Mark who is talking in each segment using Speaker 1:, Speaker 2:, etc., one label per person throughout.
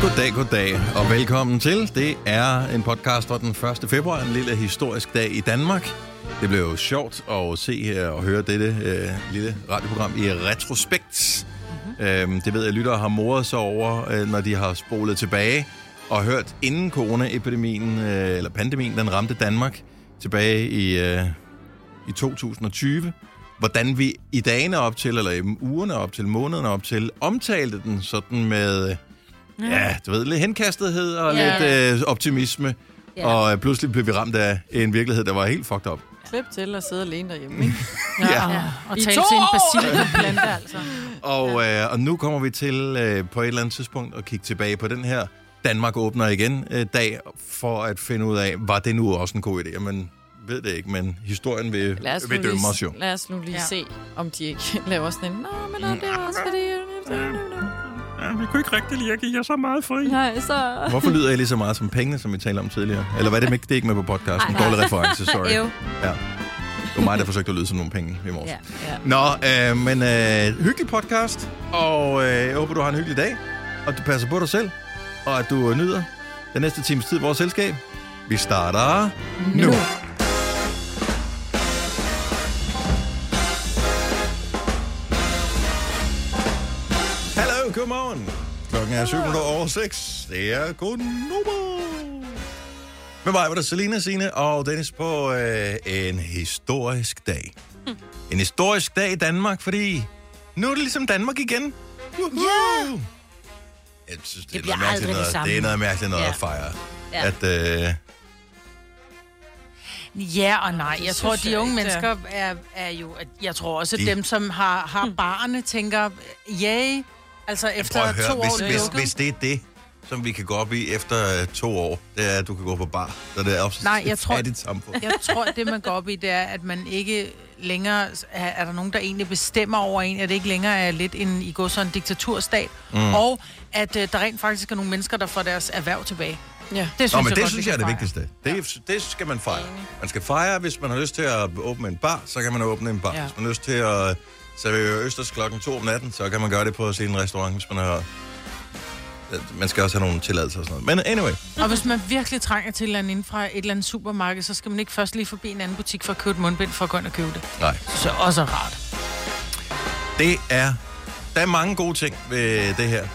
Speaker 1: Goddag, goddag, og velkommen til. Det er en podcast fra den 1. februar, en lille historisk dag i Danmark. Det blev jo sjovt at se og høre dette øh, lille radioprogram i retrospekt. Mm-hmm. Øhm, det ved jeg, lyttere har moret sig over, øh, når de har spolet tilbage og hørt inden coronaepidemien, øh, eller pandemien, den ramte Danmark tilbage i, øh, i 2020 hvordan vi i dagene op til, eller i ugerne op til, månederne op til, omtalte den sådan med, øh, ja, du ved, lidt henkastethed og
Speaker 2: Ja.
Speaker 1: lidt øh, optimisme.
Speaker 2: Ja.
Speaker 1: Og øh, pludselig blev vi ramt af en virkelighed, der var helt fucked up.
Speaker 3: Klip til at sidde alene derhjemme, ikke?
Speaker 1: Ja.
Speaker 2: Ja, og
Speaker 3: I
Speaker 2: tale
Speaker 3: to
Speaker 2: til en
Speaker 3: år!
Speaker 2: basilikaplante, altså.
Speaker 1: Og, øh, og nu kommer vi til øh, på et eller andet tidspunkt at kigge tilbage på den her Danmark åbner igen øh, dag, for at finde ud af, var det nu også en god idé? Men ved det ikke, men historien vil,
Speaker 3: Lad os, nu
Speaker 1: vil dømme os jo.
Speaker 3: lige, lad os nu lige
Speaker 2: Ja.
Speaker 3: ja. se, om de ikke laver sådan en, nej, men nej, det er også fordi...
Speaker 4: Ja, vi kunne ikke rigtig lide at give jer så meget fri.
Speaker 3: Nej, så...
Speaker 1: Hvorfor lyder jeg lige så meget som pengene, som vi talte om tidligere? Eller var det, med, det er ikke med på podcasten?
Speaker 2: Ej, nej.
Speaker 1: Dårlig reference, sorry.
Speaker 3: Ew.
Speaker 1: Ja. Det var mig, der forsøgte at lyde som nogle penge i morges.
Speaker 2: Ja.
Speaker 3: Ja.
Speaker 1: Nå, øh, men øh, hyggelig podcast, og øh, jeg håber, du har en hyggelig dag, og du passer på dig selv, og at du øh, nyder den næste times tid i vores selskab. Vi starter nu. nu. Hallo, godmorgen. Klokken er 7 minutter over 6. Det er Godnova. Med mig var der Selina, Sine og Dennis på øh, en historisk dag. En historisk dag i Danmark, fordi nu er det ligesom Danmark igen. Woohoo! Yeah. Jeg synes, det,
Speaker 2: Det
Speaker 1: det, er
Speaker 2: bliver
Speaker 1: noget
Speaker 2: aldrig
Speaker 1: mærkeligt
Speaker 2: det
Speaker 1: noget, det,
Speaker 2: samme.
Speaker 1: det er noget mærkeligt noget
Speaker 2: Ja.
Speaker 1: at fejre.
Speaker 2: Ja.
Speaker 1: At, øh,
Speaker 2: Ja og nej. Jeg
Speaker 3: Det
Speaker 2: tror,
Speaker 3: synes
Speaker 2: de
Speaker 3: jeg
Speaker 2: unge
Speaker 3: ikke, det er. Hmm.
Speaker 2: mennesker er, er jo... at- Jeg tror også,
Speaker 1: De-
Speaker 2: de... dem, som har, har barne, tænker, yay. Altså efter
Speaker 1: prøv at høre,
Speaker 2: to
Speaker 1: hvis,
Speaker 2: år
Speaker 1: hvis,
Speaker 2: lukket.
Speaker 1: hvis det er det, som vi kan gå op i efter øh, to år, det er, at du kan gå på bar. Så det er også
Speaker 2: Nej, jeg
Speaker 1: et
Speaker 2: tror-
Speaker 1: fattigt samfund.
Speaker 2: Jeg tror, det man går op i, det er, at man ikke længere... Er, er der nogen, der egentlig bestemmer over en, at det ikke længere er lidt en, i går så en diktaturstat, mm. og at øh, der rent faktisk er nogle mennesker, der får deres erhverv tilbage.
Speaker 3: Ja.
Speaker 2: Det synes
Speaker 1: Nå, men
Speaker 2: jeg
Speaker 1: det
Speaker 2: godt,
Speaker 1: synes
Speaker 2: vi
Speaker 1: jeg er
Speaker 2: kan
Speaker 1: det
Speaker 2: fejre.
Speaker 1: vigtigste. Det, det skal man fejre. Man skal fejre, hvis man har lyst til at åbne en bar, så kan man åbne en bar. Ja.
Speaker 3: Ja.
Speaker 1: Hvis man har lyst til at servere Østers klokken 2 om natten, så kan man gøre det på sin restaurant, hvis man har... Man skal også have nogle tilladelser og sådan noget. Men anyway,
Speaker 2: Og hvis man virkelig trænger til et eller andet inden fra et eller andet supermarked, så skal man ikke først lige forbi en anden butik for at købe et mundbind for at gå ind og købe det.
Speaker 1: nej.
Speaker 2: Så også er rart.
Speaker 1: Det er... Der er mange gode ting ved det her.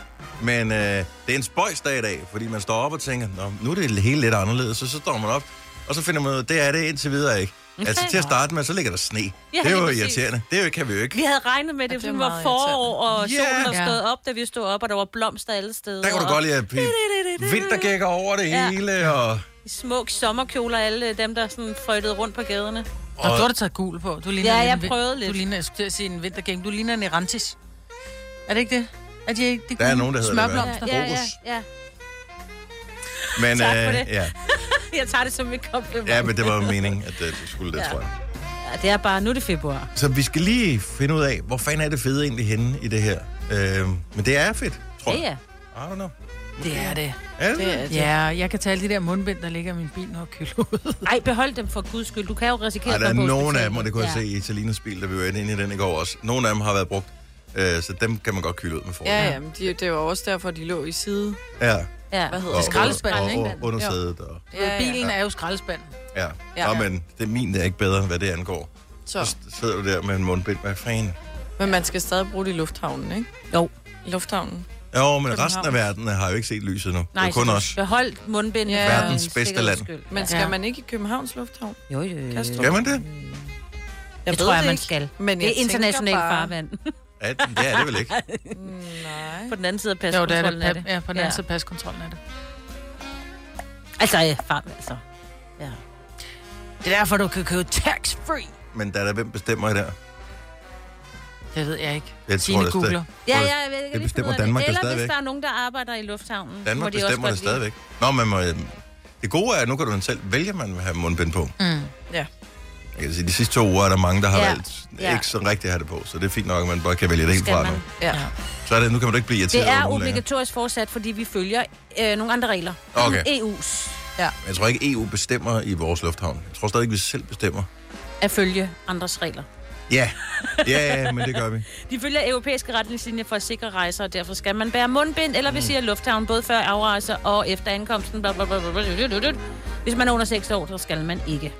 Speaker 1: Men øh, det er en spøjs dag i dag, fordi man står op og tænker, Nå, nu er det hele lidt anderledes, og så står man op, og så finder man ud af, det er det indtil videre ikke. Altså til at starte med, så ligger der sne. det er
Speaker 5: lige
Speaker 1: jo
Speaker 5: præcis.
Speaker 1: irriterende. Det er jo- kan vi jo ikke.
Speaker 5: Vi havde regnet med, at
Speaker 3: Ja,
Speaker 5: det,
Speaker 3: det er
Speaker 5: det var
Speaker 3: meget
Speaker 5: forår, og
Speaker 1: Ja.
Speaker 5: solen var
Speaker 2: Ja.
Speaker 5: stået op, da vi stod op, og der var blomster alle steder.
Speaker 1: Der kan du
Speaker 5: og
Speaker 1: godt lide at pipe vintergækker over det
Speaker 5: Ja.
Speaker 1: hele, og...
Speaker 5: Smuk sommerkjoler, alle dem, der sådan frøjtede rundt på gaderne.
Speaker 2: Og du har da taget gul på. Du ligner
Speaker 5: Ja,
Speaker 2: lidt
Speaker 5: jeg
Speaker 2: en vin-
Speaker 5: prøvede lidt.
Speaker 2: Du ligner, jeg skulle til at sige en vintergæng. Du ligner en erantis. Er det ikke det? Er de ikke det
Speaker 1: Der er
Speaker 2: gule
Speaker 1: nogen, der hedder det,
Speaker 2: smørblomster?
Speaker 5: Ja, ja,
Speaker 1: Fokus.
Speaker 5: ja.
Speaker 1: Men,
Speaker 5: Tak for
Speaker 1: øh,
Speaker 5: det.
Speaker 1: Ja.
Speaker 5: Jeg tager det som et kompliment.
Speaker 1: ja, men det var jo meningen, at øh, det skulle det,
Speaker 5: Ja.
Speaker 1: tror jeg.
Speaker 5: Ja, det er bare, nu er det februar.
Speaker 1: Så vi skal lige finde ud af, hvor fanden er det fede egentlig henne i det her. Øh, men det er fedt, tror jeg.
Speaker 5: Det er.
Speaker 1: I don't know.
Speaker 2: Det er det.
Speaker 1: Er det? det?
Speaker 3: er det.
Speaker 2: Ja, jeg kan tage alle de der mundbind, der ligger i min bil, når jeg ud.
Speaker 5: Ej, behold dem for guds skyld. Du kan jo risikere
Speaker 1: Ej,
Speaker 5: at
Speaker 1: der er
Speaker 5: komme på
Speaker 1: nogen af
Speaker 5: hospitalet.
Speaker 1: dem, og det kunne jeg se i Salinas bil, da vi var inde i den i går også. Nogle af dem har været brugt, øh, så dem kan man godt kylde ud med fordel.
Speaker 3: Ja, ja, men de, det var også derfor, de lå i side.
Speaker 1: ja.
Speaker 5: Ja.
Speaker 3: Hvad hedder
Speaker 1: Og,
Speaker 3: det?
Speaker 2: skraldespanden,
Speaker 1: og,
Speaker 2: ikke?
Speaker 1: og, og under sædet. Og,
Speaker 3: Ja, ja.
Speaker 2: Bilen er jo skraldespanden.
Speaker 1: ja.
Speaker 3: Ja.
Speaker 1: Nå, men det er min, der er ikke bedre, hvad det angår.
Speaker 3: Så.
Speaker 1: Så sidder du der med en mundbind. Hvad fanden?
Speaker 3: Men man skal stadig bruge det i lufthavnen, ikke?
Speaker 5: Jo.
Speaker 3: I lufthavnen.
Speaker 1: Jo, men resten af verden øh, har jo ikke set lyset nu. Nej, det er kun
Speaker 5: så
Speaker 1: os.
Speaker 5: Behold mundbindet.
Speaker 3: Ja.
Speaker 5: for din
Speaker 1: Verdens bedste
Speaker 5: sikkerheds
Speaker 1: land.
Speaker 5: skyld.
Speaker 3: Men skal ja. man ikke i Københavns Lufthavn?
Speaker 5: Jo, jo, jo. jo.
Speaker 3: Kastrup?
Speaker 1: Skal man det?
Speaker 5: Jeg,
Speaker 3: ved
Speaker 5: tror,
Speaker 3: det
Speaker 5: at man
Speaker 3: ikke.
Speaker 5: skal.
Speaker 3: Men
Speaker 5: Det
Speaker 3: jeg
Speaker 5: er
Speaker 3: tænker
Speaker 5: internationalt
Speaker 3: bare-
Speaker 5: farvand.
Speaker 1: Ja, det er det vel ikke.
Speaker 3: Nej.
Speaker 5: På den anden side af
Speaker 2: Jo, der er
Speaker 5: paskontrollen
Speaker 2: det. Ja, på den anden side paskontrollen er det.
Speaker 5: Altså, ja, farvand, altså. Ja.
Speaker 2: Det er derfor, du kan købe tax-free.
Speaker 1: Men der er der, hvem bestemmer i der?
Speaker 2: Det ved jeg ikke.
Speaker 1: Jeg tror,
Speaker 2: Signe
Speaker 1: det er
Speaker 2: googler.
Speaker 5: Ja,
Speaker 1: Hvor-
Speaker 5: ja, jeg ved ikke,
Speaker 1: det
Speaker 5: lige finde
Speaker 1: bestemmer
Speaker 5: ud af
Speaker 1: Danmark jo
Speaker 5: Eller
Speaker 1: stadigvæk.
Speaker 5: hvis der er nogen, der arbejder i lufthavnen. må
Speaker 1: Danmark
Speaker 5: de også
Speaker 1: bestemmer
Speaker 5: godt
Speaker 1: det
Speaker 5: lide.
Speaker 1: stadigvæk. Nå, man må, øh, det gode er, at nu kan du selv vælge, om man vil have mundbind på. Mm.
Speaker 3: Ja.
Speaker 1: Jeg kan sige, de sidste to uger er der mange, der har ja.
Speaker 5: Ja.
Speaker 1: valgt
Speaker 5: Ja.
Speaker 1: ikke så rigtigt at have det på, så det er fint nok, at man bare kan vælge det helt
Speaker 5: Skal
Speaker 1: fra
Speaker 5: man.
Speaker 1: nu.
Speaker 3: Ja.
Speaker 1: Så er det, nu kan man da ikke blive irriteret
Speaker 5: Det er
Speaker 1: over den længere.
Speaker 5: obligatorisk fortsat, fordi vi følger øh, nogle andre regler. E
Speaker 1: Okay.
Speaker 5: EU's
Speaker 1: Men Jeg tror E ikke, EU bestemmer i vores lufthavn. Jeg tror stadig, vi selv bestemmer.
Speaker 5: at følge andres regler.
Speaker 1: Ja, ja, ja men det gør vi.
Speaker 5: De følger europæiske retningslinjer for at sikre rejser, og derfor skal man bære mundbind eller
Speaker 1: Mm.
Speaker 5: vi siger lufthavn, både før afrejse og efter ankomsten. Bla, bla, bla, bla, bla, bla, bla. Hvis man er under 6 år, så skal man ikke.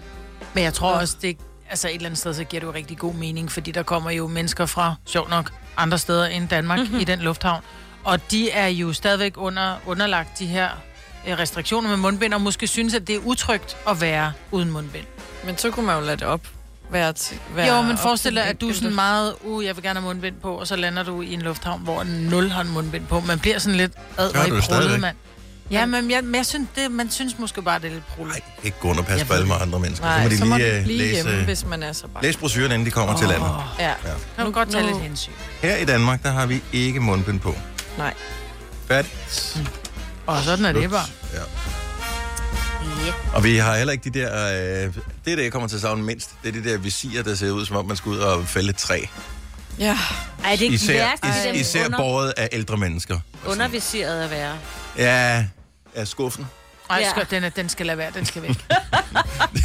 Speaker 2: Men jeg tror også, det, altså et eller andet sted, så giver det jo rigtig god mening, fordi der kommer jo mennesker fra, sjov nok, andre steder end Danmark
Speaker 3: Mhm.
Speaker 2: mm-hmm. i den lufthavn. Og de er jo stadigvæk under, underlagt de her øh, restriktioner med mundbind, og måske synes, at det er utrygt at være uden mundbind.
Speaker 3: Men så kunne man jo lade det op. Være til, være
Speaker 2: jo, men
Speaker 3: op
Speaker 2: forestil
Speaker 3: til
Speaker 2: dig,
Speaker 3: den
Speaker 2: at du er
Speaker 3: enkelte.
Speaker 2: sådan meget, uh, jeg vil gerne have mundbind på, og så lander du i en lufthavn, hvor nul har en mundbind på. Man bliver sådan lidt ad,
Speaker 1: Gør
Speaker 2: hvor
Speaker 1: du
Speaker 2: I
Speaker 1: det
Speaker 2: prøvede,
Speaker 1: stadigvæk?
Speaker 2: mand. Ja, men jeg, men jeg synes, det, man synes måske bare, det er lidt prullet.
Speaker 1: Nej, ikke gå under og passe
Speaker 2: Jeg
Speaker 1: på
Speaker 2: ved
Speaker 1: alle andre mennesker.
Speaker 3: Nej,
Speaker 1: så må de lige øh,
Speaker 3: blive
Speaker 1: læse,
Speaker 3: hjemme,
Speaker 1: øh,
Speaker 3: hvis man er så bange.
Speaker 1: læse brosyren, inden de kommer oh. til landet.
Speaker 3: Ja.
Speaker 1: Ja.
Speaker 2: Kan du godt tage
Speaker 3: nu-
Speaker 2: lidt hensyn?
Speaker 1: Her i Danmark, der har vi ikke mundbind på.
Speaker 3: Nej.
Speaker 1: Færdigt.
Speaker 2: Og sådan er det bare.
Speaker 1: Ja. Og vi har heller ikke de der... Øh, det er det, jeg kommer til at savne mindst. Det er de der visirer, der ser ud, som om man skal ud og fælde et træ.
Speaker 3: Ja.
Speaker 5: Ej, det er ikke
Speaker 1: Især,
Speaker 5: værst,
Speaker 1: is, især båret af ældre mennesker.
Speaker 5: underviseret at være.
Speaker 1: Ja, er skuffen.
Speaker 2: Nej,
Speaker 5: Ja.
Speaker 2: ja. den, er- den skal lade være, den skal væk.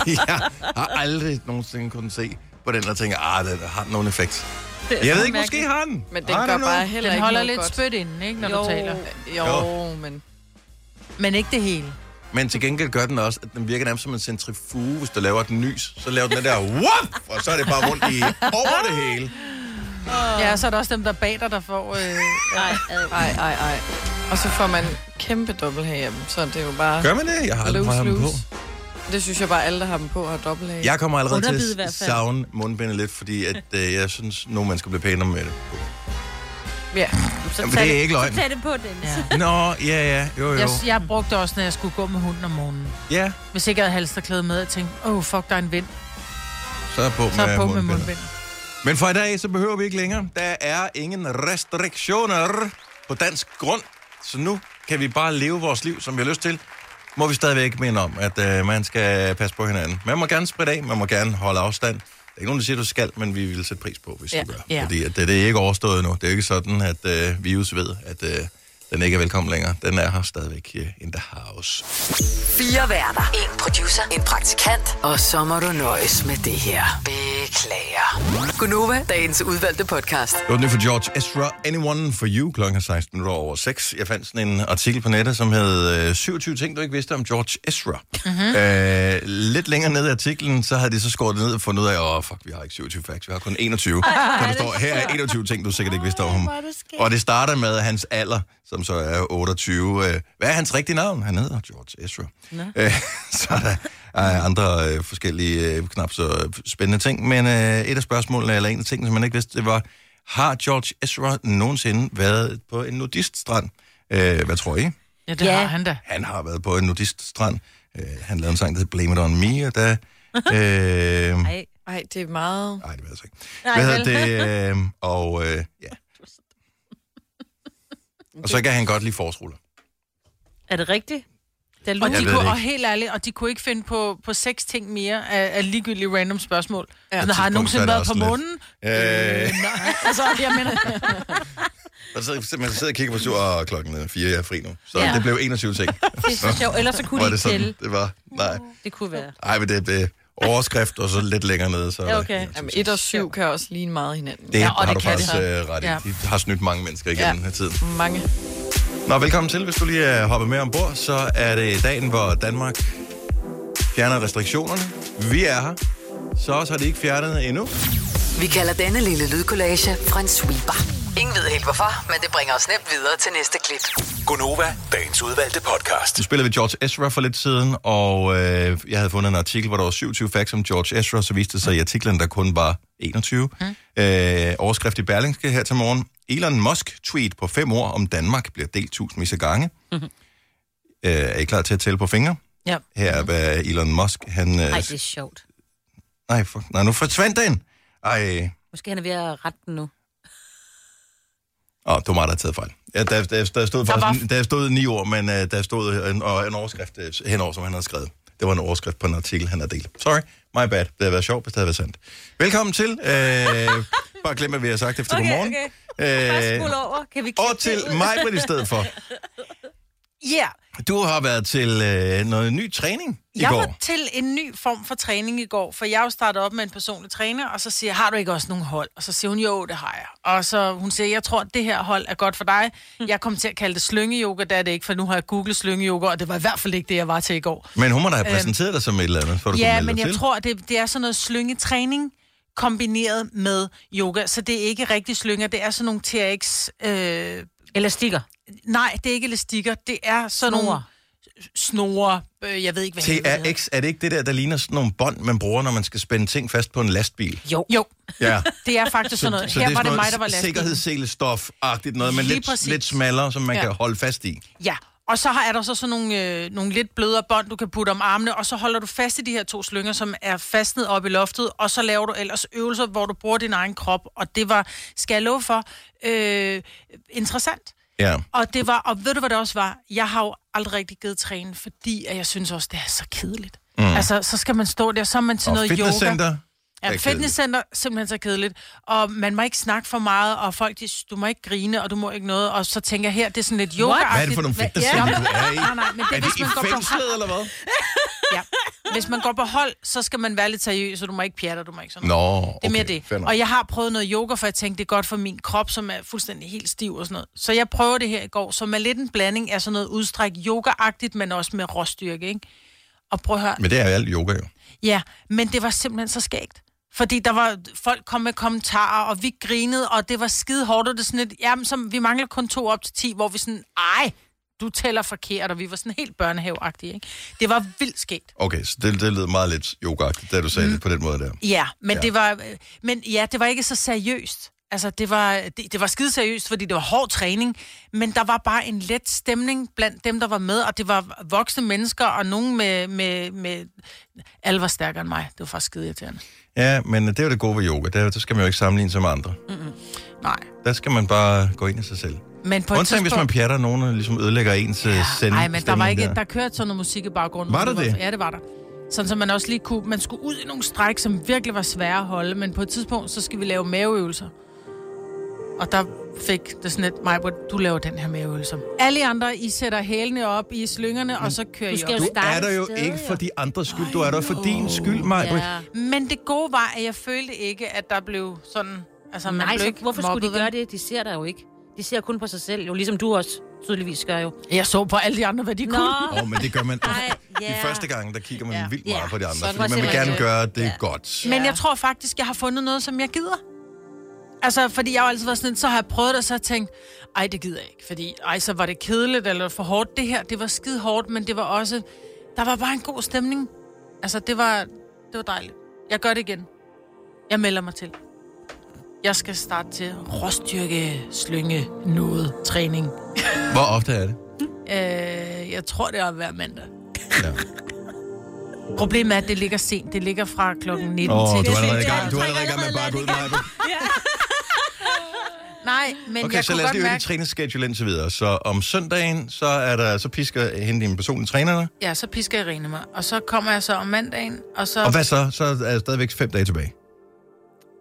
Speaker 1: jeg har aldrig nogensinde kunnet se på den, og tænker, ah, det har den nogen effekt. Jeg ved ikke, måske har den.
Speaker 3: Men den
Speaker 1: I don't
Speaker 3: gør
Speaker 1: know.
Speaker 3: bare heller
Speaker 2: Den
Speaker 3: ikke
Speaker 2: holder
Speaker 3: noget
Speaker 2: lidt godt.
Speaker 3: godt.
Speaker 2: spyt inden, ikke, når jo.
Speaker 5: Jo.
Speaker 2: du taler.
Speaker 3: Jo,
Speaker 1: Jo.
Speaker 3: men...
Speaker 2: Men ikke det hele.
Speaker 1: Men til gengæld gør den også, at den virker nærmest som en centrifuge. Hvis du laver den nys, så laver den den der, wop, og så er det bare rundt i over det hele.
Speaker 2: Ja, og så er der også dem, der er bag dig, der får... Øh,
Speaker 5: Nej, ad.
Speaker 3: Ej, ej, ej. Og så får man kæmpe dobbelt herhjemme, så det er jo bare...
Speaker 1: Gør man det? Jeg har aldrig
Speaker 3: Loose,
Speaker 1: prøvet ham på.
Speaker 3: loose. Det synes jeg bare, alle, der har dem på, har dobbelt af.
Speaker 1: Jeg kommer allerede
Speaker 5: Underbid i
Speaker 1: til
Speaker 5: hvert
Speaker 1: at
Speaker 5: fald.
Speaker 1: savne mundbindet lidt, fordi at, øh, jeg synes, nogle mennesker bliver pænere med det.
Speaker 3: Ja.
Speaker 5: Så
Speaker 1: Jamen,
Speaker 5: tag
Speaker 1: det er ikke løgn.
Speaker 5: Så tag det på, den.
Speaker 2: ja.
Speaker 1: Nå, ja, ja, jo, jo.
Speaker 2: jeg, jeg brugte det også, når jeg skulle gå med hunden om morgenen.
Speaker 1: Ja,
Speaker 2: Hvis ikke jeg havde halsterklæde med, og tænkte, åh, oh, fuck, der er en vind,
Speaker 1: så er på med,
Speaker 2: så er jeg på med
Speaker 1: mundbindet.
Speaker 2: mundbind.
Speaker 1: Men fra i dag, så behøver vi ikke længere. Der er ingen restriktioner på dansk grund. Så nu kan vi bare leve vores liv, som vi har lyst til. Må vi stadigvæk minde om, at øh, man skal passe på hinanden. Man må gerne spritte af, man må gerne holde afstand. Der er ikke nogen, der siger, du skal, men vi vil sætte pris på, hvis
Speaker 3: Ja,
Speaker 1: du gør.
Speaker 2: ja.
Speaker 1: Fordi at øh, det, det er ikke overstået nu. Det er jo ikke sådan, at øh, virus ved, at øh, den ikke er velkommen længere. Den er her stadigvæk øh, in the house.
Speaker 6: Fire værter. En producer. En praktikant. Og så må du nøjes med det her. Beklager. Gunova, dagens udvalgte podcast.
Speaker 1: Det var den for George Ezra, Anyone for You, klokken er 16 minutter over 6. Jeg fandt sådan en artikel på nettet, som hed øh, 27 ting, du ikke vidste om George Ezra. Mm-hmm. Øh, lidt længere ned i artiklen, så havde de så skåret det ned og fundet ud af, åh, fuck, vi har ikke 27 facts, vi har kun 21. Så der står, her er 21 ting, du sikkert ikke vidste om ham. Og det starter med hans alder, som så er 28. Øh, hvad er hans rigtige navn? Han hedder George Ezra. Øh, så er der er andre øh, forskellige øh, knap så øh, spændende ting, men øh, et af spørgsmålene, eller en af tingene, som man ikke vidste, det var, har George Ezra nogensinde været på en nudiststrand? Øh, hvad tror I?
Speaker 2: Ja, det ja.
Speaker 5: Ja.
Speaker 2: har han da.
Speaker 1: Han har været på en nudiststrand. Øh, han lavede en sang, der hedder Blame It On Me, og der... Øh,
Speaker 5: Ej.
Speaker 3: Ej, det er meget...
Speaker 1: Nej, det ved jeg så ikke.
Speaker 5: Nej,
Speaker 1: Hvad hedder det? Øh, og øh, ja. Og så kan han godt lide forårsruller.
Speaker 5: Er det rigtigt? Det er
Speaker 2: Og,
Speaker 5: lurt.
Speaker 1: Jeg
Speaker 2: de
Speaker 1: ved det
Speaker 2: kunne,
Speaker 1: ikke.
Speaker 2: og helt ærligt, og de kunne ikke finde på, på seks ting mere af, af ligegyldige random spørgsmål. Ja,
Speaker 1: På
Speaker 2: Sådan,
Speaker 1: et
Speaker 2: har han
Speaker 1: tidspunkt, så
Speaker 2: nogensinde
Speaker 1: er det
Speaker 2: været på
Speaker 1: også
Speaker 2: månen?
Speaker 1: lidt- Øh,
Speaker 2: Nej, altså, jeg mener,
Speaker 1: og så man sidder og kigger på sur, og klokken er fire, jeg er fri nu. Så ja. det blev 21 ting.
Speaker 5: Det er så sjovt. Ellers så kunne
Speaker 1: Var
Speaker 5: de
Speaker 1: det
Speaker 5: ikke
Speaker 1: sådan,
Speaker 5: tælle.
Speaker 1: det var? Nej.
Speaker 5: Det kunne være.
Speaker 1: Ej, men det blev overskrift, og så lidt længere nede. Så er der
Speaker 5: Ja, okay.
Speaker 1: 21
Speaker 3: Jamen,
Speaker 1: ting.
Speaker 3: et og syv kan også ligne meget hinanden.
Speaker 1: Det
Speaker 2: Ja,
Speaker 1: ja,
Speaker 2: og
Speaker 1: har
Speaker 2: det
Speaker 1: du
Speaker 2: kan det
Speaker 1: faktisk
Speaker 2: så.
Speaker 1: øh, ret i.
Speaker 2: Ja.
Speaker 1: De har snydt mange mennesker igennem
Speaker 3: Ja.
Speaker 1: den her tid.
Speaker 3: Mange.
Speaker 1: Nå, velkommen til. Hvis du lige er hoppet med ombord, så er det dagen, hvor Danmark fjerner restriktionerne. Vi er her. Så også har de ikke fjernet endnu.
Speaker 6: Vi kalder denne lille lydkollage en sweeper. Ingen ved helt hvorfor, men det bringer os nemt videre til næste klip.
Speaker 7: Gunova, dagens udvalgte podcast.
Speaker 1: Du spillede ved George Ezra for lidt siden, og øh, jeg havde fundet en artikel, hvor der var 27 facts om George Ezra, så viste det sig i artiklen, der kun var 21. Mm. Øh, overskrift i Berlingske her til morgen. Elon Musk-tweet på fem ord om Danmark bliver delt tusindvis af gange. Mm-hmm.
Speaker 6: Mhm.
Speaker 1: Øh, er I klar til at tælle på fingre?
Speaker 2: Ja.
Speaker 1: Her
Speaker 6: Mhm.
Speaker 1: er, hvad Elon Musk, han... Øh,
Speaker 5: Nej, det er sjovt.
Speaker 1: Nej, for, nej, nu forsvandt den. Ej,
Speaker 5: Måske han er ved at rette den nu.
Speaker 1: åh, det var mig, der havde taget fejl. Ja, der, der, der, stod
Speaker 2: var-
Speaker 1: faktisk, der stod ni ord, men uh, der stod en, og en overskrift øh, henover, som han havde skrevet. Det var en overskrift på en artikel, han havde delt. Sorry, my bad. Det havde været sjovt, hvis det havde været sandt. Velkommen til. Øh, bare glem, hvad vi har sagt efter
Speaker 5: Okay,
Speaker 1: godmorgen.
Speaker 5: okay.
Speaker 1: Øh,
Speaker 5: Bare skål over. Kan vi klippe
Speaker 1: og til
Speaker 5: det ud?
Speaker 1: mig i stedet for.
Speaker 2: Ja, yeah.
Speaker 1: Du har været til øh, noget ny træning i
Speaker 2: jeg
Speaker 1: går.
Speaker 2: var til en ny form for træning i går, for jeg er jo startet op med en personlig træner, og så siger jeg, har du ikke også nogen hold? Og så siger hun, jo, det har jeg. Og så hun siger, jeg tror, at det her hold er godt for dig. Jeg kom til at kalde det slyngeyoga, det er det ikke, for nu har jeg googlet slyngeyoga, og det var i hvert fald ikke det, jeg var til i går.
Speaker 1: Men hun må da have præsenteret dig som et eller andet, for du kunne
Speaker 2: Øhm. Ja,
Speaker 1: melde
Speaker 2: men
Speaker 1: dig
Speaker 2: jeg
Speaker 1: til.
Speaker 2: tror, at det, det er sådan noget slyngetræning kombineret med yoga, så det er ikke rigtig slynger, det er sådan nogle TRX... Øh,
Speaker 5: Elastikker.
Speaker 2: nej, det er ikke elastikker, det er sådan nogle
Speaker 5: Snore.
Speaker 2: snore, øh, jeg ved ikke, hvad det hedder.
Speaker 1: TRX, er det ikke det der, der ligner sådan nogle bånd, man bruger, når man skal spænde ting fast på en lastbil?
Speaker 2: Jo,
Speaker 1: Ja.
Speaker 2: det er faktisk sådan noget. Her var det mig, der var lastbilen.
Speaker 1: sikkerhedsselestof-agtigt noget, men
Speaker 2: Lige
Speaker 1: lidt,
Speaker 2: præcis.
Speaker 1: lidt smallere, som man ja.
Speaker 2: Ja.
Speaker 1: kan holde fast i.
Speaker 2: Ja, og så har er der så sådan nogle, øh, nogle lidt blødere bånd, du kan putte om armene, og så holder du fast i de her to slynger, som er fastnet op i loftet, og så laver du ellers øvelser, hvor du bruger din egen krop, og det var, skal jeg love for, øh, interessant.
Speaker 1: Ja.
Speaker 2: Og det var, og ved du hvad det også var? Jeg har jo aldrig rigtig givet træne, fordi at jeg synes også, det er så kedeligt. Mm. Altså, så skal man stå der, så er man til
Speaker 1: Og
Speaker 2: noget yoga.
Speaker 1: fitnesscenter. er
Speaker 2: Ja,
Speaker 1: kedeligt.
Speaker 2: fitnesscenter, simpelthen så kedeligt. Og man må ikke snakke for meget, og folk, de, du må ikke grine, og du må ikke noget. Og så tænker jeg her, det er sådan lidt yoga
Speaker 1: Hvad er det for nogle fitnesscenter, du er i?
Speaker 2: Nej, nej, men det
Speaker 1: Er
Speaker 2: er,
Speaker 1: det
Speaker 2: hvis
Speaker 1: i
Speaker 2: man, går på,
Speaker 1: fængslet, eller hvad?
Speaker 2: ja. hvis man går på hold, så skal man være lidt seriøs, og du må ikke pjatte, og du må ikke sådan noget.
Speaker 1: Nå,
Speaker 2: Det er mere
Speaker 1: okay, fair
Speaker 2: det.
Speaker 1: nok.
Speaker 2: Og jeg har prøvet noget yoga, for jeg tænkte, det er godt for min krop, som er fuldstændig helt stiv og sådan noget. Så jeg prøver det her i går, som er lidt en blanding af sådan noget udstræk yoga-agtigt, men også med råstyrke, ikke? Og prøv at høre,
Speaker 1: Men det er jo alt yoga, jo.
Speaker 2: Ja, men det var simpelthen så skægt. Fordi der var, folk kom med kommentarer, og vi grinede, og det var skide hårdt, og det er sådan lidt, jamen, som, vi mangler kun to op til ti, hvor vi sådan, ej, du tæller forkert, og vi var sådan helt børnehaveagtige, ikke? Det var vildt skægt.
Speaker 1: Okay, så det, det lød meget lidt yoga da du sagde mm. det på den måde der.
Speaker 2: Ja, men
Speaker 1: Ja.
Speaker 2: ja. det var, øh, men ja, det var ikke så seriøst. Altså, det var, det, det var skide seriøst, fordi det var hård træning, men der var bare en let stemning blandt dem, der var med, og det var voksne mennesker, og nogen med, med, med alle var stærkere end mig. Det var faktisk skide irriterende.
Speaker 1: Ja, men det er jo det gode ved yoga. Der, der skal man jo ikke sammenligne sig med andre.
Speaker 2: Nej.
Speaker 1: Der skal man bare gå ind i sig selv.
Speaker 2: Men på et
Speaker 1: Undtagen hvis man
Speaker 2: tidspunkt-
Speaker 1: pjatter nogen, og ligesom ødelægger ens ja. sending.
Speaker 2: Nej, men der var ikke, der kørte sådan noget musik i baggrunden.
Speaker 1: Var der det?
Speaker 2: Ja, det var der. Sådan, så man også lige kunne, man skulle ud i nogle stræk, som virkelig var svære at holde, men på et tidspunkt, så skal vi lave maveøvelser. Og der fik det sådan et, Majbrit, du laver den her maveøvelse. Alle I andre, I sætter hælene op i slyngerne, og så kører I
Speaker 5: skal
Speaker 2: op.
Speaker 5: jo
Speaker 1: Du er
Speaker 5: Starte
Speaker 1: der jo
Speaker 5: sted,
Speaker 1: ikke
Speaker 5: jo.
Speaker 1: for de andres skyld. Du er der for din skyld, Maja.
Speaker 5: Ja.
Speaker 2: Men det gode var, at jeg følte ikke, at der blev sådan... Altså, man
Speaker 5: Nej,
Speaker 2: blev
Speaker 5: så
Speaker 2: ikke
Speaker 5: hvorfor skulle de
Speaker 2: mobbet,
Speaker 5: gøre
Speaker 2: vel?
Speaker 5: det? De ser dig jo ikke. De ser kun på sig selv, jo ligesom du også tydeligvis gør jo.
Speaker 2: Jeg så på alle de andre, hvad de
Speaker 5: Nå,
Speaker 2: kunne.
Speaker 1: Åh, men det gør man.
Speaker 5: Ej,
Speaker 1: De
Speaker 5: ja.
Speaker 1: første gange, der kigger man
Speaker 2: Ja.
Speaker 1: vildt meget
Speaker 5: Ja.
Speaker 1: på de andre,
Speaker 3: Sådan
Speaker 1: fordi
Speaker 3: var
Speaker 1: man vil
Speaker 3: simpelthen
Speaker 1: gerne
Speaker 3: det.
Speaker 1: gøre det godt.
Speaker 2: Men
Speaker 5: Ja.
Speaker 2: jeg tror faktisk, jeg har fundet noget, som jeg gider. Altså, fordi jeg har jo altid været sådan, lidt, så har jeg prøvet det, og så har jeg tænkt, ej, det gider jeg ikke. Fordi, ej, så var det kedeligt, eller for hårdt det her. Det var skide hårdt, men det var også, der var bare en god stemning. Altså, det var, det var dejligt. Jeg gør det igen. Jeg melder mig til. Jeg skal starte til råstyrke, slynge, noget træning.
Speaker 1: Hvor ofte er det?
Speaker 2: Øh, jeg tror, det er hver mandag.
Speaker 1: Ja.
Speaker 2: Problemet er, at det ligger sent. Det ligger fra klokken 19
Speaker 1: Åh,
Speaker 2: til
Speaker 1: du er
Speaker 2: sent.
Speaker 1: allerede i gang. Du er allerede i gang med bare at gå ud, Maja.
Speaker 2: Nej, men
Speaker 1: Okay,
Speaker 2: jeg
Speaker 1: så
Speaker 2: kunne
Speaker 1: lad os
Speaker 2: godt
Speaker 1: lige høre din
Speaker 2: mærke...
Speaker 1: træningsschedule indtil videre. Så om søndagen, så, er der, så pisker hende din personlige træner.
Speaker 2: Ja, så pisker Irene mig. Og så kommer jeg så om mandagen, og så...
Speaker 1: Og hvad så? Så er der stadigvæk fem dage tilbage.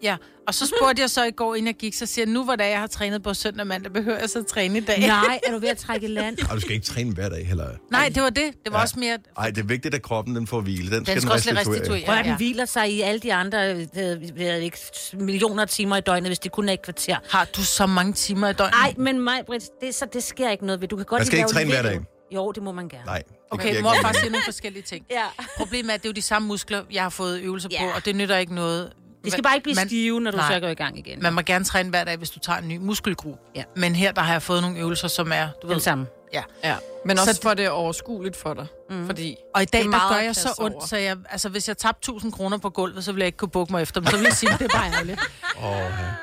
Speaker 2: Ja, og så spurgte jeg så i går, inden jeg gik, så siger jeg, nu hvor det er, jeg har trænet på søndag og mandag, behøver jeg så at træne i dag?
Speaker 5: Nej, er du ved at trække i land?
Speaker 1: Og du skal ikke træne hver dag heller.
Speaker 2: Nej, det var det. Det var
Speaker 1: Ja.
Speaker 2: ja. også mere...
Speaker 1: Nej, det er vigtigt, at kroppen den får hvile. Den,
Speaker 2: Den skal også lidt restituere.
Speaker 5: Prøv at
Speaker 2: Ja.
Speaker 5: den hviler sig i alle de andre øh, øh, jeg ved ikke, millioner af timer i døgnet, hvis det kun er et kvarter.
Speaker 2: Har du så mange timer i døgnet?
Speaker 5: Nej, men mig, Britt, det, så det sker ikke noget ved. Du kan godt
Speaker 1: Man skal
Speaker 5: lide at
Speaker 1: ikke
Speaker 5: lave
Speaker 1: træne hver
Speaker 5: lidt- Jo, det må man gerne.
Speaker 1: Nej. det giver
Speaker 2: Okay,
Speaker 1: ikke
Speaker 2: mor og
Speaker 1: nogen
Speaker 2: far
Speaker 1: mening.
Speaker 2: siger nogle forskellige ting.
Speaker 5: Ja.
Speaker 2: Problemet er, at det er jo de samme muskler, jeg har fået øvelser på,
Speaker 5: Ja.
Speaker 2: og det nytter ikke noget.
Speaker 5: Det skal bare ikke blive
Speaker 2: Man-
Speaker 5: stive, når du
Speaker 2: Nej.
Speaker 5: så går i gang igen.
Speaker 2: Man må gerne træne hver dag, hvis du tager en ny muskelgruppe.
Speaker 5: Ja.
Speaker 2: Men her, der har jeg fået nogle øvelser, som er... Du ved,
Speaker 5: Den samme.
Speaker 2: Ja.
Speaker 3: Ja, men også
Speaker 2: Så-
Speaker 3: så... for det er overskueligt for dig. Mm. Fordi
Speaker 2: Og i dag,
Speaker 3: det er
Speaker 2: der
Speaker 3: meget
Speaker 2: gør
Speaker 3: at
Speaker 2: jeg så
Speaker 3: kaste over.
Speaker 2: ondt, så jeg, altså, hvis jeg tabte 1000 kroner på gulvet, så ville jeg ikke kunne bukke mig efter dem. Så ville jeg sige, det er bare ærgerligt.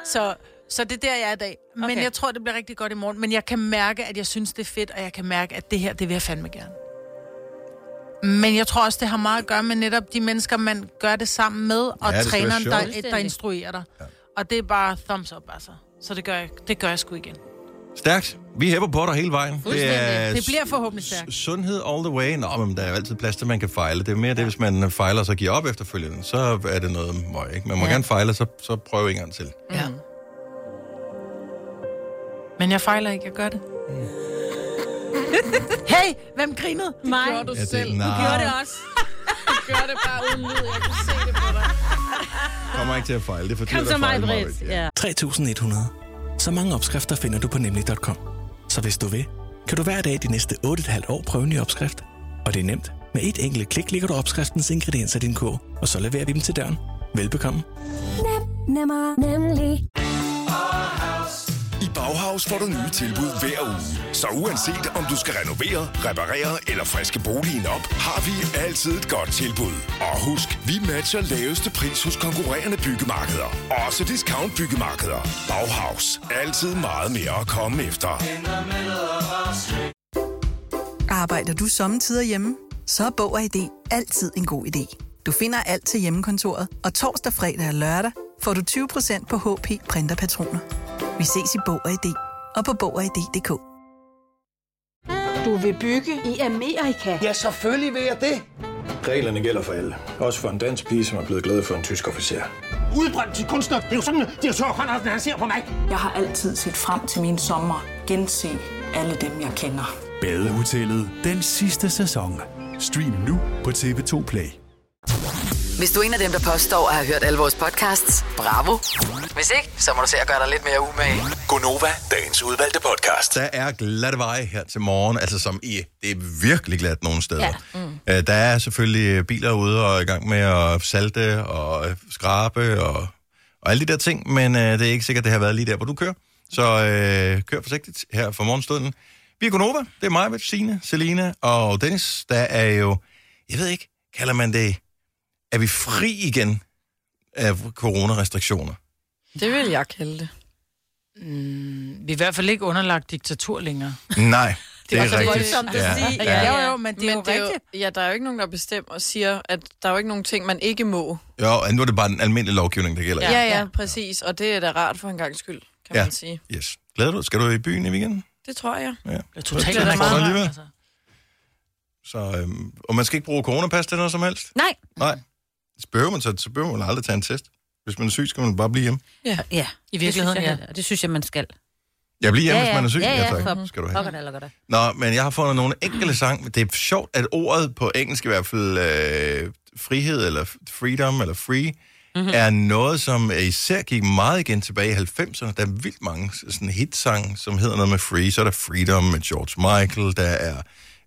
Speaker 2: Så, så det er der, jeg er i dag. Men
Speaker 5: Okay.
Speaker 2: okay. jeg tror, det bliver rigtig godt i morgen. Men jeg kan mærke, at jeg synes, det er fedt, og jeg kan mærke, at det her, det vil jeg fandme gerne. Men jeg tror også, det har meget at gøre med netop de mennesker, man gør det sammen med, og
Speaker 1: Ja,
Speaker 2: ja,
Speaker 1: det skal være
Speaker 2: træneren,
Speaker 1: sjovt.
Speaker 2: der, der instruerer dig. Ja. Og det er bare thumbs up, altså. Så det gør jeg, det gør jeg sgu igen.
Speaker 1: Stærkt. Vi hæpper på dig hele vejen.
Speaker 2: Fuldstændig. Det bliver forhåbentlig
Speaker 1: s-
Speaker 2: stærkt.
Speaker 1: Sundhed all the way. Nå, men der er jo altid plads til, at man kan fejle. Det er mere det, hvis man fejler og så giver op efterfølgende, så er det noget møg, ikke? Man må ja. gerne fejle, så, så prøv en gang til.
Speaker 2: Ja.
Speaker 1: Mm.
Speaker 2: Men jeg fejler ikke, jeg gør det. Hey, hvem grinede?
Speaker 5: Mig.
Speaker 3: Gjorde du
Speaker 1: Ja, det-
Speaker 3: selv.
Speaker 1: nej.
Speaker 5: Du gjorde det også.
Speaker 3: Du gjorde det bare uden lyd. Jeg kunne se det på dig.
Speaker 1: Kommer ikke til at fejle. Det er for
Speaker 5: Kom
Speaker 1: dyrt
Speaker 5: så
Speaker 1: at
Speaker 5: mig,
Speaker 1: fejle, Maja.
Speaker 5: Britt. Ja.
Speaker 8: 3100. Så mange opskrifter finder du på nemlig.com. Så hvis du vil, kan du hver dag de næste 8,5 år prøve en ny opskrift. Og det er nemt. Med et enkelt klik ligger du opskriftens ingredienser i din kog, og så leverer vi dem til døren. Velbekomme.
Speaker 9: Nemmer, nemlig.
Speaker 7: I Bauhaus får du nye tilbud hver uge. Så uanset om du skal renovere, reparere eller friske boligen op, har vi altid et godt tilbud. Og husk, vi matcher laveste pris hos konkurrerende byggemarkeder. Også discount byggemarkeder. Bauhaus. Altid meget mere at komme efter.
Speaker 10: Arbejder du sommetider hjemme? Så er Bog og ID altid en god idé. Du finder alt til hjemmekontoret, og torsdag, fredag og lørdag får du 20% på HP Printerpatroner. Vi ses i Bog og ID og på Bog og ID.dk.
Speaker 9: Du vil bygge i Amerika?
Speaker 11: Ja, selvfølgelig vil jeg det.
Speaker 8: Reglerne gælder for alle. Også for en dansk pige, som er blevet glad for en tysk officer.
Speaker 11: Udbrændt til kunstner. Det er jo sådan, at de har Conradsen, han ser på mig.
Speaker 10: Jeg har altid set frem til min sommer, gense alle dem, jeg kender.
Speaker 12: Badehotellet den sidste sæson. Stream nu på TV2 Play.
Speaker 6: Hvis du er en af dem, der påstår at have hørt alle vores podcasts, bravo. Hvis ikke, så må du se at gøre dig lidt mere umage.
Speaker 7: Gonova, dagens udvalgte podcast.
Speaker 1: Der er glatte veje her til morgen, altså som i, det er virkelig glat nogle steder. Ja. Mm. Der er selvfølgelig biler ude og i gang med at salte og skrabe og, og alle de der ting, men øh, det er ikke sikkert, det har været lige der, hvor du kører. Så øh, kør forsigtigt her for morgenstunden. Vi er Gunova, det er mig, Signe, Selina og Dennis. Der er jo, jeg ved ikke, kalder man det, er vi fri igen af coronarestriktioner?
Speaker 3: Det vil jeg kalde det.
Speaker 2: Mm, Vi er i hvert fald ikke underlagt diktatur længere.
Speaker 1: Nej, det er,
Speaker 5: også
Speaker 1: rigtigt.
Speaker 5: voldsomt at sige.
Speaker 1: ja.
Speaker 2: Jo, jo, men det er jo rigtigt.
Speaker 3: Jo, ja, der er jo ikke nogen, der bestemmer og siger, at der er jo ikke nogen ting, man ikke må.
Speaker 1: Jo, og nu er det bare den almindelige lovgivning, der
Speaker 3: Ja,
Speaker 1: gælder.
Speaker 3: ja, ja præcis. Og det er da rart for en gang skyld, kan
Speaker 1: Ja.
Speaker 3: ja. man sige.
Speaker 1: Yes. Glæder du dig? Skal du i byen i weekenden?
Speaker 3: Det tror jeg.
Speaker 2: Det er totalt
Speaker 1: Det er da meget
Speaker 2: underlagt,
Speaker 1: alligevel.
Speaker 2: altså.
Speaker 1: Så, øhm, og man skal ikke bruge coronapas til noget som helst?
Speaker 5: Nej.
Speaker 1: Nej. Så behøver man, så, så behøver man aldrig tage en test. Hvis man er syg, skal man bare blive hjemme.
Speaker 5: Ja.
Speaker 2: I virkeligheden,
Speaker 5: det
Speaker 2: ja.
Speaker 5: synes jeg, Det synes jeg, man skal.
Speaker 1: Jeg bliver hjemme,
Speaker 5: Ja,
Speaker 1: ja, ja. hvis
Speaker 5: ja.
Speaker 1: man er syg.
Speaker 5: Ja, ja,
Speaker 1: tak.
Speaker 5: for-
Speaker 1: Skal du
Speaker 5: Lokker
Speaker 1: have.
Speaker 5: dig, lokker dig.
Speaker 1: Nå, men jeg har fundet nogle enkelte sang. Det er sjovt, at ordet på engelsk i hvert fald, øh, frihed eller f- freedom eller free,
Speaker 5: Mhm.
Speaker 1: mm-hmm. er noget, som øh, især gik meget igen tilbage i 90'erne. Der er vildt mange sådan hitsange, som hedder noget med free. Så er der freedom med George Michael, der er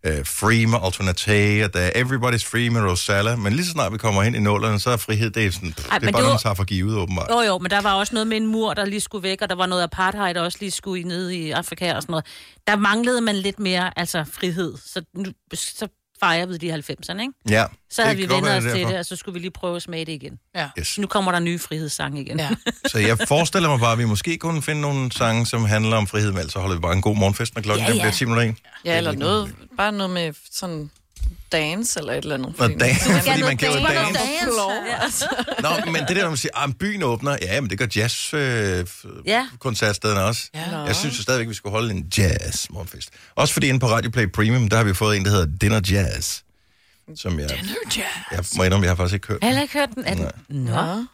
Speaker 1: øh, free med Alternate, og der er everybody's free med Rosala. Men lige så snart vi kommer hen i nullerne, så er frihed, det er sådan, pff,
Speaker 5: Ej,
Speaker 1: det er
Speaker 5: men
Speaker 1: bare
Speaker 5: det
Speaker 1: noget,
Speaker 5: var-
Speaker 1: man tager for givet, åbenbart.
Speaker 5: Jo, jo, men der var også noget med en mur, der lige skulle væk, og der var noget apartheid, der også lige skulle i- ned i Afrika og sådan noget. Der manglede man lidt mere altså, frihed, så, nu, så fejrer vi de 90'erne, ikke?
Speaker 1: Ja,
Speaker 5: Så havde vi
Speaker 1: kan godt
Speaker 5: vendt
Speaker 1: være,
Speaker 5: os
Speaker 1: er
Speaker 5: til
Speaker 1: derfor.
Speaker 5: det, og så skulle vi lige prøve at smage det igen.
Speaker 1: Yes.
Speaker 5: Nu kommer der nye frihedssange igen.
Speaker 2: Ja.
Speaker 1: Så jeg forestiller mig bare, at vi måske kunne finde nogle sange, som handler om frihed, men altså, ellers så holder vi bare en god morgenfest, når klokken
Speaker 5: Ja,
Speaker 1: ja, ja.
Speaker 5: ja.
Speaker 1: bliver 10 minutter en.
Speaker 3: Ja, eller noget, bare noget med sådan dance eller et eller andet.
Speaker 1: Nå, dan- fordi man kan jo
Speaker 5: noget
Speaker 1: dance.
Speaker 5: Ja.
Speaker 1: Nå, men det der, når man siger, at byen åbner, ja, men det gør jazzkoncertstederne øh,
Speaker 5: Ja.
Speaker 1: koncertstederne også. Ja. Jeg synes jo stadigvæk, vi skulle holde en jazz morgenfest. Også fordi inde på Radio Play Premium, der har vi fået en, der hedder Dinner Jazz. Som jeg, Dinner Jazz? Jeg må indrømme, jeg har faktisk ikke hørt.
Speaker 5: Jeg har heller ikke hørt den. Er den? Nå.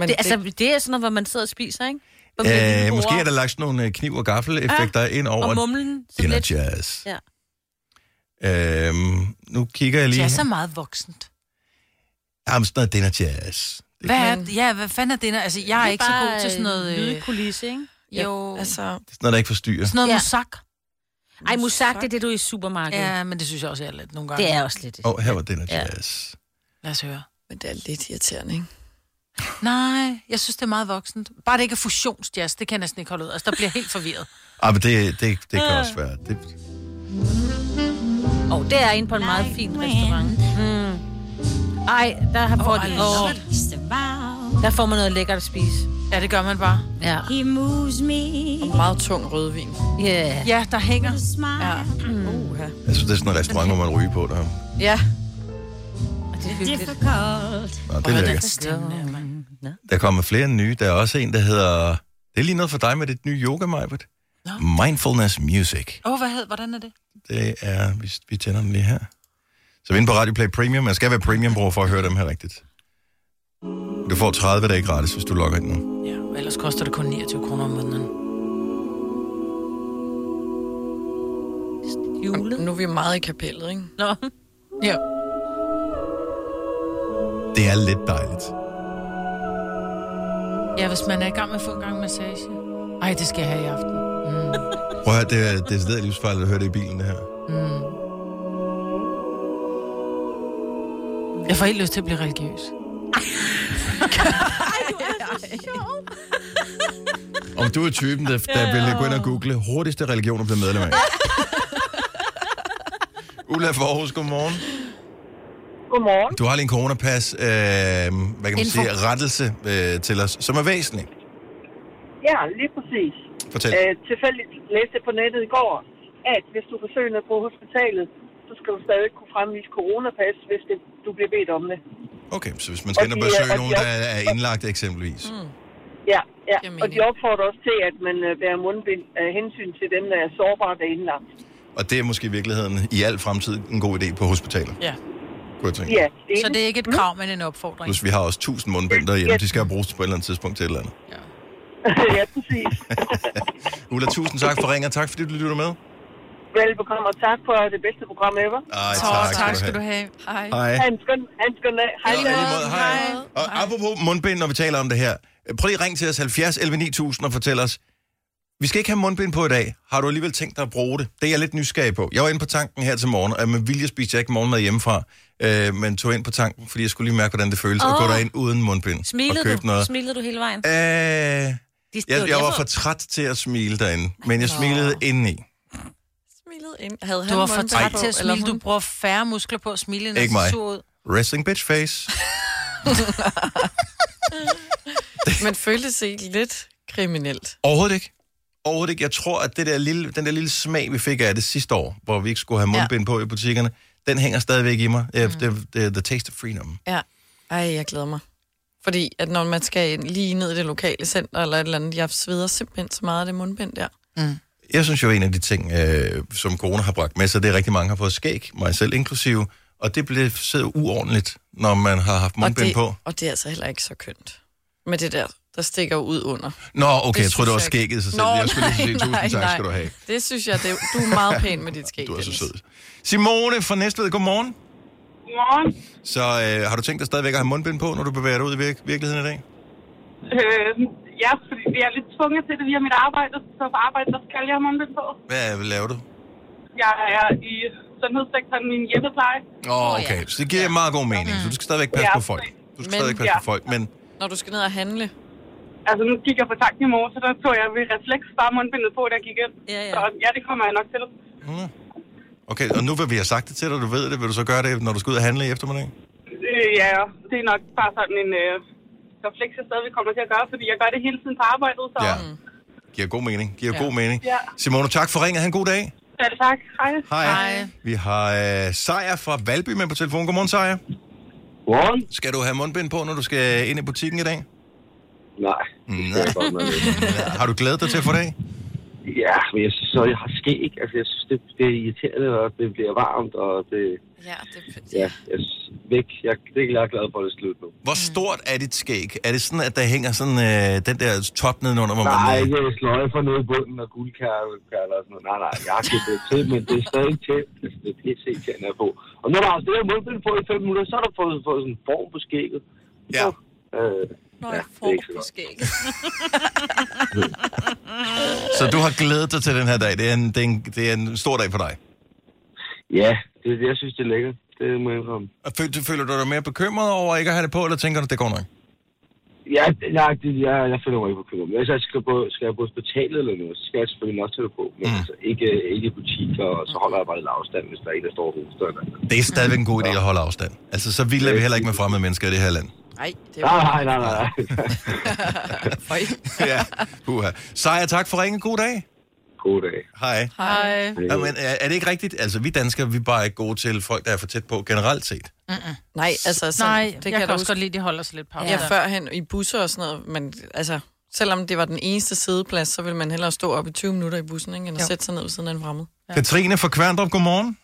Speaker 3: Men
Speaker 5: Det, altså, det er sådan noget, hvor man sidder og spiser, ikke? Hvor man lige
Speaker 1: Øh,
Speaker 5: bruger-
Speaker 1: måske er der lagt sådan nogle øh, kniv- og gaffeleffekter ja. ind
Speaker 5: Ah, Og
Speaker 1: over
Speaker 5: mumlen. sådan
Speaker 1: Dinner
Speaker 5: lidt.
Speaker 1: Jazz.
Speaker 5: Ja.
Speaker 1: Øhm, nu kigger jeg lige.
Speaker 2: Det er så meget voksent.
Speaker 1: Jamen, sådan noget Dinner Jazz. Det
Speaker 2: Hvad er, ja, hvad fanden er det? der? Altså, jeg er, ikke så god til sådan noget... Øh,
Speaker 5: Lydkulisse, ikke?
Speaker 2: jo,
Speaker 3: altså,
Speaker 2: altså,
Speaker 1: er sådan noget, der ikke forstyrrer.
Speaker 2: sådan noget
Speaker 5: Ja.
Speaker 2: ja. musak.
Speaker 5: Ej, musak, det er det, du er i supermarkedet.
Speaker 2: Ja, men det synes jeg også, jeg er lidt nogle gange.
Speaker 5: Det er også lidt...
Speaker 1: Åh, oh, her var Dinner
Speaker 5: Ja.
Speaker 1: Jazz.
Speaker 2: Lad os høre.
Speaker 3: men det er lidt irriterende, ikke?
Speaker 2: Nej, jeg synes, det er meget voksent. Bare det ikke er fusionsjazz, det kan jeg næsten ikke holde ud. Altså, der bliver jeg helt forvirret.
Speaker 1: Ah, men det, det, det
Speaker 5: Ah.
Speaker 1: kan også være. Det,
Speaker 5: Og det er inde på en meget fin restaurant. Mm. Ej, der har fået... Oh, der får man noget lækkert at spise.
Speaker 2: Ja, det gør man bare.
Speaker 5: Ja.
Speaker 3: Og meget tung rødvin.
Speaker 5: Yeah.
Speaker 2: Ja, der hænger. Mm.
Speaker 3: Ja. Uha.
Speaker 1: jeg synes, det er sådan en restaurant, hvor man ryger på der.
Speaker 3: Ja.
Speaker 5: Det er hyggeligt.
Speaker 1: Nå, det er lækkert. Der kommer flere nye. Der er også en, der hedder... Det er lige noget for dig med dit nye yoga, Majbert. Mindfulness Music.
Speaker 2: Åh, oh, hvad hed, hvordan er det?
Speaker 1: Det er... Vi, vi tænder den lige her. Så vi er inde på Radio Play Premium. Man skal være premium-bruger for at høre dem her rigtigt. Du får 30 dage gratis, hvis du logger ind nu.
Speaker 2: Ja, og ellers koster det kun 29 kroner om måneden.
Speaker 5: Julet.
Speaker 3: Nu er vi meget i kapellet, ikke?
Speaker 5: Nå.
Speaker 3: Ja.
Speaker 1: Det er lidt dejligt.
Speaker 2: Ja, hvis man er i gang med at få en gang massage. Ej, det skal jeg have i aften.
Speaker 1: Prøv at høre, det er decideret livsfarligt at høre det i bilen, det her.
Speaker 2: Mm. Jeg får helt lyst til at blive religiøs.
Speaker 1: Om du er typen, der, der vil gå ind og google hurtigste religion at blive medlem af. Ulla Forhus, godmorgen.
Speaker 13: Godmorgen.
Speaker 1: Du har lige en coronapas, øh, hvad kan man
Speaker 13: Info.
Speaker 1: sige, rettelse øh, til os, som er væsentlig.
Speaker 13: Ja, lige præcis.
Speaker 1: Fortæl.
Speaker 13: Øh, tilfældigt læste jeg på nettet i går, at hvis du forsøger på hospitalet, så skal du stadig kunne fremvise coronapas, hvis det, du bliver bedt om det.
Speaker 1: Okay, så hvis man skal ind og
Speaker 13: Og de er- og
Speaker 1: besøge
Speaker 13: de
Speaker 1: nogen,
Speaker 13: er-
Speaker 1: der er indlagt eksempelvis.
Speaker 13: Mm. Ja, ja. og de opfordrer også til, at man øh, bærer mundbind af hensyn til dem, der er sårbare der er indlagt.
Speaker 1: Og det er måske i virkeligheden i al fremtid en god idé på hospitaler,
Speaker 2: Ja.
Speaker 1: kunne jeg tænke.
Speaker 13: Ja,
Speaker 2: Så det er ikke et krav, men en opfordring.
Speaker 1: Plus vi har også 1000 mundbind derhjemme,
Speaker 2: Ja.
Speaker 1: de skal jo bruges på et eller andet tidspunkt til et eller andet.
Speaker 13: ja, præcis.
Speaker 1: Ulla, tusind tak for ringen, og tak fordi du lytter med.
Speaker 13: Velbekomme, og tak for det bedste program ever.
Speaker 1: Ej, Tak, tak skal tak du skal have. du
Speaker 2: have.
Speaker 13: Hej.
Speaker 1: Hej.
Speaker 13: Ha' en skøn, ha' en skøn dag. Hej.
Speaker 1: Hej. Og apropos mundbind, når vi taler om det her. øh, Prøv lige at ringe til os 70 11 9000 og fortæl os, vi skal ikke have mundbind på i dag. Har du alligevel tænkt dig at bruge det? Det er jeg lidt nysgerrig på. Jeg var inde på tanken her til morgen, og med vilje spiste jeg ikke morgenmad hjemmefra, øh, men tog ind på tanken, fordi jeg skulle lige mærke, hvordan det føles oh. at
Speaker 5: Åh.
Speaker 1: gå derind uden mundbind og
Speaker 5: Smilede
Speaker 1: købe
Speaker 5: du?
Speaker 1: noget.
Speaker 5: Smilede du hele vejen?
Speaker 1: Øh, jeg,
Speaker 5: De stod
Speaker 1: jeg var
Speaker 5: hjemme.
Speaker 1: for træt til at smile derinde, men jeg smilede indeni.
Speaker 3: Smilede ind. Havde han
Speaker 2: Du var for
Speaker 3: mundbind
Speaker 2: træt
Speaker 3: på,
Speaker 2: til at
Speaker 3: eller
Speaker 2: smile. Du
Speaker 3: hun?
Speaker 2: bruger færre muskler på at smile, end at
Speaker 1: Ikke
Speaker 2: se
Speaker 1: mig.
Speaker 2: sur ud.
Speaker 1: Wrestling bitch face.
Speaker 3: Man følte sig lidt kriminelt.
Speaker 1: Overhovedet ikke. Overhovedet ikke. Jeg tror, at det der lille, den der lille smag, vi fik af det sidste år, hvor vi ikke skulle have mundbind ja. på i butikkerne, den hænger stadigvæk i mig. Mm. The, the, the taste of freedom.
Speaker 3: Ja. Ej, jeg glæder mig. Fordi at når man skal ind- lige ned i det lokale center eller et eller andet, jeg sveder simpelthen så meget af det mundbind der.
Speaker 1: Jeg synes jo, en af de ting, øh, som corona har bragt med sig, det er at rigtig mange har fået skæg, mig selv inklusive, og det blev siddet uordentligt, når man har haft mundbind
Speaker 3: det,
Speaker 1: på.
Speaker 3: og det er altså heller ikke så kønt. Med det der, der stikker jo ud under.
Speaker 1: Nå, okay, jeg troede, det var
Speaker 3: synes ikke.
Speaker 1: skægget i sig selv. Jeg skulle lige sige, tusind tak skal du have.
Speaker 3: Det synes jeg, det, du er meget pæn med dit skæg.
Speaker 1: Du er så sød. Simone fra Næstved, godmorgen.
Speaker 13: Godmorgen.
Speaker 1: Så øh, har du tænkt dig stadigvæk at have mundbind på, når du bevæger dig ud i virk- virkeligheden i dag?
Speaker 13: Øh, ja, fordi vi er lidt tvunget til det via mit arbejde, så på arbejde, der skal jeg have mundbind på.
Speaker 1: Hvad laver du?
Speaker 13: Jeg er i sundhedssektoren i en hjemmepleje.
Speaker 1: Åh, oh, okay. Så det giver meget god mening. Så du skal stadigvæk passe
Speaker 13: Mm. Ja.
Speaker 1: på folk. Du skal
Speaker 13: Men-
Speaker 1: stadigvæk passe på
Speaker 13: Ja.
Speaker 1: folk, men
Speaker 3: Når du skal ned og handle.
Speaker 13: Altså, nu gik jeg på tanken i morgen, så der tog jeg ved refleks bare mundbindet på, da jeg gik ind.
Speaker 5: Ja, ja.
Speaker 13: Så ja, det kommer jeg nok til.
Speaker 1: okay, og nu vil vi have sagt det til dig, du ved det, vil du så gøre det, når du skal ud og handle i eftermiddag?
Speaker 13: Øh, ja, det er nok bare sådan en øh, refleks, jeg stadigvæk kommer til at gøre, fordi jeg gør det hele tiden på arbejdet, så...
Speaker 1: Ja. Giver god mening, giver
Speaker 13: Ja.
Speaker 1: god mening.
Speaker 13: Ja.
Speaker 1: Simone, tak for ringet. Ha' en god dag.
Speaker 13: Ja, tak. Hej.
Speaker 1: Hej. Vi har øh, Sejer fra Valby med på telefon. Godmorgen, Sejer.
Speaker 14: Godmorgen.
Speaker 1: Skal du have mundbind på, når du skal ind i butikken i dag?
Speaker 14: Nej.
Speaker 1: Nej. har du glædet dig til at få det? af?
Speaker 14: Ja, men jeg synes så, jeg har skæg. Altså, jeg synes, det, det er irriterende, og det bliver varmt, og det...
Speaker 3: Ja,
Speaker 14: det... Ja, jeg synes, væk. Jeg, det er jeg glad for, at det er slut nu.
Speaker 1: Hvor stort er dit skæg? Er det sådan, at der hænger sådan øh, den der top nedenunder, hvor
Speaker 14: Nej,
Speaker 1: man... øh,
Speaker 14: ikke øh, sløje for noget i bunden og guldkærler og sådan noget. Nej, nej, jeg har købt det til, men det er stadig tæt. Altså, det er pisse irriterende at få. Og når du har haft det her mundbind på i fem minutter, så har du fået, fået sådan en form på skægget.
Speaker 1: Ja.
Speaker 14: Øh, ja, det er ikke så godt.
Speaker 1: Så du har glædet dig til den her dag. Det er en, det er en, det er en stor dag for dig.
Speaker 14: Ja, det, jeg synes, det er lækkert. Det må jeg indrømme.
Speaker 1: Og føler, føler du dig mere bekymret over ikke at have det på, eller tænker du, det går nok?
Speaker 14: Ja, nej, det, jeg, jeg føler mig ikke bekymret. Men hvis jeg skal på, skal jeg på hospitalet eller noget, så skal jeg selvfølgelig nok tage det på. Men mm. altså, ikke, ikke i butikker, og så holder jeg bare lidt afstand, hvis der er en, der står og hoster. eller andet.
Speaker 1: Det er stadigvæk en god idé at holde afstand. Altså, så vildt er vi heller ikke med fremmede mennesker i det her land.
Speaker 3: Nej, det
Speaker 14: Nej, nej, nej, nej.
Speaker 1: ja, uha. Seja, tak for ringen. God dag.
Speaker 14: God dag.
Speaker 1: Hej.
Speaker 2: Hej.
Speaker 1: Ja, men er, er det ikke rigtigt? Altså, vi danskere, vi er bare ikke gode til folk, der er for tæt på generelt set.
Speaker 2: Mm-mm.
Speaker 3: Nej, altså... Sådan,
Speaker 2: Nej, jeg kan
Speaker 3: jeg
Speaker 2: også godt lide, de holder sig lidt på
Speaker 3: Ja,
Speaker 2: afstand.
Speaker 3: førhen i busser og sådan noget, men altså... Selvom det var den eneste sideplads, så ville man hellere stå op i 20 minutter i bussen, ikke, end at sætte sig ned ved siden af en fremmed.
Speaker 1: Ja. Katrine fra Kværndrup, godmorgen.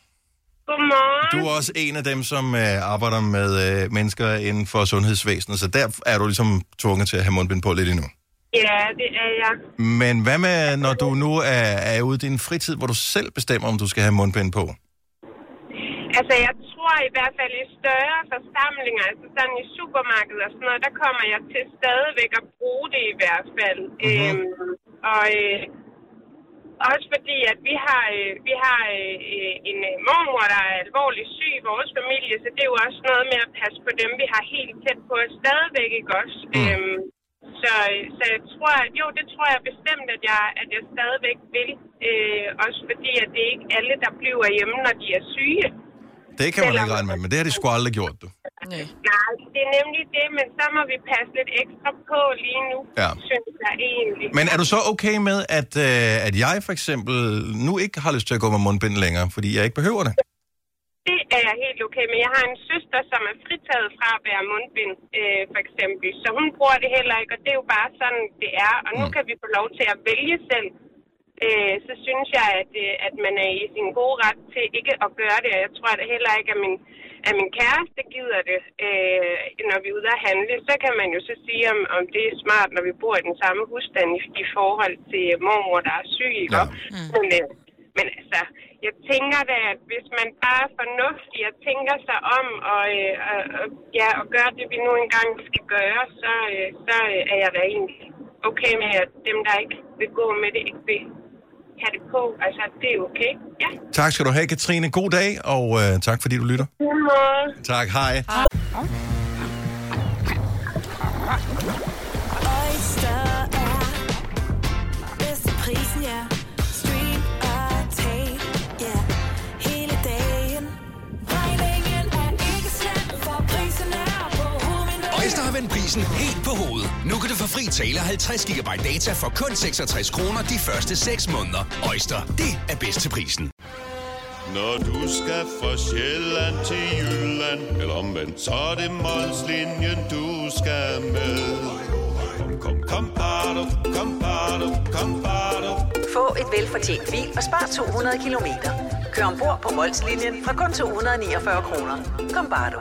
Speaker 13: Godmorgen.
Speaker 1: Du er også en af dem, som øh, arbejder med øh, mennesker inden for sundhedsvæsenet, så der er du ligesom tvunget til at have mundbind på lidt endnu.
Speaker 13: Ja, det er jeg.
Speaker 1: Men hvad med, når du nu er, er ude i din fritid, hvor du selv bestemmer, om du skal have mundbind på?
Speaker 15: Altså, jeg tror i hvert fald i større forsamlinger, altså sådan i supermarkedet og sådan noget, der kommer jeg til stadigvæk at bruge det i hvert fald. Mm-hmm. Øhm, og øh, også fordi, at vi har, øh, vi har øh, øh, en øh, mormor, der er alvorligt syg i vores familie, så det er jo også noget med at passe på dem, vi har helt tæt på os stadigvæk, ikke også? Mm. Øhm, så, så jeg tror, at, jo, det tror jeg bestemt, at jeg, at jeg stadigvæk vil. Øh, også fordi, at det er ikke alle, der bliver hjemme, når de er syge.
Speaker 1: Det kan man ikke regne med, men det har de sgu aldrig gjort, du.
Speaker 15: Nej. Nej, det er nemlig det, men så må vi passe lidt ekstra på lige nu,
Speaker 1: Ja.
Speaker 15: synes jeg egentlig.
Speaker 1: Men er du så okay med, at, øh, at jeg for eksempel nu ikke har lyst til at gå med mundbind længere, fordi jeg ikke behøver det?
Speaker 15: Det er jeg helt okay med. Jeg har en søster, som er fritaget fra at bære mundbind, øh, for eksempel. Så hun bruger det heller ikke, og det er jo bare sådan, det er. Og nu kan vi få lov til at vælge selv. Øh, så synes jeg, at, øh, at man er i sin gode ret til ikke at gøre det. Og jeg tror da heller ikke, at min, at min kæreste gider det, øh, når vi er ude at handle. Så kan man jo så sige, om, om det er smart, når vi bor i den samme husstand i, i forhold til mormor, der er syg. Ja. Men, øh, men altså, jeg tænker da, at hvis man bare er fornuftig og tænker sig om og, øh, og, og, ja, og gør det, vi nu engang skal gøre, så, øh, så øh, er jeg da egentlig okay med, at dem, der ikke vil gå med det, ikke vil have det på. Altså, det er okay. Ja.
Speaker 1: Tak skal du have, Katrine. God dag, og øh, tak fordi du lytter. Tak, hej.
Speaker 16: Oyster er bedst til prisen, ja. Stream og tag, ja. Hele dagen. Regningen er ikke slem, for prisen er på hovedet.
Speaker 17: Øjster har vendt prisen helt på hovedet. Nu kan du få fri tale 50 GB data for kun 66 kroner de første 6 måneder. Øjster, det er bedst til prisen.
Speaker 18: Når du skal fra Sjælland til Jylland, eller omvendt, så er det Molslinjen, du skal med. Kom, kom, kom, bado, kom, bado, kom, bado.
Speaker 19: Få et velfortjent bil og spar 200 kilometer. Kør ombord på Molslinjen fra kun 249 kroner. Kom bare du.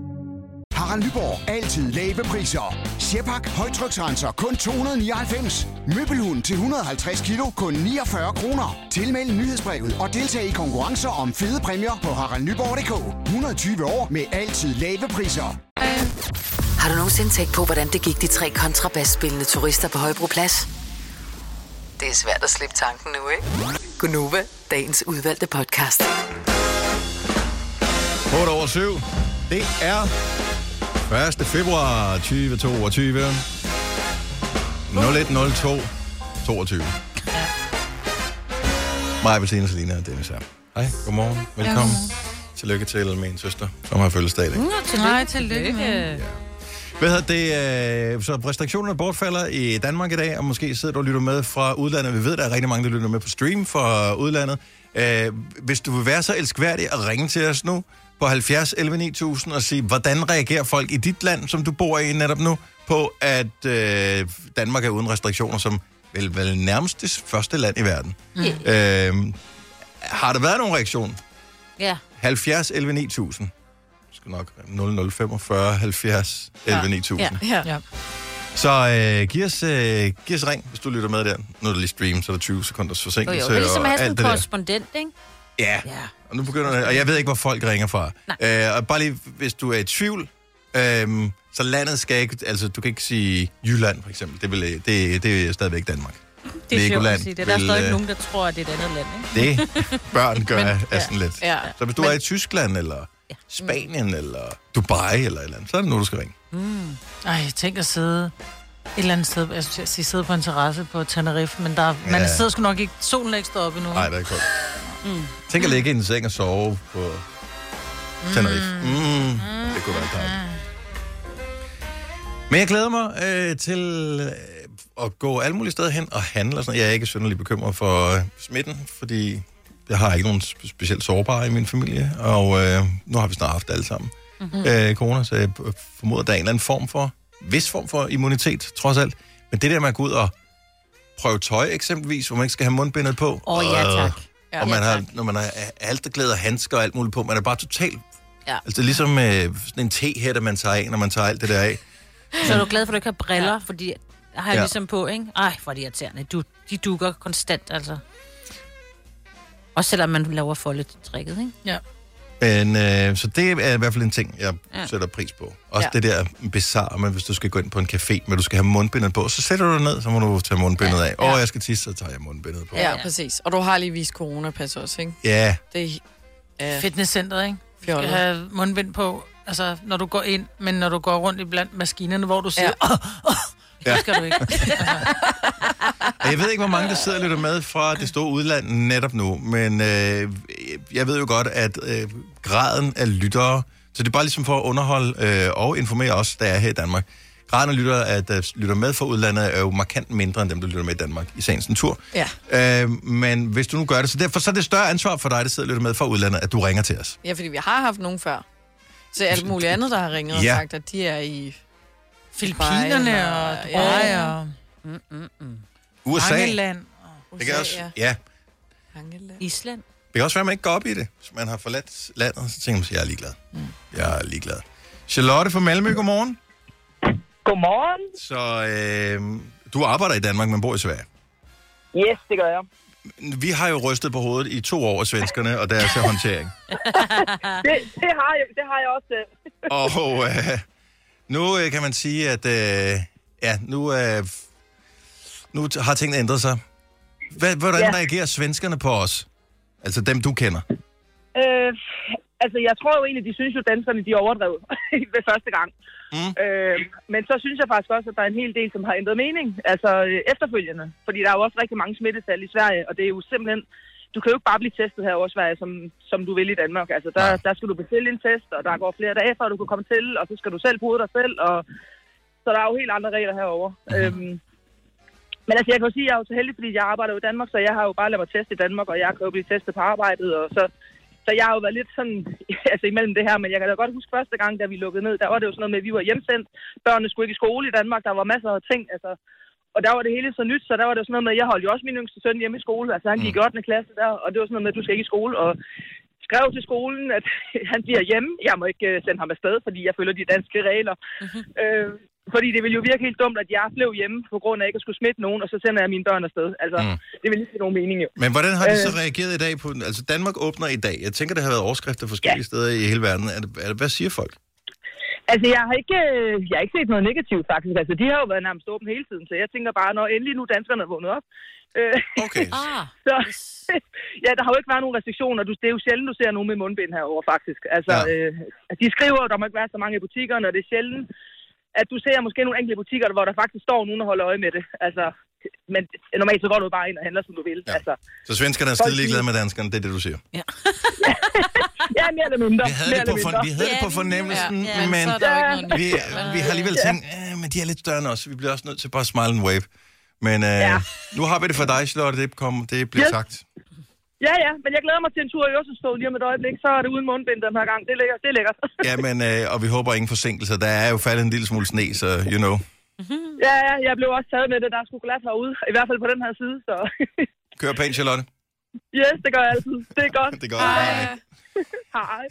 Speaker 20: Harald Nyborg. Altid lave priser. Sjehpak. Højtryksrenser. Kun 299. Møbelhund til 150 kilo. Kun 49 kroner. Tilmeld nyhedsbrevet og deltag i konkurrencer om fede præmier på haraldnyborg.dk. 120 år med altid lave priser.
Speaker 6: Har du nogensinde tænkt på, hvordan det gik de tre kontrabasspillende turister på Højbroplads? Det er svært at slippe tanken nu, ikke? Gunova, dagens udvalgte podcast.
Speaker 1: 8 over 7. Det er 1. februar 2022. 0102 22. Mig, Bettina, Selina og Dennis her. Hej, godmorgen. Velkommen. Tillykke til min søster, som har fødselsdag i dag.
Speaker 2: Nej, tillykke med.
Speaker 1: Hvad hedder det? øh, Så restriktionerne bortfalder i Danmark i dag, og måske sidder du og lytter med fra udlandet. Vi ved, der er rigtig mange, der lytter med på stream fra udlandet. Øh, Hvis du vil være så elskværdig at ringe til os nu på 70 11 9000 og sige, hvordan reagerer folk i dit land, som du bor i netop nu, på at øh, Danmark er uden restriktioner, som vel, vel nærmest det første land i verden.
Speaker 5: Mm.
Speaker 1: Øh, har der været nogen reaktion?
Speaker 5: Ja.
Speaker 1: 70 11 9000. Det Skal nok 0045 70 11 9000.
Speaker 3: Ja, ja. ja.
Speaker 1: Så øh, giv, os, øh, giv os ring, hvis du lytter med der. Nu er det lige stream, så er der 20 sekunders
Speaker 5: Jo, jo.
Speaker 1: forsinkelse
Speaker 5: Det er ligesom at
Speaker 1: og
Speaker 5: have sådan
Speaker 1: alt
Speaker 5: en
Speaker 1: det der.
Speaker 5: korrespondent, ikke?
Speaker 1: Ja. ja, og nu begynder det, og jeg ved ikke, hvor folk ringer fra. Øh, og bare lige, hvis du er i tvivl, øhm, så landet skal ikke, altså du kan ikke sige Jylland for eksempel, det, vil, øh, det, det er stadigvæk Danmark.
Speaker 5: Det er sjovt
Speaker 1: Legoland
Speaker 5: at sige det. Der er
Speaker 1: vil,
Speaker 5: stadig
Speaker 1: øh,
Speaker 5: nogen, der tror, at det er et andet land, ikke?
Speaker 1: Det børn gør, Men, er
Speaker 5: ja.
Speaker 1: sådan lidt.
Speaker 5: Ja.
Speaker 1: Så hvis du
Speaker 5: Men-
Speaker 1: er i Tyskland, eller Spanien, eller Dubai, eller et eller andet, så er det nu, du skal ringe.
Speaker 2: Mm. Ej, tænk at sidde et eller andet sted, jeg skulle til at sige, sidde på en terrasse på Tenerife, men der, ja. man
Speaker 1: Ja.
Speaker 2: sidder sgu nok ikke, solen er ikke stået op endnu.
Speaker 1: Nej, det er koldt.
Speaker 2: Mm.
Speaker 1: Tænk at ligge i en seng og sove på Tenerife. Mm. Mm. Det kunne være dejligt. Men jeg glæder mig øh, til øh, at gå alle mulige steder hen og handle. Og sådan. noget. Jeg er ikke synderligt bekymret for øh, smitten, fordi jeg har ikke nogen spe- specielt sårbare i min familie, og øh, nu har vi snart haft alle sammen
Speaker 16: Mhm.
Speaker 1: mm-hmm. øh, corona, så jeg øh, formoder, der er en eller anden form for, vis form for immunitet, trods alt. Men det der med at gå ud og prøve tøj eksempelvis, hvor man ikke skal have mundbindet på.
Speaker 5: Åh, ja,
Speaker 1: Øh,
Speaker 5: tak. Ja,
Speaker 1: og man
Speaker 5: ja,
Speaker 1: har,
Speaker 5: tak.
Speaker 1: når man har halterklæder, handsker og alt muligt på, man er bare totalt...
Speaker 5: Ja.
Speaker 1: Altså det er ligesom øh, sådan en tehætte, man tager af, når man tager alt det der af.
Speaker 5: Så er du glad for, at du ikke har briller, ja. fordi jeg har jeg
Speaker 1: Ja.
Speaker 5: ligesom på, ikke? Ej, hvor er de irriterende. Du, de dukker konstant, altså. Også selvom man laver foldetrikket, ikke?
Speaker 2: Ja.
Speaker 1: Men, øh, så det er i hvert fald en ting, jeg
Speaker 5: Ja.
Speaker 1: ja. sætter pris på. Også
Speaker 5: Ja.
Speaker 1: ja. det der bizarre med, hvis du skal gå ind på en café, men du skal have mundbindet på, så sætter du dig ned, så må du tage mundbindet ja. af. Åh, jeg skal tisse, så tager jeg mundbindet på.
Speaker 3: Ja, præcis. Og du har lige vist coronapas også, ikke?
Speaker 1: Ja.
Speaker 3: Det er...
Speaker 2: Uh, Fitnesscenteret, ikke? Du skal
Speaker 3: Fjollet.
Speaker 2: have mundbind på, altså, når du går ind, men når du går rundt i blandt maskinerne, hvor du siger, ja.
Speaker 1: Ja.
Speaker 2: det skal du ikke.
Speaker 1: Og Jeg ved ikke, hvor mange, der sidder og lytter med fra det store udland netop nu, men øh, jeg ved jo godt, at øh, graden af lyttere, så det er bare ligesom for at underholde øh, og informere os, der er her i Danmark. Graden af lyttere, at, der lytter med fra udlandet, er jo markant mindre end dem, der lytter med i Danmark i sagens natur.
Speaker 3: Ja.
Speaker 1: Øh, men hvis du nu gør det, så derfor så er det et større ansvar for dig, der sidder og lytter med fra udlandet, at du ringer til os.
Speaker 3: Ja, fordi vi har haft nogen før. Så alt muligt andet, der har ringet og
Speaker 1: Ja.
Speaker 3: sagt, at de er i...
Speaker 2: Filippinerne
Speaker 3: Dubai,
Speaker 2: og
Speaker 3: eller-
Speaker 2: Dubai
Speaker 3: ja.
Speaker 2: og-
Speaker 5: Mm,
Speaker 1: USA.
Speaker 2: Angeland.
Speaker 1: Det kan
Speaker 3: USA,
Speaker 1: også,
Speaker 3: ja.
Speaker 1: ja.
Speaker 5: Island.
Speaker 1: Det kan også være, at man ikke går op i det. Hvis man har forladt landet, så tænker man, at jeg er ligeglad. Jeg er ligeglad. Charlotte fra Malmø, godmorgen.
Speaker 11: Godmorgen.
Speaker 1: Så øh, du arbejder i Danmark, men bor i Sverige.
Speaker 11: Yes, det gør jeg.
Speaker 1: Vi har jo rystet på hovedet i to år af svenskerne og deres håndtering.
Speaker 11: det, det, har jeg, det har jeg også. øh.
Speaker 1: Og øh, nu øh, kan man sige, at øh, ja, nu, øh, nu t- har tingene ændret sig. Hva, hvordan
Speaker 11: Ja.
Speaker 1: ja. reagerer svenskerne på os? Altså dem, du kender.
Speaker 11: Øh, altså, jeg tror jo egentlig, de synes jo, danskerne de overdrev ved første gang.
Speaker 1: Mm.
Speaker 11: Øh, men så synes jeg faktisk også, at der er en hel del, som har ændret mening. Altså øh, efterfølgende. Fordi der er jo også rigtig mange smittesal i Sverige, og det er jo simpelthen... Du kan jo ikke bare blive testet her over i Sverige, som, som du vil i Danmark. Altså, der, der skal du bestille en test, og der går flere dage, før du kan komme til, og så skal du selv bruge dig selv, og Så der er jo helt andre regler herovre. Mm. Øhm, men altså, jeg kan jo sige, at jeg er jo så heldig, fordi jeg arbejder jo i Danmark, så jeg har jo bare lavet mig teste i Danmark, og jeg kan jo blive testet på arbejdet, og så, så jeg har jo været lidt sådan, altså imellem det her, men jeg kan da godt huske første gang, da vi lukkede ned, der var det jo sådan noget med, at vi var hjemsendt, børnene skulle ikke i skole i Danmark, der var masser af ting, altså, og der var det hele så nyt, så der var det jo sådan noget med, at jeg holdt jo også min yngste søn hjemme i skole, altså han
Speaker 1: Mm.
Speaker 11: gik i 8. klasse der, og det var sådan noget med, at du skal ikke i skole, og skrev til skolen, at han bliver hjemme. Jeg må ikke øh, sende ham afsted, fordi jeg følger de danske regler. Mm-hmm. Øh, fordi det ville jo virke helt dumt, at jeg blev hjemme på grund af ikke at skulle smitte nogen, og så sender jeg mine børn afsted. Altså, mm.
Speaker 1: Mm.
Speaker 11: det ville ikke give nogen mening jo.
Speaker 1: Men hvordan har
Speaker 11: Øh.
Speaker 1: de så reageret i dag på den? Altså Danmark åbner i dag. Jeg tænker, der har været overskrifter forskellige ja. steder i hele verden. Er det, er det, hvad siger folk?
Speaker 11: Altså, jeg har, ikke, øh, jeg har ikke set noget negativt, faktisk. Altså, de har jo været nærmest åbne hele tiden, så jeg tænker bare, når endelig nu danskerne er vågnet op. Øh,
Speaker 1: okay.
Speaker 11: ah, så, ja, der har jo ikke været nogen restriktioner. Du, det er jo sjældent, du ser nogen med mundbind herover faktisk. Altså, ja.
Speaker 1: Ja.
Speaker 11: øh, de skriver, at der må ikke være så mange i butikkerne, og det er sjældent, at du ser måske nogle enkelte butikker, hvor der faktisk står nogen og holder øje med det. Altså, men normalt så går du jo bare ind og handler, som du vil. Ja. Altså,
Speaker 1: Så svenskerne er
Speaker 11: Folk
Speaker 1: skide ligeglade med danskerne, det er det, du siger.
Speaker 11: ja, mere eller mindre.
Speaker 1: Vi havde
Speaker 11: mere
Speaker 1: det på
Speaker 11: eller
Speaker 1: for-
Speaker 11: mindre.
Speaker 1: vi havde det på Ja, fornemmelsen, ja, ja. men-
Speaker 11: Så er der jo ikke noget nyt.
Speaker 1: Vi, vi har alligevel tænkt, "Ah, men de er lidt større end os. Vi bliver også nødt til bare at smile and wave. Men øh, ja. nu har vi det for dig, Charlotte. Det, kom, det bliver
Speaker 11: Yes.
Speaker 1: yes. sagt.
Speaker 11: Ja, ja, men jeg glæder mig til en tur i Øresundstog lige om et øjeblik, så er det uden mundbind den her gang. Det er lækkert, det er lækkert.
Speaker 1: Ja, men, øh, og vi håber ingen forsinkelser. Der er jo faldet en lille smule sne, så you know.
Speaker 11: ja, ja, jeg blev også taget med det, der er sgu glat herude, i hvert fald på den her side, så
Speaker 1: Kør pænt, Charlotte.
Speaker 11: yes, det gør jeg altid. Det er godt.
Speaker 1: Det er godt. Hej.
Speaker 11: Hej.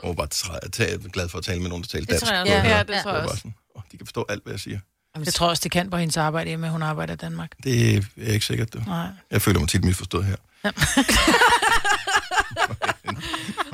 Speaker 1: Jeg var bare træ- tæ- glad for at tale med nogen, der taler
Speaker 2: Det
Speaker 1: dansk.
Speaker 2: tror jeg også.
Speaker 1: var-
Speaker 2: Ja, det tror jeg
Speaker 1: var bare
Speaker 2: også.
Speaker 1: sådan, "Åh, De kan forstå alt, hvad jeg siger.
Speaker 2: Jeg tror også, det kan på hendes arbejde hjemme, hun arbejder i Danmark.
Speaker 1: Det er ikke sikkert, du.
Speaker 2: Nej.
Speaker 1: Jeg føler mig tit misforstået her.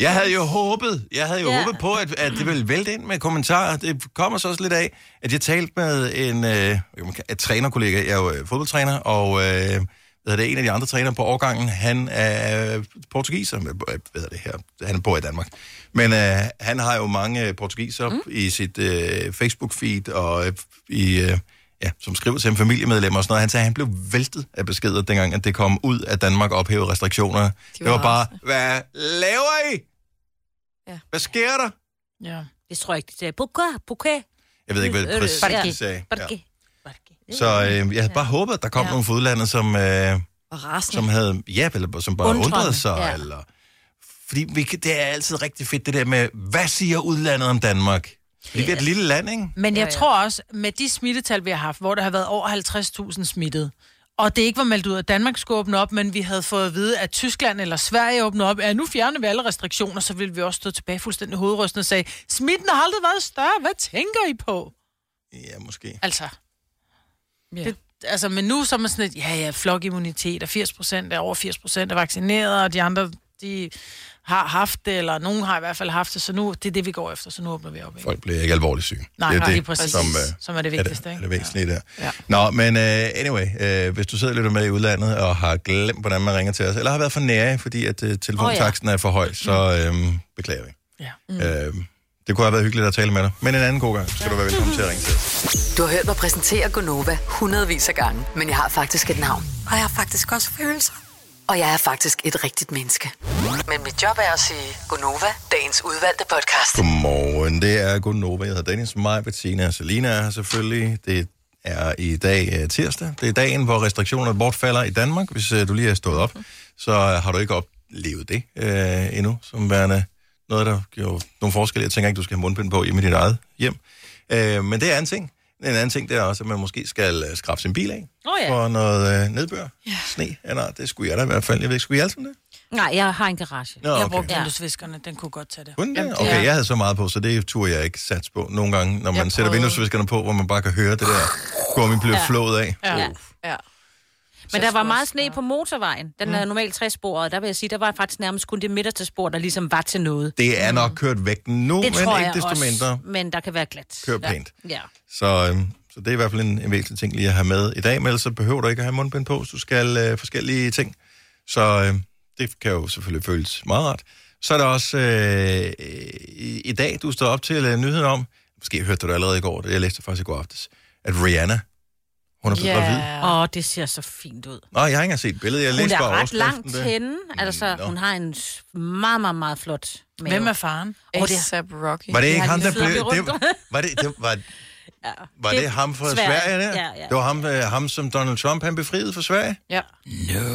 Speaker 1: Jeg havde jo håbet, jeg havde jo
Speaker 16: Ja.
Speaker 1: yeah. håbet på, at, at det ville vælte ind med kommentarer. Det kommer så også lidt af, at jeg talte med en øh, jo, man kan- et trænerkollega. Jeg er jo øh, fodboldtræner, og øh, hvad hedder det, en af de andre trænere på årgangen, han er portugiser. Hvad hvad hedder det her? Han bor i Danmark. Men øh, han har jo mange øh, portugiser mm. i sit øh, Facebook-feed, og øh, i, øh, ja, som skriver til ham familiemedlemmer og sådan noget. Han sagde, at han blev væltet af beskeder, dengang at det kom ud, at Danmark ophævede restriktioner. De det var
Speaker 5: var
Speaker 1: bare, hvad laver I?
Speaker 5: Ja.
Speaker 1: Hvad sker der?
Speaker 2: Ja.
Speaker 5: Det tror jeg ikke, de sagde. Øh, Buka, buka.
Speaker 1: Jeg ved ikke,
Speaker 2: Øh,
Speaker 1: hvad præcis de sagde.
Speaker 5: Barke.
Speaker 1: Så øh, jeg havde bare håbet, at der kom ja. nogen fra udlandet, som øh,
Speaker 3: Var rasende.
Speaker 1: som havde, ja, eller som bare
Speaker 3: Undrende,
Speaker 1: undrede sig,
Speaker 3: ja.
Speaker 1: ja. eller... Fordi vi, kan- det er altid rigtig fedt, det der med, hvad siger udlandet om Danmark? Fordi vi er et lille land, ikke?
Speaker 2: Men jeg ja, ja. tror også, med de smittetal, vi har haft, hvor der har været over 50.000 smittede, og det ikke var meldt ud, at Danmark skulle åbne op, men vi havde fået at vide, at Tyskland eller Sverige åbner op, ja, nu fjerner vi alle restriktioner, så ville vi også stå tilbage fuldstændig hovedrystende og sagde, smitten har aldrig været større, hvad tænker I på?
Speaker 1: Ja, måske.
Speaker 2: Altså, ja. Det, altså men nu så er man sådan lidt, ja, ja, flokimmunitet, og 80 procent er over 80 procent er vaccineret, og de andre, de har haft det, eller nogen har i hvert fald haft det, så nu, det er det, vi går efter, så nu åbner vi op. Ikke?
Speaker 1: Folk bliver ikke alvorligt syge.
Speaker 2: Nej,
Speaker 1: er øh,
Speaker 2: nej, lige præcis. Som er det vigtigste,
Speaker 1: er det,
Speaker 2: ikke?
Speaker 1: er det væsentlige der.
Speaker 2: Ja.
Speaker 1: Ja. Nå, men uh, anyway, uh, hvis du sidder og lytter med i udlandet og har glemt, hvordan man ringer til os, eller har været for nære, fordi at uh, telefontaksten er for høj, så uh, beklager vi.
Speaker 2: Mm. Ja.
Speaker 1: Mm. Uh, det kunne have været hyggeligt at tale med dig, men en anden god gang skal du være velkommen til at ringe til os.
Speaker 6: Du har hørt mig præsentere Gonova hundredvis af gange, men jeg har faktisk et navn.
Speaker 4: Og jeg har faktisk også følelser.
Speaker 6: Og jeg er faktisk et rigtigt menneske. Men mit job er at sige Gonova, dagens udvalgte podcast.
Speaker 1: Godmorgen, det er Godnova. Jeg hedder Dennis, mig, Bettina og Selina er her selvfølgelig. Det er i dag øh, tirsdag. Det er dagen, hvor restriktionerne bortfalder i Danmark. Hvis øh, du lige er stået op, så øh, har du ikke oplevet det øh, endnu, som værende noget, der gjorde nogle forskelle. Jeg tænker ikke, du skal have mundbind på hjemme i dit eget hjem. Øh, men det er en ting. En anden ting, det er også, at man måske skal øh, skrabe sin bil af
Speaker 5: Åh, ja.
Speaker 1: for noget øh, nedbør. Ja. Sne. Ja, nej, det skulle jeg da i hvert fald. Jeg ved ikke, skulle I alle sammen det?
Speaker 5: Nej, jeg har en garage.
Speaker 1: Nå,
Speaker 2: Jeg
Speaker 1: okay.
Speaker 2: brugte vinduesviskerne, den kunne godt tage det.
Speaker 1: Kunne det? Okay, jeg havde så meget på, så det turde jeg ikke sats på. Nogle gange, når man sætter vinduesviskerne på, hvor man bare kan høre det der gummi blive
Speaker 5: Ja.
Speaker 1: ja. flået af.
Speaker 5: Ja. ja. Men der var meget sne på motorvejen.
Speaker 2: Mm.
Speaker 5: Den er normalt tre spor, og der vil jeg sige, der var faktisk nærmest kun det midterste spor, der ligesom var til noget.
Speaker 1: Det er nok kørt væk
Speaker 5: det
Speaker 1: nu, men
Speaker 5: tror
Speaker 1: ikke
Speaker 5: jeg
Speaker 1: desto
Speaker 5: også,
Speaker 1: mindre.
Speaker 5: men der kan være glat.
Speaker 1: Kør pænt.
Speaker 5: Ja. ja.
Speaker 1: Så, øhm, så det er i hvert fald en, en væsentlig ting lige at have med i dag, men ellers så behøver du ikke at have mundbind på, hvis du skal øh, forskellige ting. Så øh, det kan jo selvfølgelig føles meget rart. Så er der også øh, i, i dag, du står op til øh, nyheden om, måske hørte du det allerede i går, det jeg læste faktisk i går aftes, at Rihanna, hun er blevet gravid.
Speaker 5: Åh, oh, det ser så fint ud.
Speaker 1: Nå, jeg har ikke engang set billedet. Jeg
Speaker 5: hun
Speaker 1: læste
Speaker 5: er
Speaker 1: bare
Speaker 5: ret langt
Speaker 1: overskriften der. Mm,
Speaker 5: henne. Altså, hun har en s- meget, meget, meget flot mave.
Speaker 2: Hvem er faren?
Speaker 5: Åh, det er-
Speaker 3: A$AP Rocky.
Speaker 1: Var det ikke
Speaker 5: har
Speaker 1: ham,
Speaker 5: lige
Speaker 1: der blev...
Speaker 5: siddet og
Speaker 1: Det,
Speaker 5: rundt om.
Speaker 1: var det, det, var, var det,
Speaker 5: Det-
Speaker 1: ham fra
Speaker 5: Sverige.
Speaker 1: Sverige, der?
Speaker 5: Ja, ja.
Speaker 1: Det var ham, øh, ham, som Donald Trump han befriede fra Sverige?
Speaker 3: Ja.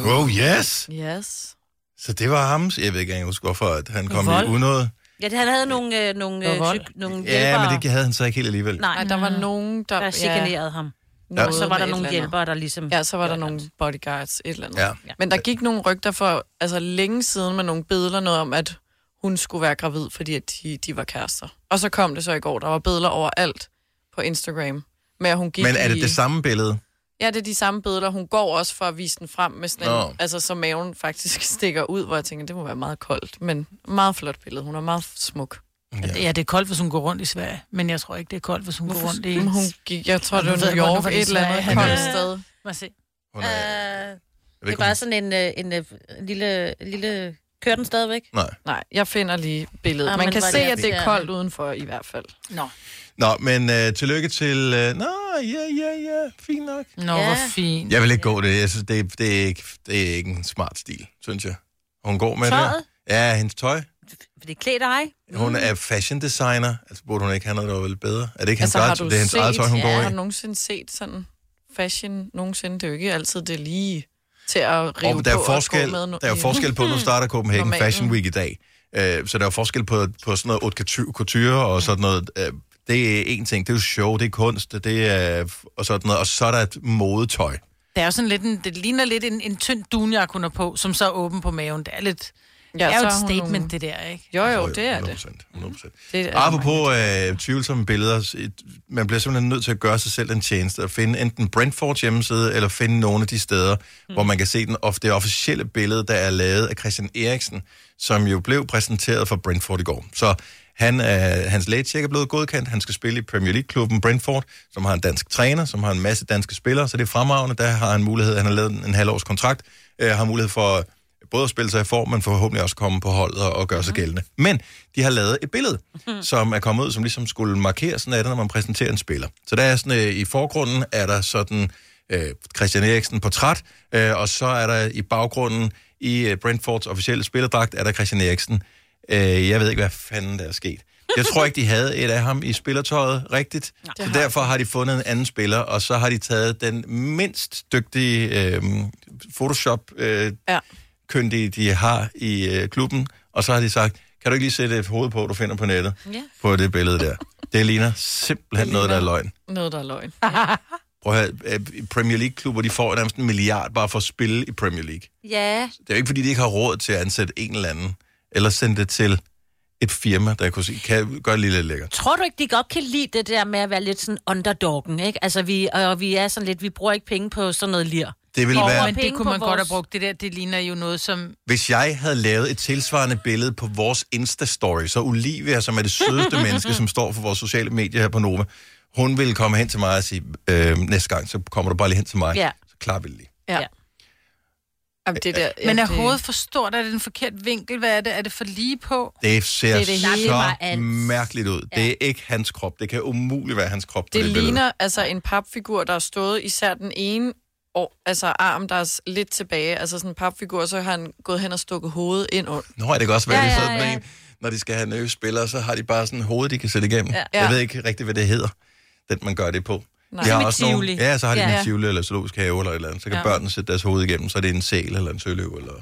Speaker 1: No. Oh, yes!
Speaker 3: Yes.
Speaker 1: Så det var ham. Jeg ved ikke engang huske, hvorfor at han kom
Speaker 3: Vold.
Speaker 1: i unåde.
Speaker 5: Ja, det, han havde nogle, øh, nogle,
Speaker 3: Det var
Speaker 5: øh,
Speaker 3: vold.
Speaker 5: syg, nogle
Speaker 1: Ja,
Speaker 5: hjælpere,
Speaker 1: men det havde han så ikke helt alligevel.
Speaker 5: Nej,
Speaker 3: Nej, der var nogen, der...
Speaker 5: der chikanerede ham.
Speaker 1: Ja.
Speaker 5: Og så var
Speaker 3: med
Speaker 5: der
Speaker 3: et eller
Speaker 5: nogle
Speaker 3: andet.
Speaker 5: hjælpere, der ligesom...
Speaker 3: Ja, så var der nogle bodyguards, et eller andet.
Speaker 5: Ja.
Speaker 3: Ja. Men der gik nogle rygter for altså, længe siden med nogle billeder noget om, at hun skulle være gravid, fordi at de, de var kærester. Og så kom det så i går, der var billeder overalt på Instagram med, at hun gik
Speaker 1: Men er
Speaker 3: i...
Speaker 1: det det samme billede?
Speaker 3: Ja, det er de samme billeder. Hun går også for at vise den frem med sådan en,
Speaker 1: Nå.
Speaker 3: altså så maven faktisk stikker ud, hvor jeg tænker, det må være meget koldt, men meget flot billede. Hun er meget smuk.
Speaker 2: Ja. ja, det er koldt, hvis hun går rundt i Sverige, men jeg tror ikke, det er koldt, hvis hun
Speaker 3: Hvorfor
Speaker 2: går rundt i...
Speaker 3: skulle hun gik- jeg tror, det
Speaker 2: Hun
Speaker 3: var
Speaker 2: ved
Speaker 3: New
Speaker 2: godt,
Speaker 3: York,
Speaker 2: hvorfor det er
Speaker 3: et eller andet
Speaker 2: Sverige.
Speaker 3: koldt
Speaker 2: Ja.
Speaker 3: sted.
Speaker 2: Må jeg se.
Speaker 1: Hun
Speaker 5: er... Øh, Det
Speaker 1: ikke,
Speaker 5: er
Speaker 1: om-
Speaker 5: bare sådan en, øh, en, øh, lille, lille... Kører den stadigvæk?
Speaker 1: Nej.
Speaker 3: Nej, jeg finder lige billedet.
Speaker 5: Ah,
Speaker 3: Man
Speaker 5: men
Speaker 3: kan
Speaker 5: hvor er
Speaker 3: se,
Speaker 5: det
Speaker 3: at det er
Speaker 5: irriterende.
Speaker 3: koldt udenfor i hvert fald.
Speaker 2: Nå.
Speaker 1: Nå, men øh, tillykke til... Øh, nå, ja, ja, ja, fint nok.
Speaker 2: Nå, ja. hvor fint.
Speaker 1: Jeg vil ikke gå det. Jeg synes, det, det, er ikke, det er ikke en smart stil, synes jeg. Hun går med
Speaker 5: Tøjet? Mm.
Speaker 1: det. Ja, hendes tøj.
Speaker 5: Fordi det klæder dig.
Speaker 1: Hun er fashion designer. Altså, burde hun ikke have noget, der var vel bedre? Er det ikke hendes
Speaker 3: Altså, har
Speaker 1: eget,
Speaker 3: du
Speaker 1: det er hendes eget tøj, hun
Speaker 3: ja,
Speaker 1: går i?
Speaker 3: Har du nogensinde set sådan fashion nogensinde? Det er jo ikke altid det er lige til at rive
Speaker 1: Og der er
Speaker 3: på
Speaker 1: forskel,
Speaker 3: og gå med.
Speaker 1: der er jo forskel på, at nu starter Copenhagen
Speaker 3: Normalen.
Speaker 1: Fashion Week i dag. Øh, så der er jo forskel på, på sådan noget haute couture og sådan noget. Øh, det er en ting, det er jo show, det er kunst, det er og sådan noget. Og så er der et modetøj.
Speaker 2: Det er jo sådan lidt en, det ligner lidt en, en tynd dunjakke, hun er på, som så er åben på maven. Det er lidt... Ja, det er
Speaker 3: så
Speaker 2: jo et
Speaker 3: har hun
Speaker 2: statement,
Speaker 3: nogle-
Speaker 2: det der, ikke?
Speaker 3: Jo, jo,
Speaker 1: Altså,
Speaker 3: det er det.
Speaker 1: 100%. 100%.
Speaker 3: det er
Speaker 1: Apropos øh, tvivlsomme billeder, s- et- man bliver simpelthen nødt til at gøre sig selv en tjeneste og finde enten Brentfords hjemmeside, eller finde nogle af de steder, mm. hvor man kan se den, of, det officielle billede, der er lavet af Christian Eriksen, som jo blev præsenteret for Brentford i går. Så han, øh, hans lægetjek er blevet godkendt, han skal spille i Premier League-klubben Brentford, som har en dansk træner, som har en masse danske spillere, så det er fremragende, der har han mulighed, han har lavet en, en halvårs kontrakt, øh, har mulighed for både at spille sig i form, men forhåbentlig også komme på holdet og, og gøre sig gældende. Men de har lavet et billede, som er kommet ud, som ligesom skulle markere sådan er det, når man præsenterer en spiller. Så der er sådan, øh, i forgrunden er der sådan øh, Christian Eriksen portræt, øh, og så er der i baggrunden i øh, Brentfords officielle spillerdragt, er der Christian Eriksen. Øh, jeg ved ikke, hvad fanden der er sket. Jeg tror ikke, de havde et af ham i spillertøjet rigtigt,
Speaker 9: Det
Speaker 1: så
Speaker 9: har
Speaker 1: derfor har de fundet en anden spiller, og så har de taget den mindst dygtige øh, Photoshop-kyndige,
Speaker 3: Ja.
Speaker 1: de har i øh, klubben, og så har de sagt, kan du ikke lige sætte et hoved på, du finder på nettet,
Speaker 3: Ja.
Speaker 1: på det billede der. Det ligner simpelthen noget, der er løgn.
Speaker 3: Noget, der er løgn.
Speaker 1: Prøv at høre, øh, Premier League-klubber, de får nærmest en milliard bare for at spille i Premier League.
Speaker 5: Ja.
Speaker 1: Det er jo ikke, fordi de ikke har råd til at ansætte en eller anden, eller sende det til et firma, der kunne sige, kan gøre det lige lidt lækkert.
Speaker 5: Tror du ikke, de godt kan lide det der med at være lidt sådan underdoggen, ikke? Altså, vi, og vi er sådan lidt, vi bruger ikke penge på sådan noget lir.
Speaker 1: Det ville
Speaker 5: Og
Speaker 1: være-
Speaker 5: bruger
Speaker 2: Men det
Speaker 5: penge
Speaker 2: kunne
Speaker 5: på
Speaker 2: man godt have
Speaker 5: vores-
Speaker 2: brugt. Det der, det ligner jo noget, som
Speaker 1: Hvis jeg havde lavet et tilsvarende billede på vores Insta-story, så Olivia, som er det sødeste menneske, som står for vores sociale medier her på Nova, hun ville komme hen til mig og sige, øh, næste gang, så kommer du bare lige hen til mig.
Speaker 2: Ja.
Speaker 1: Så klarer vi det lige.
Speaker 3: Ja. Jamen, det der,
Speaker 2: Men er
Speaker 3: det-
Speaker 2: hovedet for stort? Er det en forkert vinkel? Hvad er det? Er det for lige på?
Speaker 1: Det ser
Speaker 2: Det
Speaker 1: det
Speaker 2: er det hele.
Speaker 1: det
Speaker 2: Nej,
Speaker 1: så
Speaker 2: det var alt.
Speaker 1: mærkeligt ud. Ja. Det er ikke hans krop. Det kan umuligt være hans krop på
Speaker 3: Det
Speaker 1: det billede.
Speaker 3: ligner altså en papfigur, der har stået især den ene og, altså arm, der er s- lidt tilbage. Altså sådan en papfigur, så har han gået hen og stukket hovedet ind under.
Speaker 1: Nå, ja, det kan også være,
Speaker 3: Ja,
Speaker 1: ja,
Speaker 3: ja,
Speaker 1: ja, ja.
Speaker 3: ja.
Speaker 1: Sådan en, når de skal have nye spillere, så har de bare sådan en hoved, de kan sætte igennem.
Speaker 3: Ja.
Speaker 1: Ja.
Speaker 3: Ja.
Speaker 1: Jeg ved ikke rigtig, hvad det hedder, den man gør det på.
Speaker 3: Nej.
Speaker 1: De har
Speaker 3: Som i
Speaker 1: også nogle,
Speaker 3: Tivoli.
Speaker 1: ja, så har de
Speaker 3: Ja.
Speaker 1: ja. en tivoli eller zoologisk have eller et eller andet. Så kan
Speaker 5: Ja.
Speaker 1: ja. børnene sætte deres hoved igennem, så er det en sæl eller en søløv eller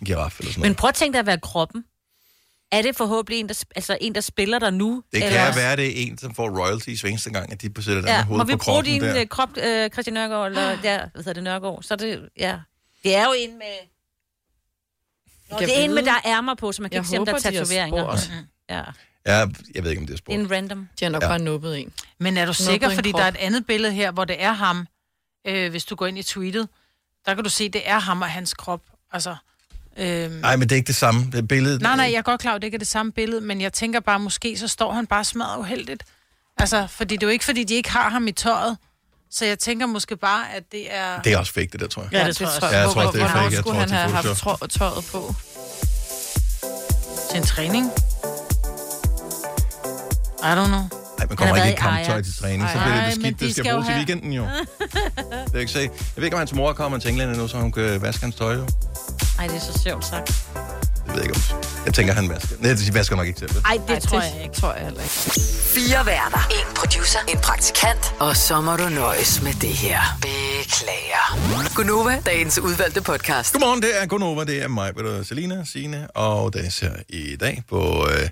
Speaker 1: en giraf eller sådan
Speaker 5: Men
Speaker 1: noget.
Speaker 5: prøv at tænke dig at være kroppen. Er det forhåbentlig en, der, sp- altså en, der spiller der nu?
Speaker 1: Det kan
Speaker 5: eller-
Speaker 1: være, det er en, som får royalties hver eneste gang, at de sætter ja.
Speaker 5: Ja,
Speaker 1: deres
Speaker 5: må
Speaker 1: hoved
Speaker 5: vi
Speaker 1: på
Speaker 5: bruge
Speaker 1: kroppen
Speaker 5: din
Speaker 1: der.
Speaker 5: øh, krop, øh, Christian Nørgaard, eller ja, hvad hedder det, Nørgaard? Så er det, ja. Det er jo en med... Nå,
Speaker 3: Jeg
Speaker 5: det er en
Speaker 3: ved-
Speaker 5: med, der er ærmer på, så man kan
Speaker 3: Jeg
Speaker 5: ikke se, om der er
Speaker 3: håber, de har
Speaker 5: tatoveringer.
Speaker 3: spurgt.
Speaker 2: Mm,
Speaker 5: Mhm. Ja.
Speaker 1: Ja, jeg ved ikke, om det er sport.
Speaker 5: En random.
Speaker 3: De har nok
Speaker 1: Ja.
Speaker 3: bare nubbet en.
Speaker 2: Men er du
Speaker 3: Noget
Speaker 2: sikker?
Speaker 3: på en
Speaker 2: Fordi
Speaker 3: krop.
Speaker 2: der er et andet billede her, hvor det er ham. Øh, hvis du går ind i tweetet, der kan du se, det er ham og hans krop. Altså, øhm,
Speaker 1: Nej, men det er ikke det samme. Det er billedet,
Speaker 2: nej, nej, jeg er godt klar, over, det ikke er det samme billede, men jeg tænker bare, måske så står han bare smadret uheldigt. Altså, fordi det er jo ikke, fordi de ikke har ham i tøjet. Så jeg tænker måske bare, at det er...
Speaker 1: Det er også fake, det der, tror jeg.
Speaker 2: Ja, det tror jeg også.
Speaker 1: Ja, jeg tror, også, det er
Speaker 2: Hvornår
Speaker 1: fake. Jeg
Speaker 2: skulle
Speaker 1: tror,
Speaker 2: han
Speaker 1: det er
Speaker 2: have haft
Speaker 1: Photoshop.
Speaker 3: Trå- tøjet på.
Speaker 2: Til en træning? I don't know.
Speaker 1: Nej, man kommer
Speaker 2: Han har
Speaker 1: ikke i
Speaker 2: været i
Speaker 1: kamptøj
Speaker 2: Ajax.
Speaker 1: til træning, så bliver
Speaker 2: Ej,
Speaker 1: det
Speaker 2: men
Speaker 1: beskidt.
Speaker 2: de
Speaker 1: Det skal
Speaker 2: skal jo
Speaker 1: bruges i
Speaker 2: have-
Speaker 1: weekenden jo. Det er ikke se. Jeg ved ikke, om hans mor kommer til England endnu, så hun kan vaske hans tøj. Jo.
Speaker 5: Ej, det er så sjovt sagt.
Speaker 1: Jeg ved ikke, om... Jeg tænker, han vasker. Nej, de vasker nok ikke til det.
Speaker 5: Ej, det tror
Speaker 3: jeg ikke. Tror jeg heller ikke.
Speaker 6: Fire værter. En producer. En praktikant. Og så må du nøjes med det her. Beklager. Gunova, dagens udvalgte podcast.
Speaker 1: Godmorgen, det er Gunova, det er mig, Peter, Selina, Signe og Dennis her i dag på øh,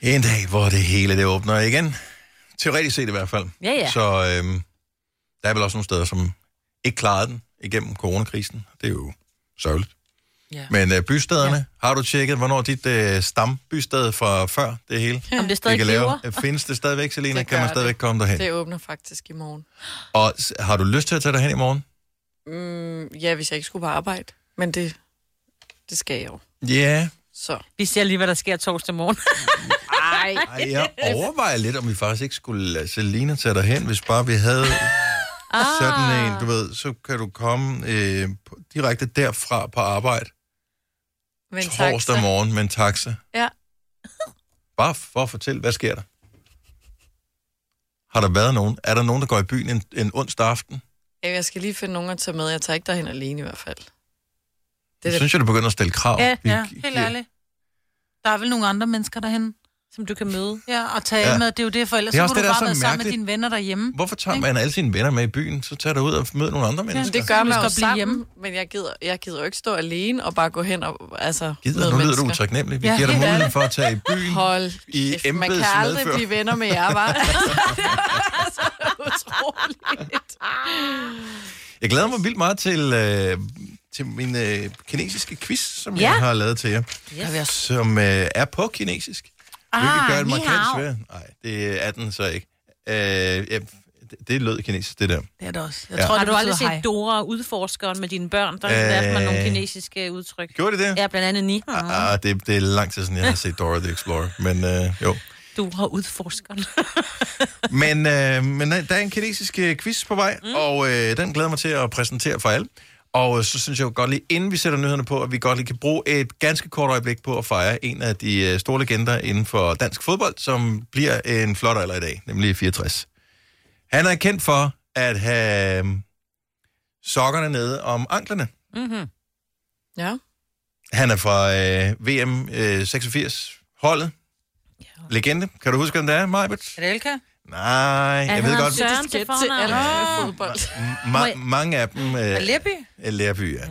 Speaker 1: en dag, hvor det hele det åbner igen. Teoretisk set i hvert fald.
Speaker 5: Ja, ja.
Speaker 1: Så øh, der er vel også nogle steder, som ikke klarede den igennem coronakrisen. Det er jo sørgeligt.
Speaker 5: Ja.
Speaker 1: Men øh, bystederne, ja. har du tjekket, hvornår dit øh, stambysted fra før det hele?
Speaker 3: Om det
Speaker 1: vi
Speaker 3: stadig
Speaker 1: kan lave?
Speaker 3: lever?
Speaker 1: Findes det stadigvæk, Selina?
Speaker 3: Det
Speaker 1: kan
Speaker 3: gør
Speaker 1: man stadigvæk komme derhen?
Speaker 3: Det åbner faktisk i morgen.
Speaker 1: Og s- har du lyst til at tage derhen i morgen?
Speaker 3: Mm, ja, hvis jeg ikke skulle på arbejde. Men det, det skal jeg jo.
Speaker 1: Ja. Yeah.
Speaker 3: Så.
Speaker 5: Vi ser lige, hvad der sker torsdag morgen.
Speaker 3: Nej.
Speaker 1: Ej, jeg overvejer lidt, om vi faktisk ikke skulle lade Selina tage dig hen, hvis bare vi havde ah. sådan en, du ved, så kan du komme øh, på- direkte derfra på arbejde
Speaker 3: Men
Speaker 1: torsdag morgen med en taxa.
Speaker 3: Ja.
Speaker 1: Bare for at fortælle, hvad sker der? Har der været nogen? Er der nogen, der går i byen en, en onsdag aften?
Speaker 3: Jamen, Jeg skal lige finde nogen at tage med. Jeg tager ikke derhen alene i hvert fald.
Speaker 1: Det
Speaker 3: da-
Speaker 1: synes jeg, du begynder at stille krav.
Speaker 2: Ja,
Speaker 1: Vi-
Speaker 2: ja, helt ærligt. Der er vel nogle andre mennesker derhen,
Speaker 5: som du kan møde.
Speaker 2: Ja, og tale
Speaker 1: Ja.
Speaker 2: ja. med. Det er jo det, for ellers
Speaker 1: Det er
Speaker 2: så
Speaker 1: også
Speaker 2: kunne du
Speaker 1: det, der er
Speaker 2: bare
Speaker 1: så
Speaker 2: være sammen med
Speaker 1: mærkeligt.
Speaker 2: dine venner derhjemme.
Speaker 1: Hvorfor tager man alle sine venner med i byen? Så tager du ud og møder nogle andre
Speaker 3: Ja,
Speaker 1: mennesker.
Speaker 3: det gør man jo
Speaker 2: skal blive
Speaker 3: sammen,
Speaker 2: hjemme.
Speaker 3: hjemme. men jeg gider, jeg gider jo ikke stå alene og bare gå hen og altså,
Speaker 1: Gider,
Speaker 3: møde
Speaker 1: nu lyder du
Speaker 3: mennesker.
Speaker 1: utaknemmelig. Vi
Speaker 3: Ja,
Speaker 1: giver dig
Speaker 3: helt
Speaker 1: muligheden
Speaker 3: ærligt.
Speaker 1: for at tage i byen
Speaker 3: Hold
Speaker 1: i
Speaker 3: kæft, Man kan aldrig
Speaker 1: embedsmedfør.
Speaker 3: blive venner med jer, var. så utroligt.
Speaker 1: Jeg glæder mig vildt meget til, øh, til min øh, kinesiske quiz, som ja.
Speaker 2: Ja.
Speaker 1: jeg har lavet til jer.
Speaker 2: Yes.
Speaker 1: Som øh, er på kinesisk.
Speaker 2: Ah,
Speaker 1: hvilket gør det
Speaker 2: ni
Speaker 1: markant
Speaker 2: hao.
Speaker 1: svært. Nej, det er den så ikke. Øh, ja, det, det lød kinesisk, det der.
Speaker 2: Det er det også.
Speaker 1: Ja.
Speaker 5: har du aldrig set
Speaker 2: hej.
Speaker 5: Dora og udforskeren med dine børn? Der har øh... mig nogle
Speaker 1: Øh.
Speaker 5: kinesiske udtryk.
Speaker 1: Gjorde det det?
Speaker 5: Ja, blandt andet ni.
Speaker 1: Ah, det, det er lang tid siden, jeg har set Dora the Explorer. Men øh, jo.
Speaker 5: Du har udforskeren.
Speaker 1: Men, øh, men nej, der er en kinesisk øh, quiz på vej, mm. og øh, den glæder jeg mig til at præsentere for alle. Og øh, så synes jeg jo godt lige, inden vi sætter nyhederne på, at vi godt lige kan bruge et ganske kort øjeblik på at fejre en af de øh, store legender inden for dansk fodbold, som bliver en flot alder i dag, nemlig 64. Han er kendt for at have øh, sokkerne nede om anklerne.
Speaker 5: Mhm.
Speaker 3: Mm-hmm. Ja.
Speaker 1: Han er fra øh, VM øh, 86-holdet. Legende. Kan du huske, hvem det er, Majbert?
Speaker 2: Er det Elka?
Speaker 1: Nej, jeg ved godt...
Speaker 5: Søren til fornavn.
Speaker 2: øh,
Speaker 3: alle fodbold.
Speaker 5: Må
Speaker 1: Ma-
Speaker 5: jeg-
Speaker 1: mange af dem... Øh,
Speaker 2: Aleppi?
Speaker 1: Aleppi, ja.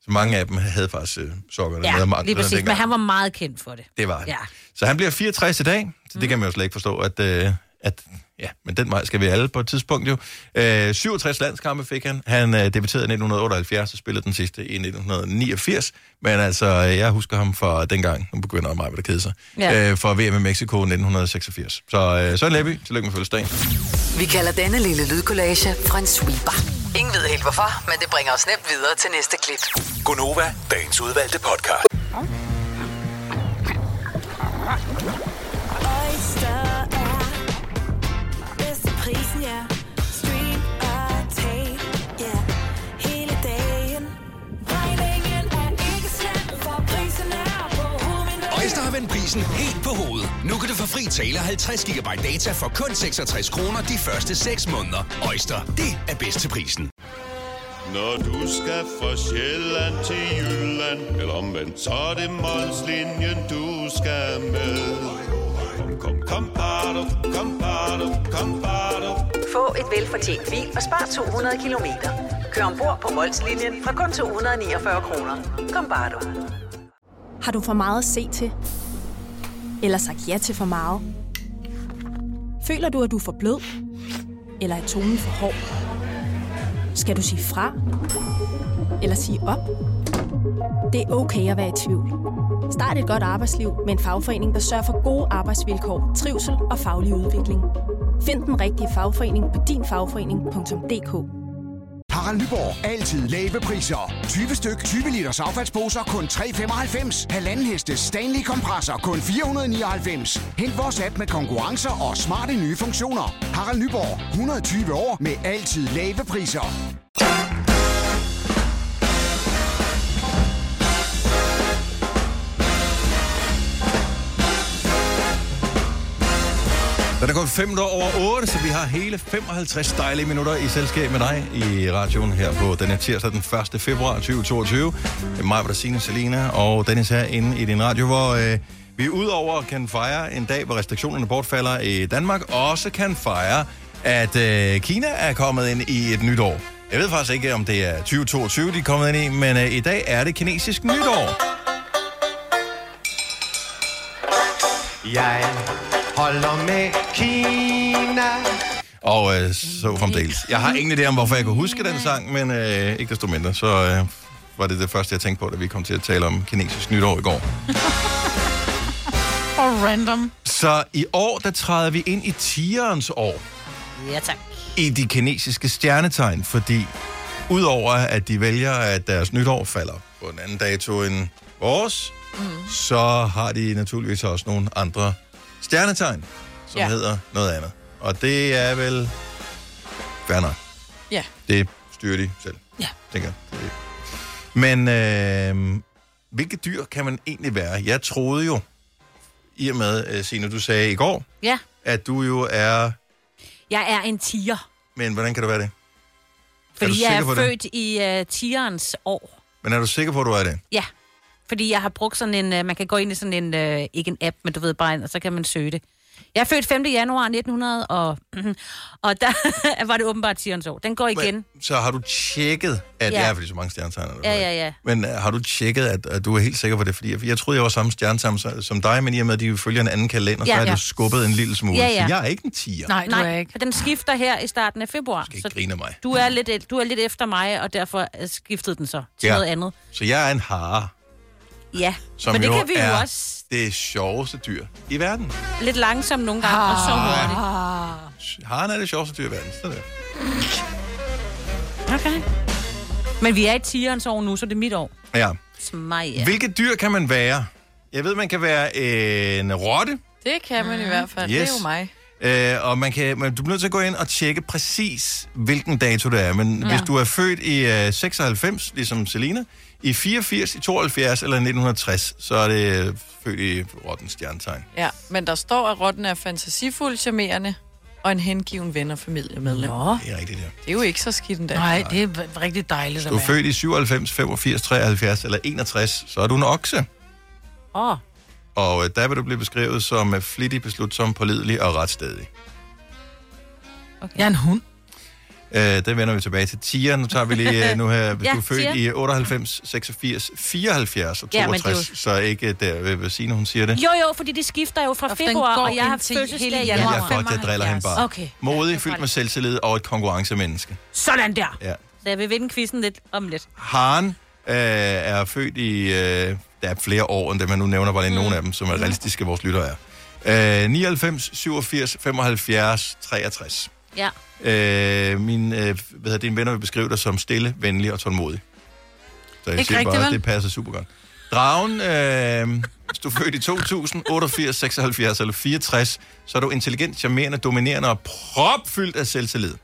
Speaker 1: Så mange af dem havde faktisk øh, sokkerne med om
Speaker 5: Ja,
Speaker 1: anklerne
Speaker 5: lige præcis.
Speaker 1: dengang.
Speaker 5: Men han var meget kendt for det.
Speaker 1: Det var han.
Speaker 5: Ja. Mhm.
Speaker 1: Så han bliver 64 i dag, så det kan man jo slet ikke forstå, at, øh, at ja, men den vej skal vi alle på et tidspunkt jo. Øh, 67 landskampe fik han. Han øh, debuterede i 1978 og spillede den sidste i 1989. Men altså, øh, jeg husker ham fra dengang, nu begynder mig at kede sig,
Speaker 6: Ja.
Speaker 1: ja. øh, fra VM i Mexico 1986. Så øh, Søren Leppi, tillykke med fødselsdagen.
Speaker 6: Vi kalder denne lille lydkollage en sweeper. Ingen ved helt hvorfor, men det bringer os nemt videre til næste klip.
Speaker 17: Gunova, dagens udvalgte podcast.
Speaker 16: Oyster er bedst til prisen, ja. Stream og tag, ja. Hele dagen. Regningen er ikke slem, for prisen er på hovedet.
Speaker 17: Øjster har vendt prisen helt på hovedet. Nu kan du få fri tale og 50 GB data for kun 66 kroner de første 6 måneder. Øjster, det er bedst til prisen.
Speaker 18: Når du skal fra Sjælland til Jylland Eller omvendt, så er det Molslinjen, du skal med Kom, kom, kom, bado, kom, bado, kom, bado.
Speaker 19: Få et velfortjent bil og spar 200 kilometer. Kør ombord på Molslinjen fra kun 249 kroner. Kom bare du.
Speaker 21: Har du for meget at se til? Eller sagt ja til for meget? Føler du, at du er for blød? Eller er tonen for hård? Skal du sige fra? Eller sige op? Det er okay at være i tvivl. Start et godt arbejdsliv med en fagforening, der sørger for gode arbejdsvilkår, trivsel og faglig udvikling. Find den rigtige fagforening på dinfagforening.dk.
Speaker 20: Harald Nyborg. Altid lave priser. 20 styk, 20 liters affaldsposer kun 3,95. Halvanden heste Stanley kompresser kun 499. Hent vores app med konkurrencer og smarte nye funktioner. Harald Nyborg. 120 år med altid lave priser.
Speaker 1: Så er der gået 5 over 8, så vi har hele 55 dejlige minutter i selskab med dig i radioen her på den her tirsdag den 1. februar 2022. Det er mig, Brasine, Selina og Dennis her inde i din radio, hvor øh, vi udover kan fejre en dag, hvor restriktionerne bortfalder i Danmark, også kan fejre, at øh, Kina er kommet ind i et nyt år. Jeg ved faktisk ikke, om det er 2022, de er kommet ind i, men øh, i dag er det kinesisk nytår.
Speaker 8: Jeg holder med Kina.
Speaker 1: Og øh, så fremdeles. Jeg har ingen idé om, hvorfor jeg kunne huske den sang, men øh, ikke desto mindre, så øh, var det det første, jeg tænkte på, da vi kom til at tale om kinesisk nytår i går.
Speaker 2: Og random.
Speaker 1: Så i år, der træder vi ind i tigerens år
Speaker 5: Ja, tak.
Speaker 1: i de kinesiske stjernetegn, fordi udover at de vælger, at deres nytår falder på en anden dato end vores, mm. så har de naturligvis også nogle andre stjernetegn, som
Speaker 3: Ja.
Speaker 1: ja. hedder noget andet. Og det er vel... Fair nok.
Speaker 3: Ja.
Speaker 1: Det styrer de selv.
Speaker 5: Ja.
Speaker 1: Tænker jeg. Det- Men øh, hvilke dyr kan man egentlig være? Jeg troede jo, i og med, øh, Signe, du sagde i går,
Speaker 5: Ja,
Speaker 1: at du jo er...
Speaker 5: jeg er en tiger.
Speaker 1: Men hvordan kan du være det?
Speaker 5: Fordi jeg er
Speaker 1: på det?
Speaker 5: født i uh, tigerens år.
Speaker 1: Men er du sikker på, at du er det?
Speaker 5: Ja, fordi jeg har brugt sådan en... øh, man kan gå ind i sådan en... øh, ikke en app, men du ved bare en, og så kan man søge det. Jeg er født 5. januar 1900, og, og der var det åbenbart tigerens år. Den går igen.
Speaker 1: Så har du tjekket, at
Speaker 5: Ja.
Speaker 1: ja. jeg er fordi så mange stjernetegn. er der.
Speaker 5: ja, ja, ja.
Speaker 1: Men øh, har du tjekket, at, at du er helt sikker på det? Fordi jeg, jeg troede, jeg var samme stjernetegn som- som dig, men i og med, at de følger en anden kalender,
Speaker 5: Ja.
Speaker 1: så er
Speaker 5: Ja.
Speaker 1: du skubbet en lille smule.
Speaker 5: Ja, ja.
Speaker 1: Så jeg er ikke en tiger.
Speaker 2: Nej, du
Speaker 5: Nej,
Speaker 2: er ikke.
Speaker 5: for den skifter her i starten af februar. Du
Speaker 1: Ikke griner mig.
Speaker 5: du, er lidt, du er lidt efter mig, og derfor øh, skiftede den så til
Speaker 1: Ja.
Speaker 5: noget andet.
Speaker 1: Så jeg er en hare,
Speaker 5: Ja,
Speaker 1: som
Speaker 5: men det
Speaker 1: jo
Speaker 5: kan vi
Speaker 1: er
Speaker 5: jo også
Speaker 1: det sjoveste dyr i verden.
Speaker 5: lidt langsomt nogle gange, og så
Speaker 2: Ah.
Speaker 5: hurtigt.
Speaker 1: Haren er det sjoveste dyr i verden. Sådan der.
Speaker 5: Okay. Men vi er i tigerens år nu, så det er mit år.
Speaker 1: Ja.
Speaker 5: Smag, ja.
Speaker 1: Hvilke dyr kan man være? Jeg ved, man kan være en rotte,
Speaker 3: Det kan man i hvert fald. Det er jo mig.
Speaker 1: Øh, og man kan, men du bliver nødt til at gå ind og tjekke præcis, hvilken dato det er. Men
Speaker 3: Ja.
Speaker 1: ja. hvis du er født i øh, 96, ligesom Selina, i 84, i 72 eller 1960, så er det øh, født i rotten stjernetegn.
Speaker 3: Ja, men der står, at rotten er fantasifuld, charmerende og en hengiven ven og familiemedlem. Nå.
Speaker 1: Det er rigtigt, ja.
Speaker 3: Det er jo ikke så skidt endda.
Speaker 2: Nej, det er v- rigtig dejligt
Speaker 1: Hvis
Speaker 2: at
Speaker 1: du er
Speaker 2: være.
Speaker 1: født i 97, 85, 73 eller 61, så er du en okse.
Speaker 5: Åh, oh,
Speaker 1: Og øh, der vil du blive beskrevet som øh, flittig, beslutsom, pålidelig og retstædig.
Speaker 2: Okay. Jeg er en hund.
Speaker 1: Øh, det vender vi tilbage til. Tia, nu tager vi lige øh, nu her. Hvis ja,
Speaker 5: Ja,
Speaker 1: du er født
Speaker 5: Tia.
Speaker 1: i 98, 86, 74 og
Speaker 5: Ja, men det er
Speaker 1: 62, ja, så ikke der, øh, hvad- hvad Signe, hun siger det.
Speaker 5: Jo, jo, fordi det skifter jo fra
Speaker 2: Og den
Speaker 5: februar,
Speaker 2: går
Speaker 5: og jeg har
Speaker 2: indtil
Speaker 5: fødselsdag
Speaker 2: hele
Speaker 5: i
Speaker 1: Jeg
Speaker 5: januar.
Speaker 1: ved godt, jeg driller hende bare.
Speaker 5: Okay.
Speaker 1: Modig, fyldt med selvtillid og et konkurrencemenneske.
Speaker 5: Sådan der.
Speaker 1: Ja.
Speaker 5: Så jeg vil vinde quizzen lidt om lidt.
Speaker 1: Haren øh, er født i... Øh, der er flere år end dem, jeg nu nævner, bare lige mm. nogle af dem, som er realistiske, vores lyttere er. Øh, 99, 87, 75, 63.
Speaker 5: Ja.
Speaker 1: Øh, min, øh, hvad hedder, dine venner vil beskrive dig som stille, venlig og tålmodig. Så jeg
Speaker 2: Ikke
Speaker 1: siger
Speaker 2: rigtigt,
Speaker 1: bare,
Speaker 2: vel?
Speaker 1: det passer super godt. Dragen, øh, hvis du er født i 2000, 88, 76 eller 64, så er du intelligent, charmerende, dominerende og propfyldt af selvtillid.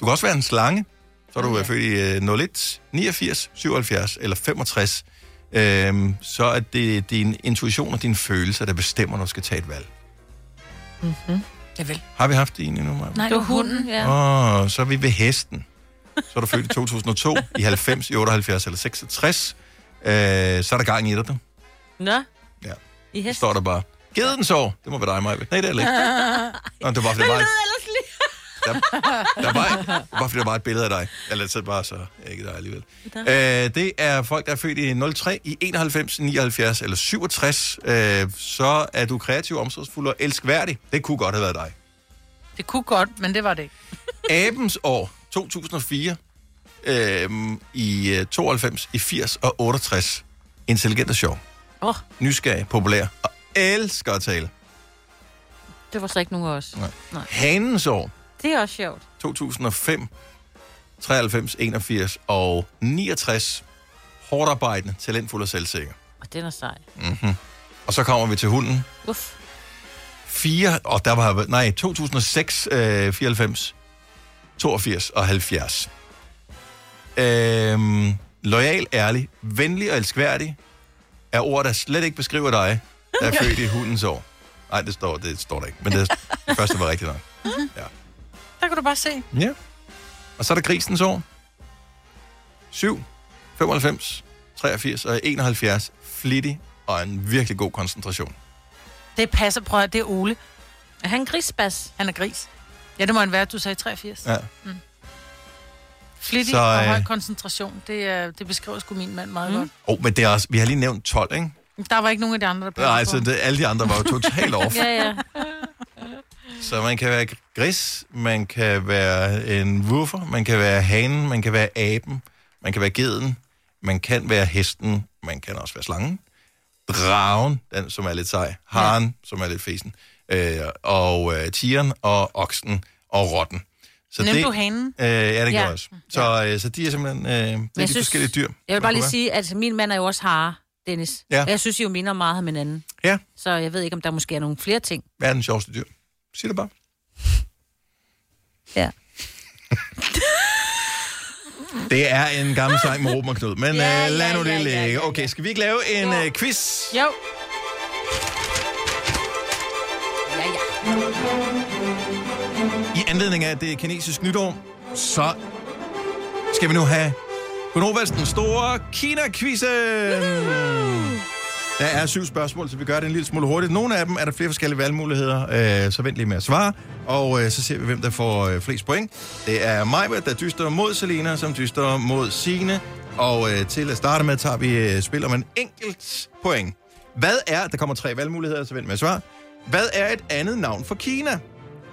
Speaker 1: Du kan også være en slange, så er du okay. født i øh, 01, 89, 77 eller 65. Øhm, så er det din intuition og dine følelser, der bestemmer, når du skal tage et valg.
Speaker 2: Mm-hmm. Ja vel.
Speaker 1: Har vi haft en endnu, Maja?
Speaker 2: Nej, det var hunden, ja.
Speaker 1: Åh, oh, så er vi ved hesten. Så er du født i 2002, i 90, i 78 eller 66. Øh, så er der gang i dig, du.
Speaker 5: Nå?
Speaker 1: Ja.
Speaker 5: I
Speaker 1: Det
Speaker 5: hest.
Speaker 1: står der bare. Ged den så. Det må være dig, Maja. Nej, det er det ikke. Nå, det var bare, fordi der var, et-
Speaker 5: ellers lige.
Speaker 1: der var, et- det var bare, fordi der var et billede af dig. Eller så bare så ikke dig alligevel. Øh, det er folk, der er født i 03, i 91, 79 eller 67. Øh, så er du kreativ, omsorgsfuld og elskværdig. Det kunne godt have været dig.
Speaker 2: Det kunne godt, men det var det ikke.
Speaker 1: Abens år 2004, øhm, i øh, 92, i 80 og 68. Intelligent og sjov.
Speaker 5: Åh,
Speaker 1: Nysgerrig, populær og elsker at tale.
Speaker 5: det var så ikke nogen af os.
Speaker 1: Nej.
Speaker 5: Nej.
Speaker 1: Hanens år
Speaker 5: Det er også sjovt.
Speaker 1: 2005, 93, 81 og 69. Hårdt arbejdende, talentfuld og selvsikker.
Speaker 5: Og den er sej.
Speaker 1: Mm-hmm. Og så kommer vi til hunden.
Speaker 5: Uff.
Speaker 1: 4, og der var, nej, 2006, øh, 94, 82 og 70. Øhm, loyal, ærlig, venlig og elskværdig er ord, der slet ikke beskriver dig, der er født i hundens år. Nej, det står, det står der ikke, men det, det første var rigtigt nok. Ja.
Speaker 2: Mhm. Der kunne du bare se.
Speaker 1: Ja. Og så er der grisens år. 7, 95, 83 og 71. Flittig og en virkelig god koncentration.
Speaker 2: Det passer, prøv at høre, det er Ole. Er han grisbas? Han er gris. Ja, det må han være, du sagde 83.
Speaker 1: Ja.
Speaker 2: Mm. Flittig
Speaker 1: Så,
Speaker 2: så, øh... og
Speaker 1: øh,
Speaker 2: høj koncentration, det, er, det beskriver sgu min mand meget mm. godt.
Speaker 1: Åh, oh, men det er også, vi har lige nævnt 12, ikke?
Speaker 2: Der var ikke nogen af de andre, der passede
Speaker 1: Nej,
Speaker 2: på
Speaker 1: altså
Speaker 2: ham.
Speaker 1: det, alle de andre var jo totalt off.
Speaker 2: ja, ja.
Speaker 1: Så man kan være gris, man kan være en woofer, man kan være hanen, man kan være aben, man kan være geden, man kan være hesten, man kan også være slangen, dragen, den som er lidt sej, haren, ja. som er lidt fesen, øh, og øh, tieren, og oksen, og rotten.
Speaker 2: Nævnte du hanen?
Speaker 1: Øh, ja, det gør
Speaker 5: Ja.
Speaker 1: jeg også. Så, øh, så de er simpelthen øh, det er de synes, forskellige dyr.
Speaker 5: Jeg vil
Speaker 1: man
Speaker 5: bare
Speaker 1: kunne
Speaker 5: lige
Speaker 1: være.
Speaker 5: sige, at min mand er jo også hare, Dennis.
Speaker 1: Ja.
Speaker 5: Og Jeg synes, I jo minder meget om hinanden.
Speaker 1: Ja.
Speaker 5: Så jeg ved ikke, om der måske er nogle flere ting.
Speaker 1: Hvad er den sjoveste dyr? Sig det bare.
Speaker 5: Ja.
Speaker 1: Det er en gammel sang med Ruben og Knud, men ja,
Speaker 2: Ja,
Speaker 1: øh, lad
Speaker 2: ja,
Speaker 1: nu det
Speaker 2: ja, ja,
Speaker 1: ligge.
Speaker 2: ja, ja.
Speaker 1: Okay, skal vi ikke lave en
Speaker 2: Jo.
Speaker 1: øh, quiz?
Speaker 2: Jo.
Speaker 5: Ja, ja.
Speaker 1: I anledning af at det er kinesisk nytår, så skal vi nu have Gunovas den store Kina-quizzen. Der er syv spørgsmål, så vi gør det en lille smule hurtigt. Nogle af dem er der flere forskellige valgmuligheder, øh, så vent lige med at svare. Og øh, så ser vi, hvem der får øh, flest point. Det er Majbert, der dyster mod Selena, som dyster mod Sine. Og øh, til at starte med, tager vi øh, spil om en enkelt point. Hvad er, der kommer tre valgmuligheder, så vent med at svare. Hvad er et andet navn for Kina?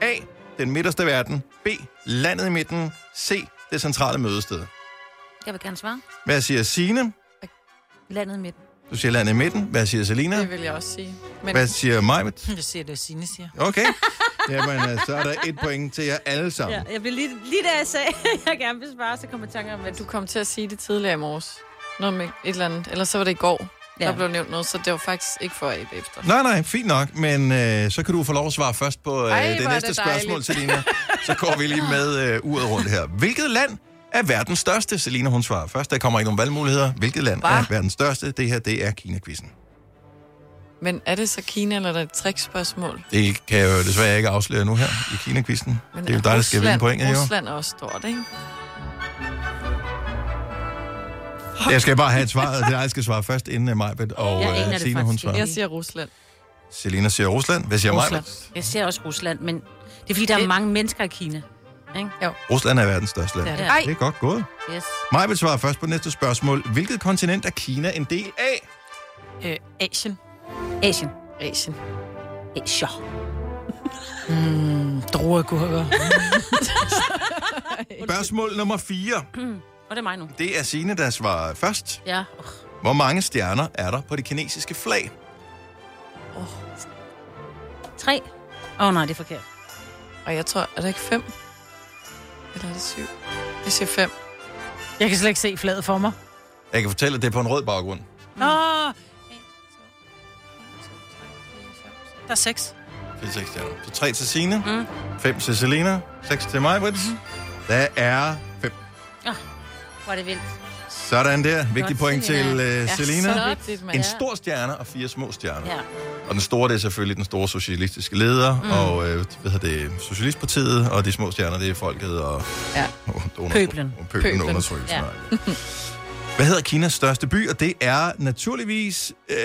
Speaker 1: A. Den midterste verden. B. Landet i midten. C. Det centrale mødested.
Speaker 5: Jeg vil gerne svare.
Speaker 1: Hvad siger Sine?
Speaker 5: Landet midt.
Speaker 1: Du siger landet i midten. Hvad siger Selina?
Speaker 3: Det vil jeg også sige. Men
Speaker 1: Hvad siger Majbet?
Speaker 2: Jeg siger, det er Signe, siger.
Speaker 1: Okay. Jamen, øh, så er der et point til jer alle sammen.
Speaker 5: jeg vil lige, lige da jeg sagde, at jeg gerne vil svare, så kom jeg i tanke om, at
Speaker 3: du kom til at sige det tidligere i morges. Noget med et eller andet. Eller så var det i går, ja. der blev nævnt noget, så det var faktisk ikke for AB efter.
Speaker 1: Nej, nej, fint nok, men øh, så kan du få lov at svare først på øh,
Speaker 3: Ej,
Speaker 1: det
Speaker 3: hvor er
Speaker 1: næste
Speaker 3: det
Speaker 1: spørgsmål,
Speaker 3: dejligt.
Speaker 1: Selina. Så går vi lige med øh, uret rundt her. Hvilket land er verdens største? Selina, hun svarer først. Der kommer ikke nogen valgmuligheder. Hvilket land Hva? er verdens største? Det her, det er Kina-quizzen.
Speaker 3: Men er det så Kina, eller er det et trickspørgsmål?
Speaker 1: Det kan jeg jo desværre ikke afsløre nu her i Kina-quizzen.
Speaker 3: Men
Speaker 1: Det er jo dig, der skal vinde
Speaker 3: Rusland-
Speaker 1: pointet, jo.
Speaker 3: Rusland er også stort, ikke?
Speaker 1: Jeg skal bare have et svar, og det er dig, der skal svare først, inden mig og
Speaker 3: aner
Speaker 1: øh,
Speaker 3: det
Speaker 1: Signe,
Speaker 3: faktisk
Speaker 1: hun
Speaker 3: ikke.
Speaker 1: svarer.
Speaker 3: Jeg siger Rusland.
Speaker 1: Selina siger Rusland. Hvad siger mig?
Speaker 5: Rusland. Jeg ser også Rusland, men det er fordi, der er mange mennesker i Kina. Ikke? Jo.
Speaker 1: Rusland er verdens største land.
Speaker 5: Det
Speaker 1: Det
Speaker 5: er
Speaker 1: er,
Speaker 5: det. Ej.
Speaker 1: det er godt gået.
Speaker 5: Yes.
Speaker 1: Mig vil svare først på næste spørgsmål. Hvilket kontinent er Kina en del af?
Speaker 2: Øh, Asien.
Speaker 5: Asien.
Speaker 3: Asien.
Speaker 5: Asien.
Speaker 2: Mm, druekurker.
Speaker 1: Spørgsmål nummer 4.
Speaker 5: Og det er mig nu.
Speaker 1: Det er Signe, der svarer først.
Speaker 5: Ja. Oh,
Speaker 1: Hvor mange stjerner er der på det kinesiske flag?
Speaker 5: tre. Åh oh, nej, det er forkert.
Speaker 3: Og jeg tror, er der ikke fem? Eller er det syv? Jeg siger fem.
Speaker 2: Jeg kan slet ikke se flaget for mig.
Speaker 1: Jeg kan fortælle, at det er på en rød baggrund.
Speaker 2: Mm. Nå! Der er seks.
Speaker 1: Det er seks stjerner. Så tre til Signe, mm. fem til Selena, seks til mig, Brits. Der er fem.
Speaker 5: Ah, Hvor er det vildt.
Speaker 1: Sådan der. Vigtig
Speaker 5: Godt,
Speaker 1: point til
Speaker 5: Selena.
Speaker 1: uh,
Speaker 5: Ja,
Speaker 1: Selena.
Speaker 5: så vigtigt, mand.
Speaker 1: en
Speaker 5: Ja.
Speaker 1: stor stjerne og fire små stjerner.
Speaker 5: Ja.
Speaker 1: Og den store, det er selvfølgelig den store socialistiske leder,
Speaker 5: Mm.
Speaker 1: mm. og øh, hvad hedder det, Socialistpartiet, og de små stjerner, det er folket og
Speaker 3: Ja.
Speaker 1: under,
Speaker 5: Pøblen.
Speaker 1: Og pøblen, pøblen. undertrykkes. Ja. Hvad hedder Kinas største by? Og det er naturligvis øh,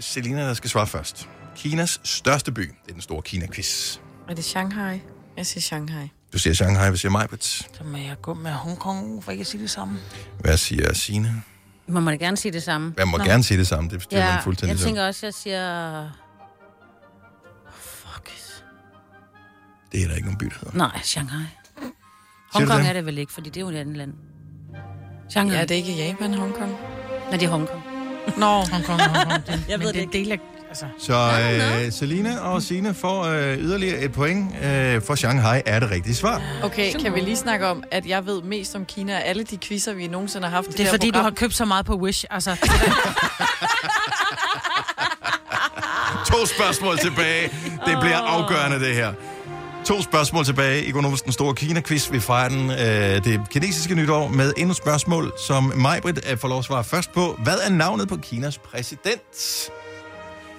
Speaker 1: Selina, der skal svare først. Kinas største by. Det er den store Kina-quiz.
Speaker 3: Er det Shanghai? Jeg siger Shanghai.
Speaker 1: Du siger Shanghai, hvad siger Majbrit?
Speaker 2: Så må jeg gå med Hongkong, for ikke at sige det samme.
Speaker 1: Hvad siger Signe?
Speaker 5: Man må da gerne sige det samme.
Speaker 1: Man må
Speaker 5: Nå.
Speaker 1: gerne sige det samme, det styrer
Speaker 5: ja,
Speaker 1: man fuldstændig
Speaker 5: Jeg
Speaker 1: selv.
Speaker 5: tænker også, jeg siger...
Speaker 1: Det er der ikke nogen by, der hedder.
Speaker 5: Nej, Shanghai.
Speaker 1: Siger du
Speaker 5: Hongkong
Speaker 1: det?
Speaker 5: er det vel ikke, fordi det er jo et andet land. Shanghai.
Speaker 3: Ja, det er ikke Japan, Hongkong.
Speaker 5: Nej, det er Hongkong.
Speaker 2: Nå, Hongkong, Hongkong. Det,
Speaker 5: Jeg
Speaker 2: men
Speaker 5: ved
Speaker 2: det er
Speaker 5: det
Speaker 2: en del af... Altså,
Speaker 1: Så øh, Selina og Signe får øh, yderligere et point, øh, for Shanghai er det rigtige svar.
Speaker 3: Okay, kan vi lige snakke om, at jeg ved mest om Kina af alle de quizzer, vi nogensinde har haft i
Speaker 2: det er
Speaker 3: her
Speaker 2: fordi, du
Speaker 3: program.
Speaker 2: har købt så meget på Wish. Altså,
Speaker 1: To spørgsmål tilbage. Det bliver afgørende, det her. To spørgsmål tilbage i Gonovas Den Store Kina-quiz. Vi fejrer den, øh, det kinesiske nytår med endnu et spørgsmål, som Majbrit øh, får lov at svare først på. Hvad er navnet på Kinas præsident?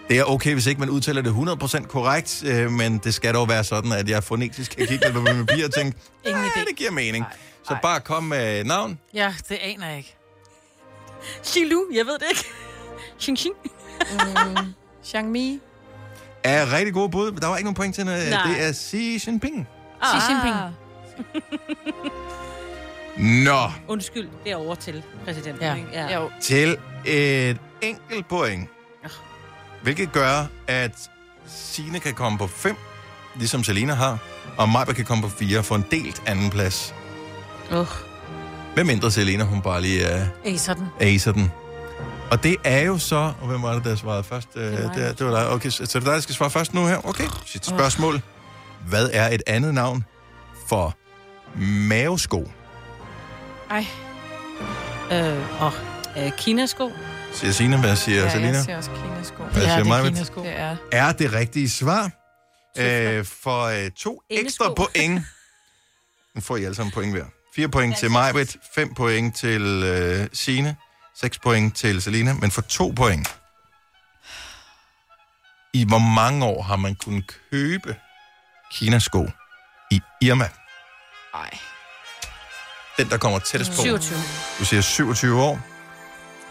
Speaker 1: Det er okay, hvis ikke man udtaler det 100% korrekt, øh, men det skal dog være sådan, at jeg fonetisk kan kigge lidt på min papir og tænke,
Speaker 2: ingen idé.
Speaker 1: ja, det giver mening. Så bare kom med navn.
Speaker 2: Ja, det aner jeg ikke.
Speaker 5: Xilu, jeg ved det ikke. Xing, xing.
Speaker 3: Mm, Xiangmi.
Speaker 1: Er rigtig gode bud, men der var ikke nogen point til, noget.
Speaker 3: Nej.
Speaker 1: det er Xi Jinping.
Speaker 5: Xi Jinping.
Speaker 3: Ah.
Speaker 1: Nå,
Speaker 5: Undskyld, det er over til præsidenten. Ja. Ikke? ja.
Speaker 3: Jo.
Speaker 1: til et enkelt point. Hvilket gør, at Sine kan komme på 5, ligesom Selina har, og Majber kan komme på 4 for en delt anden plads.
Speaker 5: Uh.
Speaker 1: Hvem mindre Selina, hun bare lige uh,
Speaker 2: Acer den.
Speaker 1: acer den. Og det er jo så... Og hvem var det, der svarede først? Uh, det,
Speaker 2: mig.
Speaker 1: det, det var dig. Okay, så så det er dig, der skal svare først nu her. Okay, sit
Speaker 2: Åh.
Speaker 1: spørgsmål. Hvad er et andet navn for mavesko?
Speaker 3: Ej.
Speaker 5: Øh, og øh, Kinasko.
Speaker 1: Siger Signe, hvad siger Selina?
Speaker 3: jeg siger også Kinasko.
Speaker 1: Hvad siger Maja?
Speaker 3: Det er
Speaker 1: er det rigtige svar. Øh, for øh, to
Speaker 3: Engesko.
Speaker 1: ekstra point. Nu får I alle sammen point hver. Fire point til Majbrit, fem point til øh, Sine, seks point til Selina, men for to point. I hvor mange år har man kunnet købe Kinasko i Irma?
Speaker 3: Nej.
Speaker 1: Den, der kommer tættest på.
Speaker 5: 27.
Speaker 1: Du siger 27 år.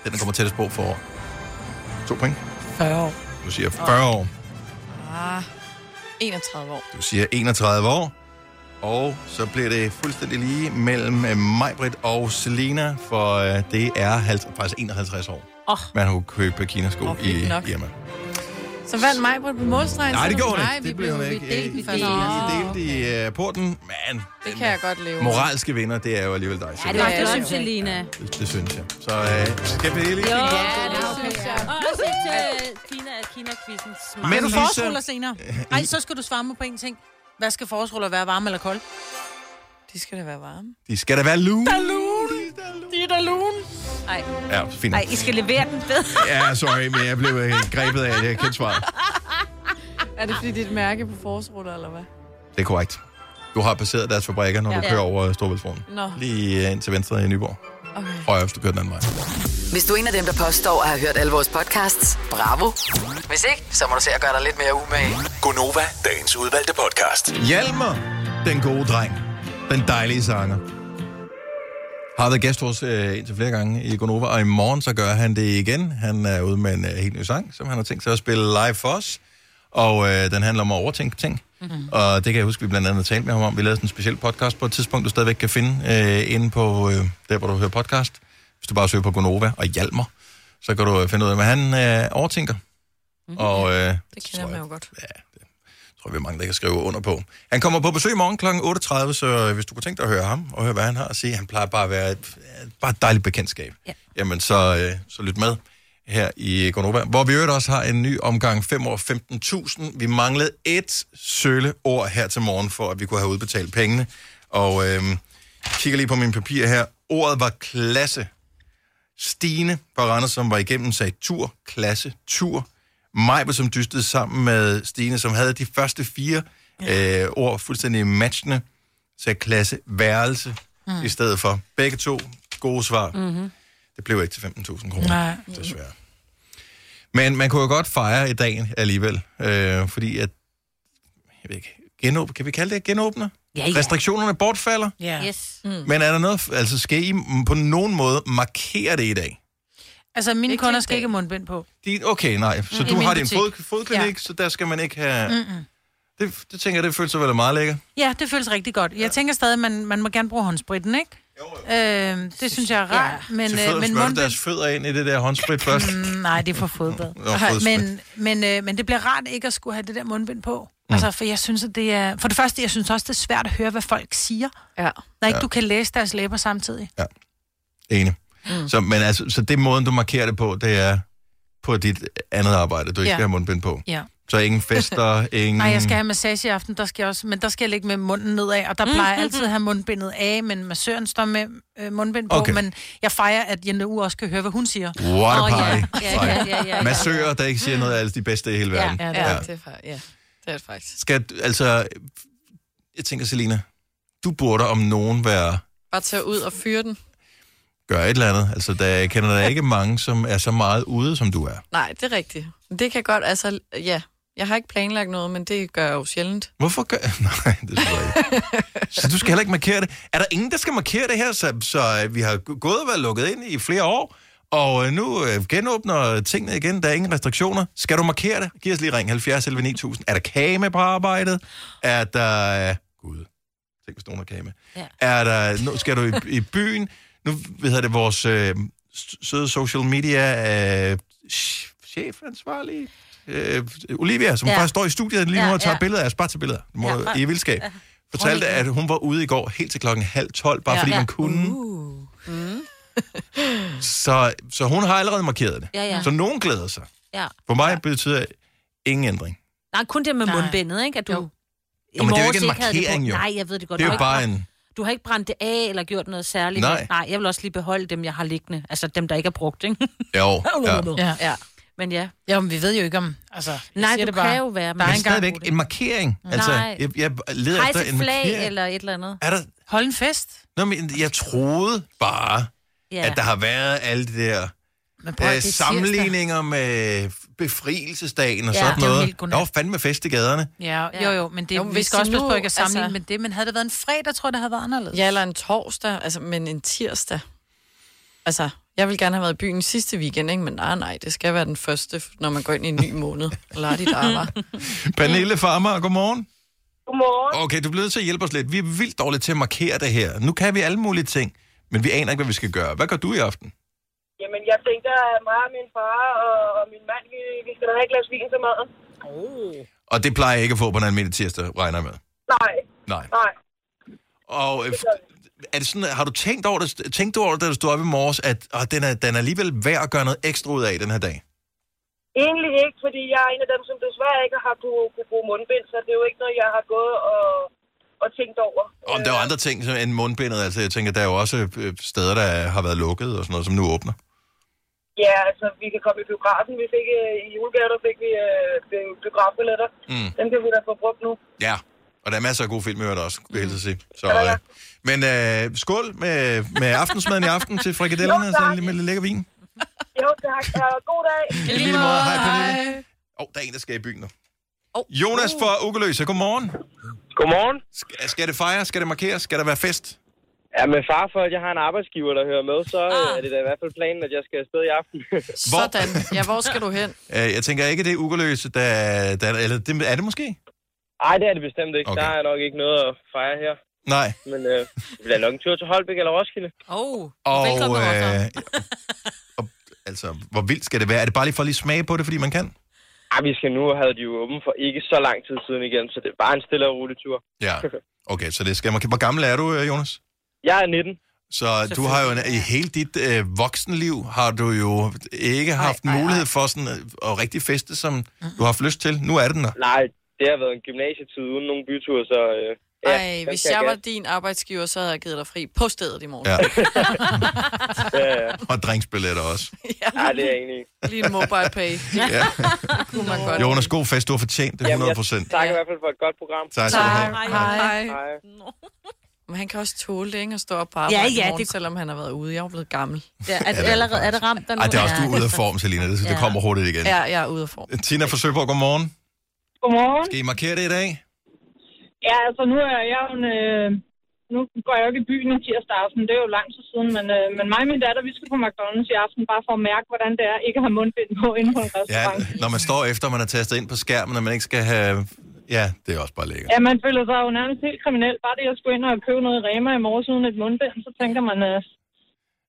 Speaker 1: Den, der kommer tættest på for to point.
Speaker 2: 40 år.
Speaker 1: Du siger 40 år.
Speaker 3: ah, 31 år.
Speaker 1: Du siger 31 år. Og så bliver det fuldstændig lige mellem øh, Majbrit og Selena, for øh, det er 50, faktisk 51 år,
Speaker 3: Åh.
Speaker 1: man har kunnet købe kinasko oh, i
Speaker 3: nok.
Speaker 1: Irma.
Speaker 3: Så vandt mig på målstregen.
Speaker 1: Nej, det
Speaker 3: selvom-
Speaker 1: gjorde hun
Speaker 3: Nej,
Speaker 1: ikke.
Speaker 3: vi
Speaker 1: Det blev hun ikke.
Speaker 3: Vi delte den
Speaker 1: I-
Speaker 3: første.
Speaker 1: I- I
Speaker 3: Nå,
Speaker 1: delte i øh, porten, men øh,
Speaker 3: Det kan jeg godt leve. med.
Speaker 1: moralske vinder, det er jo alligevel dig,
Speaker 5: Ja,
Speaker 1: Selena.
Speaker 5: det er også Selina.
Speaker 1: det, det synes jeg. Så øh, skal vi lige...
Speaker 5: Jo, ja,
Speaker 2: det
Speaker 5: det
Speaker 2: er
Speaker 5: synes jeg. Og også til Kina er Kina-quizzen smart.
Speaker 1: Men Øh,
Speaker 2: Men du
Speaker 1: Lisa-
Speaker 2: forårsruller senere. Ej, så skal du svare mig på en ting. Hvad skal forårsruller være, varme eller kold?
Speaker 3: De skal da være varme.
Speaker 1: De skal da være lune.
Speaker 5: De er da lun. Ej.
Speaker 1: Ja, fint.
Speaker 5: Ej, I skal levere den ved.
Speaker 1: Ja, sorry, men jeg blev øh, grebet af, at jeg kendte svaret.
Speaker 3: Er det fordi, det er et mærke på forårsruller, eller hvad?
Speaker 1: Det er korrekt. Du har passeret deres fabrikker, når ja.
Speaker 3: Ja.
Speaker 1: du kører over Storvældsbroen.
Speaker 3: Nå.
Speaker 1: Lige øh, ind til venstre i Nyborg.
Speaker 3: Okay.
Speaker 1: Højre, hvis du kører den anden vej.
Speaker 6: Hvis du er en af dem, der påstår at have hørt alle vores podcasts, bravo. Hvis ikke, så må du se at gøre dig lidt mere umage.
Speaker 17: Gonova, dagens udvalgte podcast.
Speaker 1: Hjalmar, den gode dreng. Den dejlige sanger. Har været gæst hos øh, indtil flere gange i Gonova, og i morgen så gør han det igen. Han er ude med en øh, helt ny sang, som han har tænkt sig at spille live for os. og øh, den handler om at overtænke ting. Mm-hmm. Og det kan jeg huske, vi blandt andet talte med ham om. Vi lavede sådan en speciel podcast på et tidspunkt, du stadigvæk kan finde øh, inde på øh, der, hvor du hører podcast. Hvis du bare søger på Gonova og Hjalmar, så kan du øh, finde ud af, hvad han øh, overtænker. Mm-hmm. Og øh,
Speaker 3: Det kender man jo godt.
Speaker 1: tror vi er mange, der kan skrive under på. Han kommer på besøg i morgen kl. 8.30, så øh, hvis du kunne tænke dig at høre ham, og høre, hvad han har at sige, han plejer bare at være et, bare et dejligt bekendtskab. Ja. Jamen, så, øh, så lyt med her i Gonova, hvor vi i øvrigt også har en ny omgang 5 år 15.000. Vi manglede et sølle ord her til morgen, for at vi kunne have udbetalt pengene. Og øh, kigger lige på mine papirer her. Ordet var klasse. Stine fra Randers, som var igennem, sagde tur, klasse, tur. Majbe, som dystede sammen med Stine, som havde de første fire ja. øh, ord fuldstændig matchende, sagde klasse, værelse
Speaker 2: Mm.
Speaker 1: mm. i stedet for. Begge to gode svar. Mm.
Speaker 2: Mm-hmm.
Speaker 1: Det blev ikke til 15.000 kroner.
Speaker 2: Nej.
Speaker 1: Desværre. Men man kunne jo godt fejre i dagen alligevel, øh, fordi at, jeg ved ikke, genåb, kan vi kalde det at genåbne?
Speaker 5: Ja, ja.
Speaker 1: Restriktionerne bortfalder.
Speaker 2: Ja.
Speaker 5: Yes. Mm.
Speaker 1: Men er der noget, altså skal I på nogen måde markere det i dag?
Speaker 2: Altså, mine ikke kunder skal ikke have mundbind på.
Speaker 1: De, okay, nej, så
Speaker 2: Mm. I
Speaker 1: du
Speaker 2: min
Speaker 1: har din
Speaker 2: butik.
Speaker 1: fod, fodklinik,
Speaker 2: Ja. Mm.
Speaker 1: ja. så der skal man ikke have...
Speaker 2: Mm-mm.
Speaker 1: Det, det tænker jeg, det føles så vel meget lækkert.
Speaker 2: Ja, det føles rigtig godt. Jeg tænker stadig, at man, man må gerne bruge håndspritten, ikke? Jo, jo. Øh, det synes jeg er rart. Ja. Men,
Speaker 1: Men, til
Speaker 2: øh,
Speaker 1: fødderne
Speaker 2: men
Speaker 1: smører mund...
Speaker 2: mundbind...
Speaker 1: deres fødder ind i det der håndsprit først.
Speaker 2: Mm, nej, det er for fodbad.
Speaker 1: Nå, fodsprit.
Speaker 2: men, men, øh, men det bliver rart ikke at skulle have det der mundbind på. Mm.
Speaker 1: Mm.
Speaker 2: Altså, for jeg synes, at det er... For det første, jeg synes også, det er svært at høre, hvad folk siger,
Speaker 3: ja.
Speaker 2: når ikke ja.
Speaker 1: Ja.
Speaker 2: du kan læse deres læber samtidig.
Speaker 1: Enig.
Speaker 2: Mm.
Speaker 1: Mm. Så, men altså, så det måden, du markerer det på, det er på dit andet arbejde, du
Speaker 2: Ja.
Speaker 1: ikke ja. skal have mundbind på.
Speaker 2: Ja.
Speaker 1: Så ingen fester, ingen...
Speaker 2: Nej, jeg skal have massage i aften, der skal jeg også, men der skal jeg ligge med munden nedad, og der
Speaker 5: Mm,
Speaker 2: plejer jeg
Speaker 5: mm,
Speaker 2: altid at have mundbindet af, men massøren står med øh, mundbind på, okay.
Speaker 1: Okay.
Speaker 2: men jeg fejrer, at Jenne U også kan høre, hvad hun siger.
Speaker 1: What a
Speaker 2: Åh,
Speaker 1: party.
Speaker 2: Ja, ja, ja, ja, ja.
Speaker 1: Massører, der ikke siger noget af altså de bedste i hele
Speaker 3: Ja,
Speaker 1: verden.
Speaker 3: ja, det er det, er fa- ja. det er det faktisk.
Speaker 1: Skal, du- altså, jeg tænker, Selina, du burde om nogen være
Speaker 3: Bare tage ud og fyre den.
Speaker 1: gøre et eller andet. Altså, der jeg kender der ikke mange, som er så meget ude, som du er.
Speaker 3: Nej, det er rigtigt. Det kan godt, altså, ja. Jeg har ikke planlagt noget, men det gør jeg jo sjældent.
Speaker 1: Hvorfor gør... Nej, det tror jeg ikke. Så du skal heller ikke markere det. Er der ingen, der skal markere det her? Så, så øh, vi har g- gået og været lukket ind i flere år, og øh, nu øh, genåbner tingene igen. Der er ingen restriktioner. Skal du markere det? Giv os lige ring 70 11 9000. Er der kage med på arbejdet? Er der... Gud. Tænk, hvis nogen har kage med.
Speaker 5: Ja.
Speaker 1: Er der... Nu skal du i, i byen. Nu hvad hedder det vores øh, s- søde social media øh, chefansvarlige. Øh, Olivia, som
Speaker 5: Ja.
Speaker 1: ja. faktisk står i studiet lige nu
Speaker 5: Ja,
Speaker 1: og tager
Speaker 5: ja.
Speaker 1: billeder af os. Bare tage billeder. Du må,
Speaker 5: Ja, bare-
Speaker 1: I vildskab.
Speaker 5: Ja.
Speaker 1: Fortalte,
Speaker 5: Prøv lige.
Speaker 1: at hun var ude i går helt til klokken halv tolv, bare
Speaker 5: Ja.
Speaker 1: ja. fordi
Speaker 5: Ja.
Speaker 1: man kunne. Uh.
Speaker 5: Mm.
Speaker 1: Så, så hun har allerede markeret det.
Speaker 5: Ja, ja.
Speaker 1: Så nogen glæder sig.
Speaker 5: ja.
Speaker 1: For mig betyder ingen ændring.
Speaker 5: Nej, kun det med mundbindet, ikke? At du... Jo.
Speaker 1: Jo, men det er jo ikke en markering, jo.
Speaker 5: Nej, jeg ved det godt.
Speaker 1: Det er
Speaker 5: Du
Speaker 1: jo
Speaker 5: har
Speaker 1: bare
Speaker 5: ikke-
Speaker 1: en-
Speaker 5: Du har ikke brændt det af eller gjort noget særligt.
Speaker 1: Nej.
Speaker 5: Nej, jeg vil også lige beholde dem, jeg har liggende. Altså dem, der ikke er brugt, ikke?
Speaker 1: Jo, ja.
Speaker 2: Ja.
Speaker 5: ja. Men ja.
Speaker 2: Ja, men vi ved jo ikke om... Altså, jeg
Speaker 5: Nej,
Speaker 2: siger
Speaker 5: du
Speaker 2: det bare.
Speaker 5: kan jo være...
Speaker 1: Men stadigvæk en markering. Altså,
Speaker 5: Nej.
Speaker 1: jeg, jeg leder
Speaker 5: Hejse
Speaker 1: efter en
Speaker 5: flag
Speaker 1: markering.
Speaker 5: eller et eller andet.
Speaker 1: Er der...
Speaker 2: Hold en fest.
Speaker 1: Nå, men jeg troede bare,
Speaker 5: Ja.
Speaker 1: ja. at der har været alle de der
Speaker 2: Men prøv at- det er
Speaker 1: øh,
Speaker 2: tirsdag.
Speaker 1: sammenligninger med befrielsesdagen og
Speaker 2: Ja,
Speaker 1: sådan
Speaker 2: det er jo
Speaker 1: noget.
Speaker 2: helt
Speaker 1: Der
Speaker 2: godnat.
Speaker 1: var fandme fest i gaderne.
Speaker 2: Ja, jo, jo, men det,
Speaker 3: Jo,
Speaker 2: jo,
Speaker 3: men
Speaker 2: vi
Speaker 3: hvis
Speaker 2: skal også
Speaker 3: de
Speaker 2: passe på
Speaker 3: nu-
Speaker 2: ikke at
Speaker 3: altså-
Speaker 2: sammenligne altså... med det, men havde det været en fredag, tror jeg, det havde været anderledes.
Speaker 3: Ja, eller en torsdag, altså, men en tirsdag. Altså, jeg vil gerne have været i byen sidste weekend, ikke? men nej, nej, det skal være den første, når man går ind i en ny måned. Lad dit arbejde.
Speaker 1: Pernille Farmer, godmorgen.
Speaker 15: Godmorgen.
Speaker 1: Okay, du bliver nødt til at hjælpe os lidt. Vi er vildt dårlige til at markere det her. Nu kan vi alle mulige ting, men vi aner ikke, hvad vi skal gøre. Hvad gør du i aften?
Speaker 15: Jamen, jeg tænker, at mig og min far og, og min mand, vi, vi skal da have et glas vin til maden. Oh.
Speaker 1: Og det plejer jeg ikke at få på en almindelig tirsdag, regner jeg med.
Speaker 15: Nej,
Speaker 1: Nej.
Speaker 15: nej.
Speaker 1: Og øh, er det sådan, har du tænkt over det, tænkt over det, da du stod op i morges, at åh, den, er, den er alligevel værd at gøre noget ekstra ud af den her dag?
Speaker 15: Egentlig ikke, fordi jeg er en af dem, som desværre ikke har kunne, kunne bruge mundbind, så det er jo ikke noget, jeg har gået og, og tænkt over.
Speaker 1: Og der er jo andre ting som end mundbindet. Altså, jeg tænker, der er jo også øh, steder, der har været lukket og sådan noget, som nu åbner.
Speaker 15: Ja, altså, vi kan komme i biografen. Vi fik øh, i julegave, der fik vi øh, bi- biografbilletter.
Speaker 1: Mm.
Speaker 15: Dem kan vi da få brugt nu.
Speaker 1: Ja, og der er masser af gode film i øvrigt også, vil jeg helst sige. Så, øh, men øh, skål med, med aftensmaden i aften til frikadellerne og sådan lidt med lidt lækker vin.
Speaker 15: Jo, tak. Og god dag.
Speaker 1: I lige måde. Hej, Pernille. Åh, oh, der er en, der skal i byen nu. Oh. Jonas fra Ugeløse, godmorgen.
Speaker 9: Godmorgen.
Speaker 1: Skal, skal det fejre? Skal det markeres? Skal der være fest?
Speaker 9: Ja, men far for, at jeg har en arbejdsgiver, der hører med, så ah. er det da i hvert fald planen, at jeg skal afsted i aften.
Speaker 3: Sådan. Ja, hvor skal du hen?
Speaker 1: Øh, jeg tænker ikke, det er ugerløse, der, der, eller det, er det måske?
Speaker 9: Nej, det er det bestemt ikke. Okay. Der er nok ikke noget at fejre her.
Speaker 1: Nej.
Speaker 9: Men øh, det bliver nok en tur til Holbæk eller Roskilde.
Speaker 5: Oh,
Speaker 1: Og, øh, og, altså, hvor vildt skal det være? Er det bare lige for at lige smage på det, fordi man kan?
Speaker 9: Ej, vi skal nu, og havde de jo åben for ikke så lang tid siden igen, så det er bare en stille og rolig tur.
Speaker 1: Ja. Okay, så det skal man. Hvor gammel er du, øh, Jonas?
Speaker 9: Jeg er 19.
Speaker 1: Så du har jo en, i hele dit øh, voksenliv har du jo ikke haft ej, mulighed for sådan at, at rigtig feste, som du har haft lyst til. Nu er den der.
Speaker 9: Nej, det har været en gymnasietid uden nogen byture, så... Øh, ja,
Speaker 3: Ej,
Speaker 9: den
Speaker 3: hvis
Speaker 9: skal
Speaker 3: jeg var
Speaker 9: gas.
Speaker 3: din arbejdsgiver, så havde jeg givet dig fri på stedet i morgen.
Speaker 1: Ja.
Speaker 9: Ja, ja.
Speaker 1: Og drinksbilletter også.
Speaker 9: ja, det er jeg enig i.
Speaker 3: Lige en mobile pay.
Speaker 1: Ja.
Speaker 3: Kunne man godt.
Speaker 1: Jonas, god fest. Du har fortjent det 100 procent.
Speaker 9: Tak i hvert fald for et godt program.
Speaker 1: Tak skal du have.
Speaker 3: Hej.
Speaker 9: Hej.
Speaker 3: Hej. Men han kan også tåle det, ikke? At stå op på arbejde
Speaker 5: Ja,
Speaker 3: ja,
Speaker 5: ja,
Speaker 3: ja, i morgen,
Speaker 5: det-
Speaker 3: det... selvom han har været ude. Jeg er jo blevet gammel.
Speaker 5: Ja, er,
Speaker 1: det
Speaker 5: det
Speaker 1: er
Speaker 5: allerede, er det ramt der nu?
Speaker 1: Ej, det er også, du er
Speaker 5: Ja.
Speaker 1: ude af form, Selina. Det, det
Speaker 5: Ja.
Speaker 1: kommer hurtigt igen.
Speaker 3: Ja, jeg er ude af form.
Speaker 1: Tina forsøg på, godmorgen.
Speaker 11: Godmorgen.
Speaker 1: Skal I markere det i dag?
Speaker 11: Ja, altså nu er jeg jo en, øh, nu går jeg jo ikke i byen om tirsdag aften, det er jo lang tid siden, men, øh, men mig og min datter, vi skal på McDonald's i aften, bare for at mærke, hvordan det er ikke at have mundbind på inden på en
Speaker 1: Ja,
Speaker 11: restaurant.
Speaker 1: når man står efter, man har tastet ind på skærmen, og man ikke skal have... Ja, det er også bare lækkert.
Speaker 11: Ja, man føler sig jo nærmest helt kriminel. Bare det, at jeg skulle ind og købe noget i Rema i morges uden et mundbind, så tænker man, øh,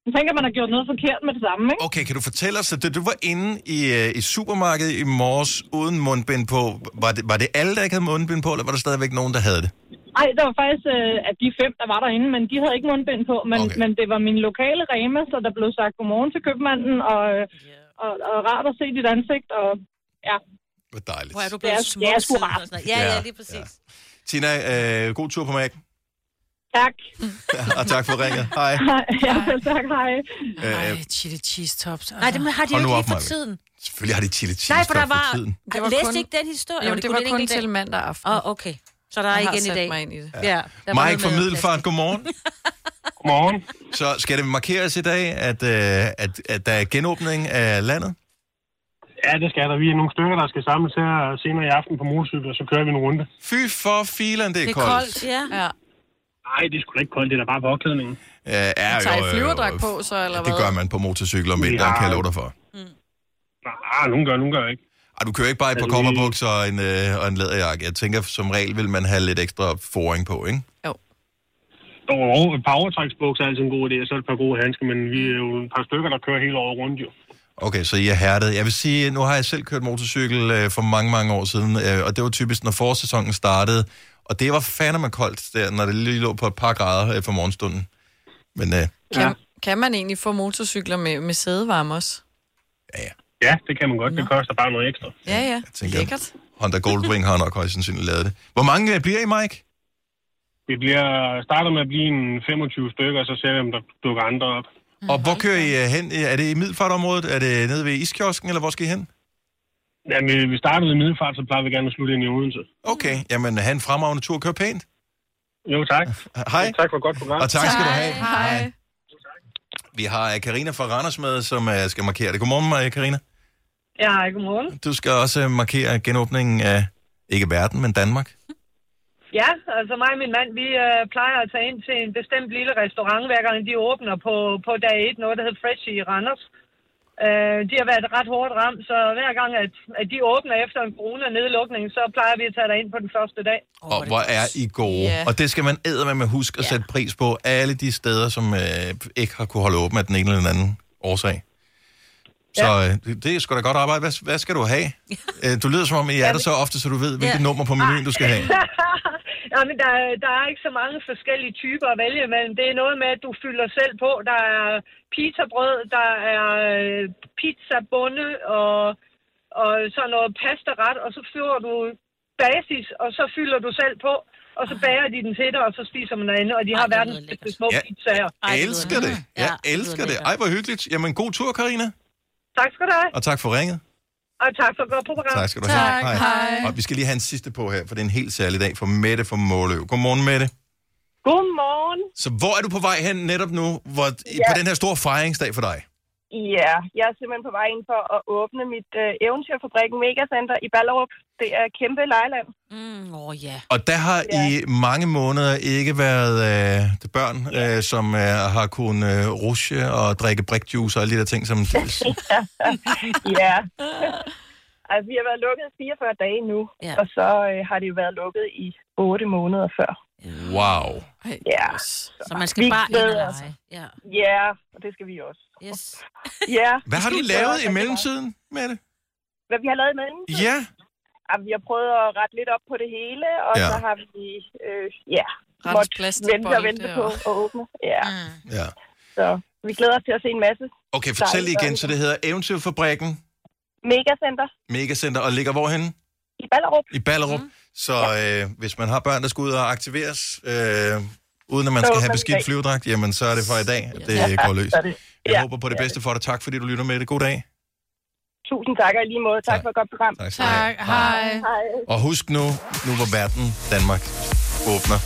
Speaker 11: så tænker man har gjort noget forkert med det samme, ikke?
Speaker 1: Okay, kan du fortælle os, at da du var inde i, øh, i supermarkedet i morges uden mundbind på, var det, var det alle, der ikke havde mundbind på, eller var der stadigvæk nogen, der havde det?
Speaker 11: Nej, der var faktisk, øh, at de fem, der var derinde, men de havde ikke mundbind på, men, okay. men det var min lokale Rema, så der blev sagt godmorgen til købmanden, og, øh, og, og rart at se dit ansigt, og ja.
Speaker 1: Hvor dejligt.
Speaker 11: Hvor er
Speaker 5: du blevet smuk
Speaker 11: Ja, sgu
Speaker 5: siden
Speaker 11: rart.
Speaker 5: og sådan noget. Ja, ja,
Speaker 1: Ja.
Speaker 5: lige præcis.
Speaker 1: Tina, øh, god tur på Mac,
Speaker 11: Tak.
Speaker 1: og tak for ringet. Hej.
Speaker 11: Ja, tak, hej.
Speaker 1: Øh,
Speaker 2: Ej, chili cheese tops. altså.
Speaker 5: Nej, det har de jo
Speaker 1: Hold nu
Speaker 5: ikke
Speaker 1: op,
Speaker 5: lige for
Speaker 1: Maja.
Speaker 5: tiden.
Speaker 1: selvfølgelig har de chili cheese
Speaker 5: Nej, for der
Speaker 1: stop
Speaker 5: var...
Speaker 1: tiden.
Speaker 5: Det var læste kun... ikke den historie?
Speaker 3: Jo,
Speaker 5: Nå,
Speaker 3: det
Speaker 5: kunne
Speaker 3: var
Speaker 5: den
Speaker 3: kun
Speaker 5: ikke i dag.
Speaker 3: til mandag aften.
Speaker 5: Åh, oh, okay. Så der er
Speaker 3: Jeg har
Speaker 5: igen i
Speaker 3: sat
Speaker 5: dag.
Speaker 3: mig ind i det.
Speaker 5: Ja. ja der var noget
Speaker 1: Mike fra
Speaker 5: med-
Speaker 1: Middelfart, godmorgen.
Speaker 9: godmorgen.
Speaker 1: Så skal det markeres i dag, at, øh, at, at der er genåbning af landet?
Speaker 22: Ja, det skal der. Vi er nogle stykker, der skal samles her senere i aften på motorcykel, og så kører vi en runde.
Speaker 1: Fy for filan, det er,
Speaker 3: ja. ja.
Speaker 22: Nej, det er sgu da ikke koldt. Det er da bare påklædningen.
Speaker 1: Ja, er
Speaker 3: Tager I
Speaker 1: jo, øh,
Speaker 3: flyverdrag på, så, eller hvad?
Speaker 1: Det gør man på motorcykel om vinteren,
Speaker 22: Ja.
Speaker 1: kan jeg love dig for.
Speaker 22: Nej, Mm. Ah, nogen gør, nogen gør ikke.
Speaker 1: Ej, du kører ikke bare i et par
Speaker 22: Altså, vi-
Speaker 1: kopperbukser og en, øh, og en læderjakke. Jeg tænker, som regel vil man have lidt ekstra foring på, ikke?
Speaker 22: Og et par overtræksbukser er altid en god idé, og så et par gode handsker, men vi er jo et par stykker, der kører hele året rundt jo.
Speaker 1: Okay, så I er hærdet. Jeg vil sige, nu har jeg selv kørt motorcykel øh, for mange, mange år siden, øh, og det var typisk, når forårssæsonen startede, og det var fandeme koldt, der, når det lige lå på et par grader øh, for morgenstunden. Men øh,
Speaker 3: Kan, ja. kan man egentlig få motorcykler med, med sædevarme også?
Speaker 22: Ja, det kan man godt. Det koster bare noget ekstra.
Speaker 3: Ja, ja.
Speaker 1: tænker-
Speaker 3: Lækkert.
Speaker 1: Honda Goldwing har nok højst sandsynligt lavet det. Hvor mange øh, bliver I, Mike?
Speaker 22: Vi bliver, starter med at blive en 25 stykker, og så ser vi, om der dukker andre op.
Speaker 1: Og hvor kører I øh, hen? Er det i Middelfartområdet? Er det nede ved Iskiosken, eller hvor skal I hen?
Speaker 22: Jamen, vi- vi startede i Middelfart, så plejer vi gerne at slutte ind i Odense.
Speaker 1: Okay, jamen have en fremragende tur. Kør pænt.
Speaker 22: Jo, tak.
Speaker 1: Hej.
Speaker 22: Tak for et godt program.
Speaker 1: Og tak skal du have.
Speaker 3: Hej.
Speaker 1: Vi har øh, Karina fra Randers med, som øh, skal markere det. Godmorgen, øh, Karina.
Speaker 11: Ja, hej, godmorgen.
Speaker 1: Du skal også øh, markere genåbningen af, ikke verden, men Danmark.
Speaker 11: Ja, altså mig og min mand, vi øh, plejer at tage ind til en bestemt lille restaurant, hver gang de åbner på, på dag 1, noget der hedder Fresh i Randers. Øh, de har været ret hårdt ramt, så hver gang, at, at de åbner efter en corona-nedlukning, så plejer vi at tage ind på den første dag.
Speaker 1: Oh, og hvor er I gode.
Speaker 11: Ja.
Speaker 1: Yeah. Og det skal man med med huske at yeah. sætte pris på. Alle de steder, som øh, ikke har kunne holde åbent af den ene eller den anden årsag. Så øh, det- det er sgu da godt arbejde. Hvad, hvad skal du have? øh, du lyder som om, I er der så ofte, så du ved, hvilket
Speaker 11: Ja.
Speaker 1: nummer på menuen, du skal have.
Speaker 11: Jamen, der, er- der er ikke så mange forskellige typer at vælge imellem. Det er noget med, at du fylder selv på. Der er pizzabrød, der er øh, pizzabunde og, og sådan noget pastaret, og så fylder du basis, og så fylder du selv på, og så bager de den til dig, og så spiser man derinde, og de har verdens bedste små
Speaker 1: Ja.
Speaker 11: pizzaer.
Speaker 1: Jeg elsker det. Jeg elsker det. Ej, hvor hyggeligt. Jamen, god tur, Karina.
Speaker 11: Tak skal du have,
Speaker 1: Og tak for ringet.
Speaker 11: og tak for et godt program.
Speaker 1: Tak skal du have. Og vi skal lige have en sidste på her, for det er en helt særlig dag for Mette fra Måløv. Godmorgen, Mette.
Speaker 11: Godmorgen.
Speaker 1: Så hvor er du på vej hen netop nu, hvor, ja.
Speaker 11: Ja.
Speaker 1: på den her store fejringsdag for dig?
Speaker 11: Ja, jeg er simpelthen på vej ind for at åbne mit øh, eventyrfabrikken Megacenter i Ballerup. Det er kæmpe lejland.
Speaker 5: Mm, åh oh, ja.
Speaker 1: Og der har ja. i mange måneder ikke været øh, de børn, øh, som øh, har kunnet øh, rushe og drikke brikjuice og alle de der ting, som...
Speaker 11: ja. Altså, vi har været lukket i 44 dage nu, ja. og så øh, har det jo været lukket i 8 måneder før.
Speaker 1: Wow.
Speaker 11: Ja.
Speaker 5: Så man skal
Speaker 11: Vi
Speaker 5: bare ind og
Speaker 11: glæder
Speaker 5: lege.
Speaker 11: os.
Speaker 5: Ja.
Speaker 11: Ja, og det skal vi også.
Speaker 5: Yes.
Speaker 11: Ja.
Speaker 1: Hvad har du
Speaker 11: Vi glæder
Speaker 1: lavet
Speaker 11: os
Speaker 1: i
Speaker 11: rigtig
Speaker 1: mellemtiden med det?
Speaker 11: meget. Hvad vi har lavet i mellemtiden?
Speaker 1: Ja.
Speaker 11: Jamen, vi har prøvet at rette lidt op på det hele, og
Speaker 1: Ja.
Speaker 11: ja. så har vi øh, ja,
Speaker 3: Rense
Speaker 11: måttet
Speaker 3: plastikbolde
Speaker 11: vente og vente på
Speaker 3: og-
Speaker 11: at åbne. Ja.
Speaker 5: Mm.
Speaker 1: Ja.
Speaker 11: Så vi glæder os til at se en masse.
Speaker 1: Okay, fortæl lige
Speaker 11: Dejligt.
Speaker 1: igen, så det hedder Eventyrfabrikken
Speaker 11: Megacenter
Speaker 1: Megacenter, og ligger hvorhenne?
Speaker 11: i Ballerup. Mhm.
Speaker 1: I Ballerup. Mm. Så øh, hvis man har børn, der skal ud og aktiveres, øh, uden at man
Speaker 11: Så
Speaker 1: skal
Speaker 11: åbner
Speaker 1: have
Speaker 11: vi i
Speaker 1: beskidt
Speaker 11: dag.
Speaker 1: flyverdragt, jamen så er det for i dag, at det
Speaker 11: Ja,
Speaker 1: går løs.
Speaker 11: så er det-
Speaker 1: Jeg
Speaker 11: ja,
Speaker 1: håber på det
Speaker 11: det er
Speaker 1: bedste for dig. Tak fordi du lytter med det. God dag.
Speaker 11: Tusind tak og i lige måde. Tak, for et godt program.
Speaker 1: Tak skal du have. Tak.
Speaker 11: Hej. Hej.
Speaker 1: Og husk nu, nu hvor verden, Danmark, åbner,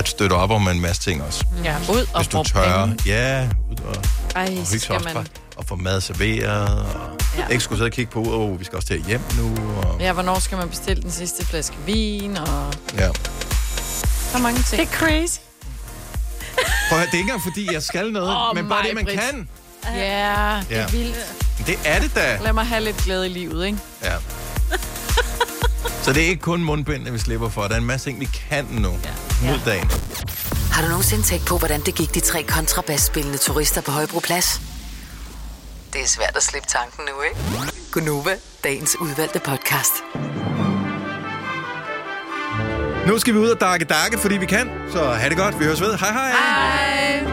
Speaker 1: at støtte op om en masse ting også.
Speaker 3: Ja, ud og
Speaker 1: Hvis du
Speaker 3: bruge
Speaker 1: tør,
Speaker 3: penge.
Speaker 1: ja, ud og,
Speaker 3: Ej,
Speaker 1: og hygge sig
Speaker 3: skal
Speaker 1: også
Speaker 3: man...
Speaker 1: bare, og få mad serveret, og ja. ikke skulle sidde og kigge på, åh, vi skal også til hjem nu, og
Speaker 3: Ja, hvornår skal man bestille den sidste flaske vin, og
Speaker 1: ja.
Speaker 3: så mange ting. Det er crazy.
Speaker 1: Prøv at høre, det er ikke engang fordi, jeg skal noget, oh, men bare det, man kan.
Speaker 3: Ja, det
Speaker 1: Ja.
Speaker 3: er vildt.
Speaker 1: Det er det da.
Speaker 3: Lad mig have lidt glæde i livet, ikke?
Speaker 1: Ja. Så det er ikke kun mundbindene, vi slipper for. Der er en masse ting, vi kan nu. Ja. Mod dagen.
Speaker 6: Har du nogensinde tænkt på, hvordan det gik de tre kontrabasspillende turister på Højbroplads? Det er svært at slippe tanken nu, ikke? Gunova, dagens udvalgte podcast.
Speaker 1: Nu skal vi ud og dakke dakke, fordi vi kan. Så ha' det godt. Vi høres ved. Hej hej.
Speaker 6: Hej.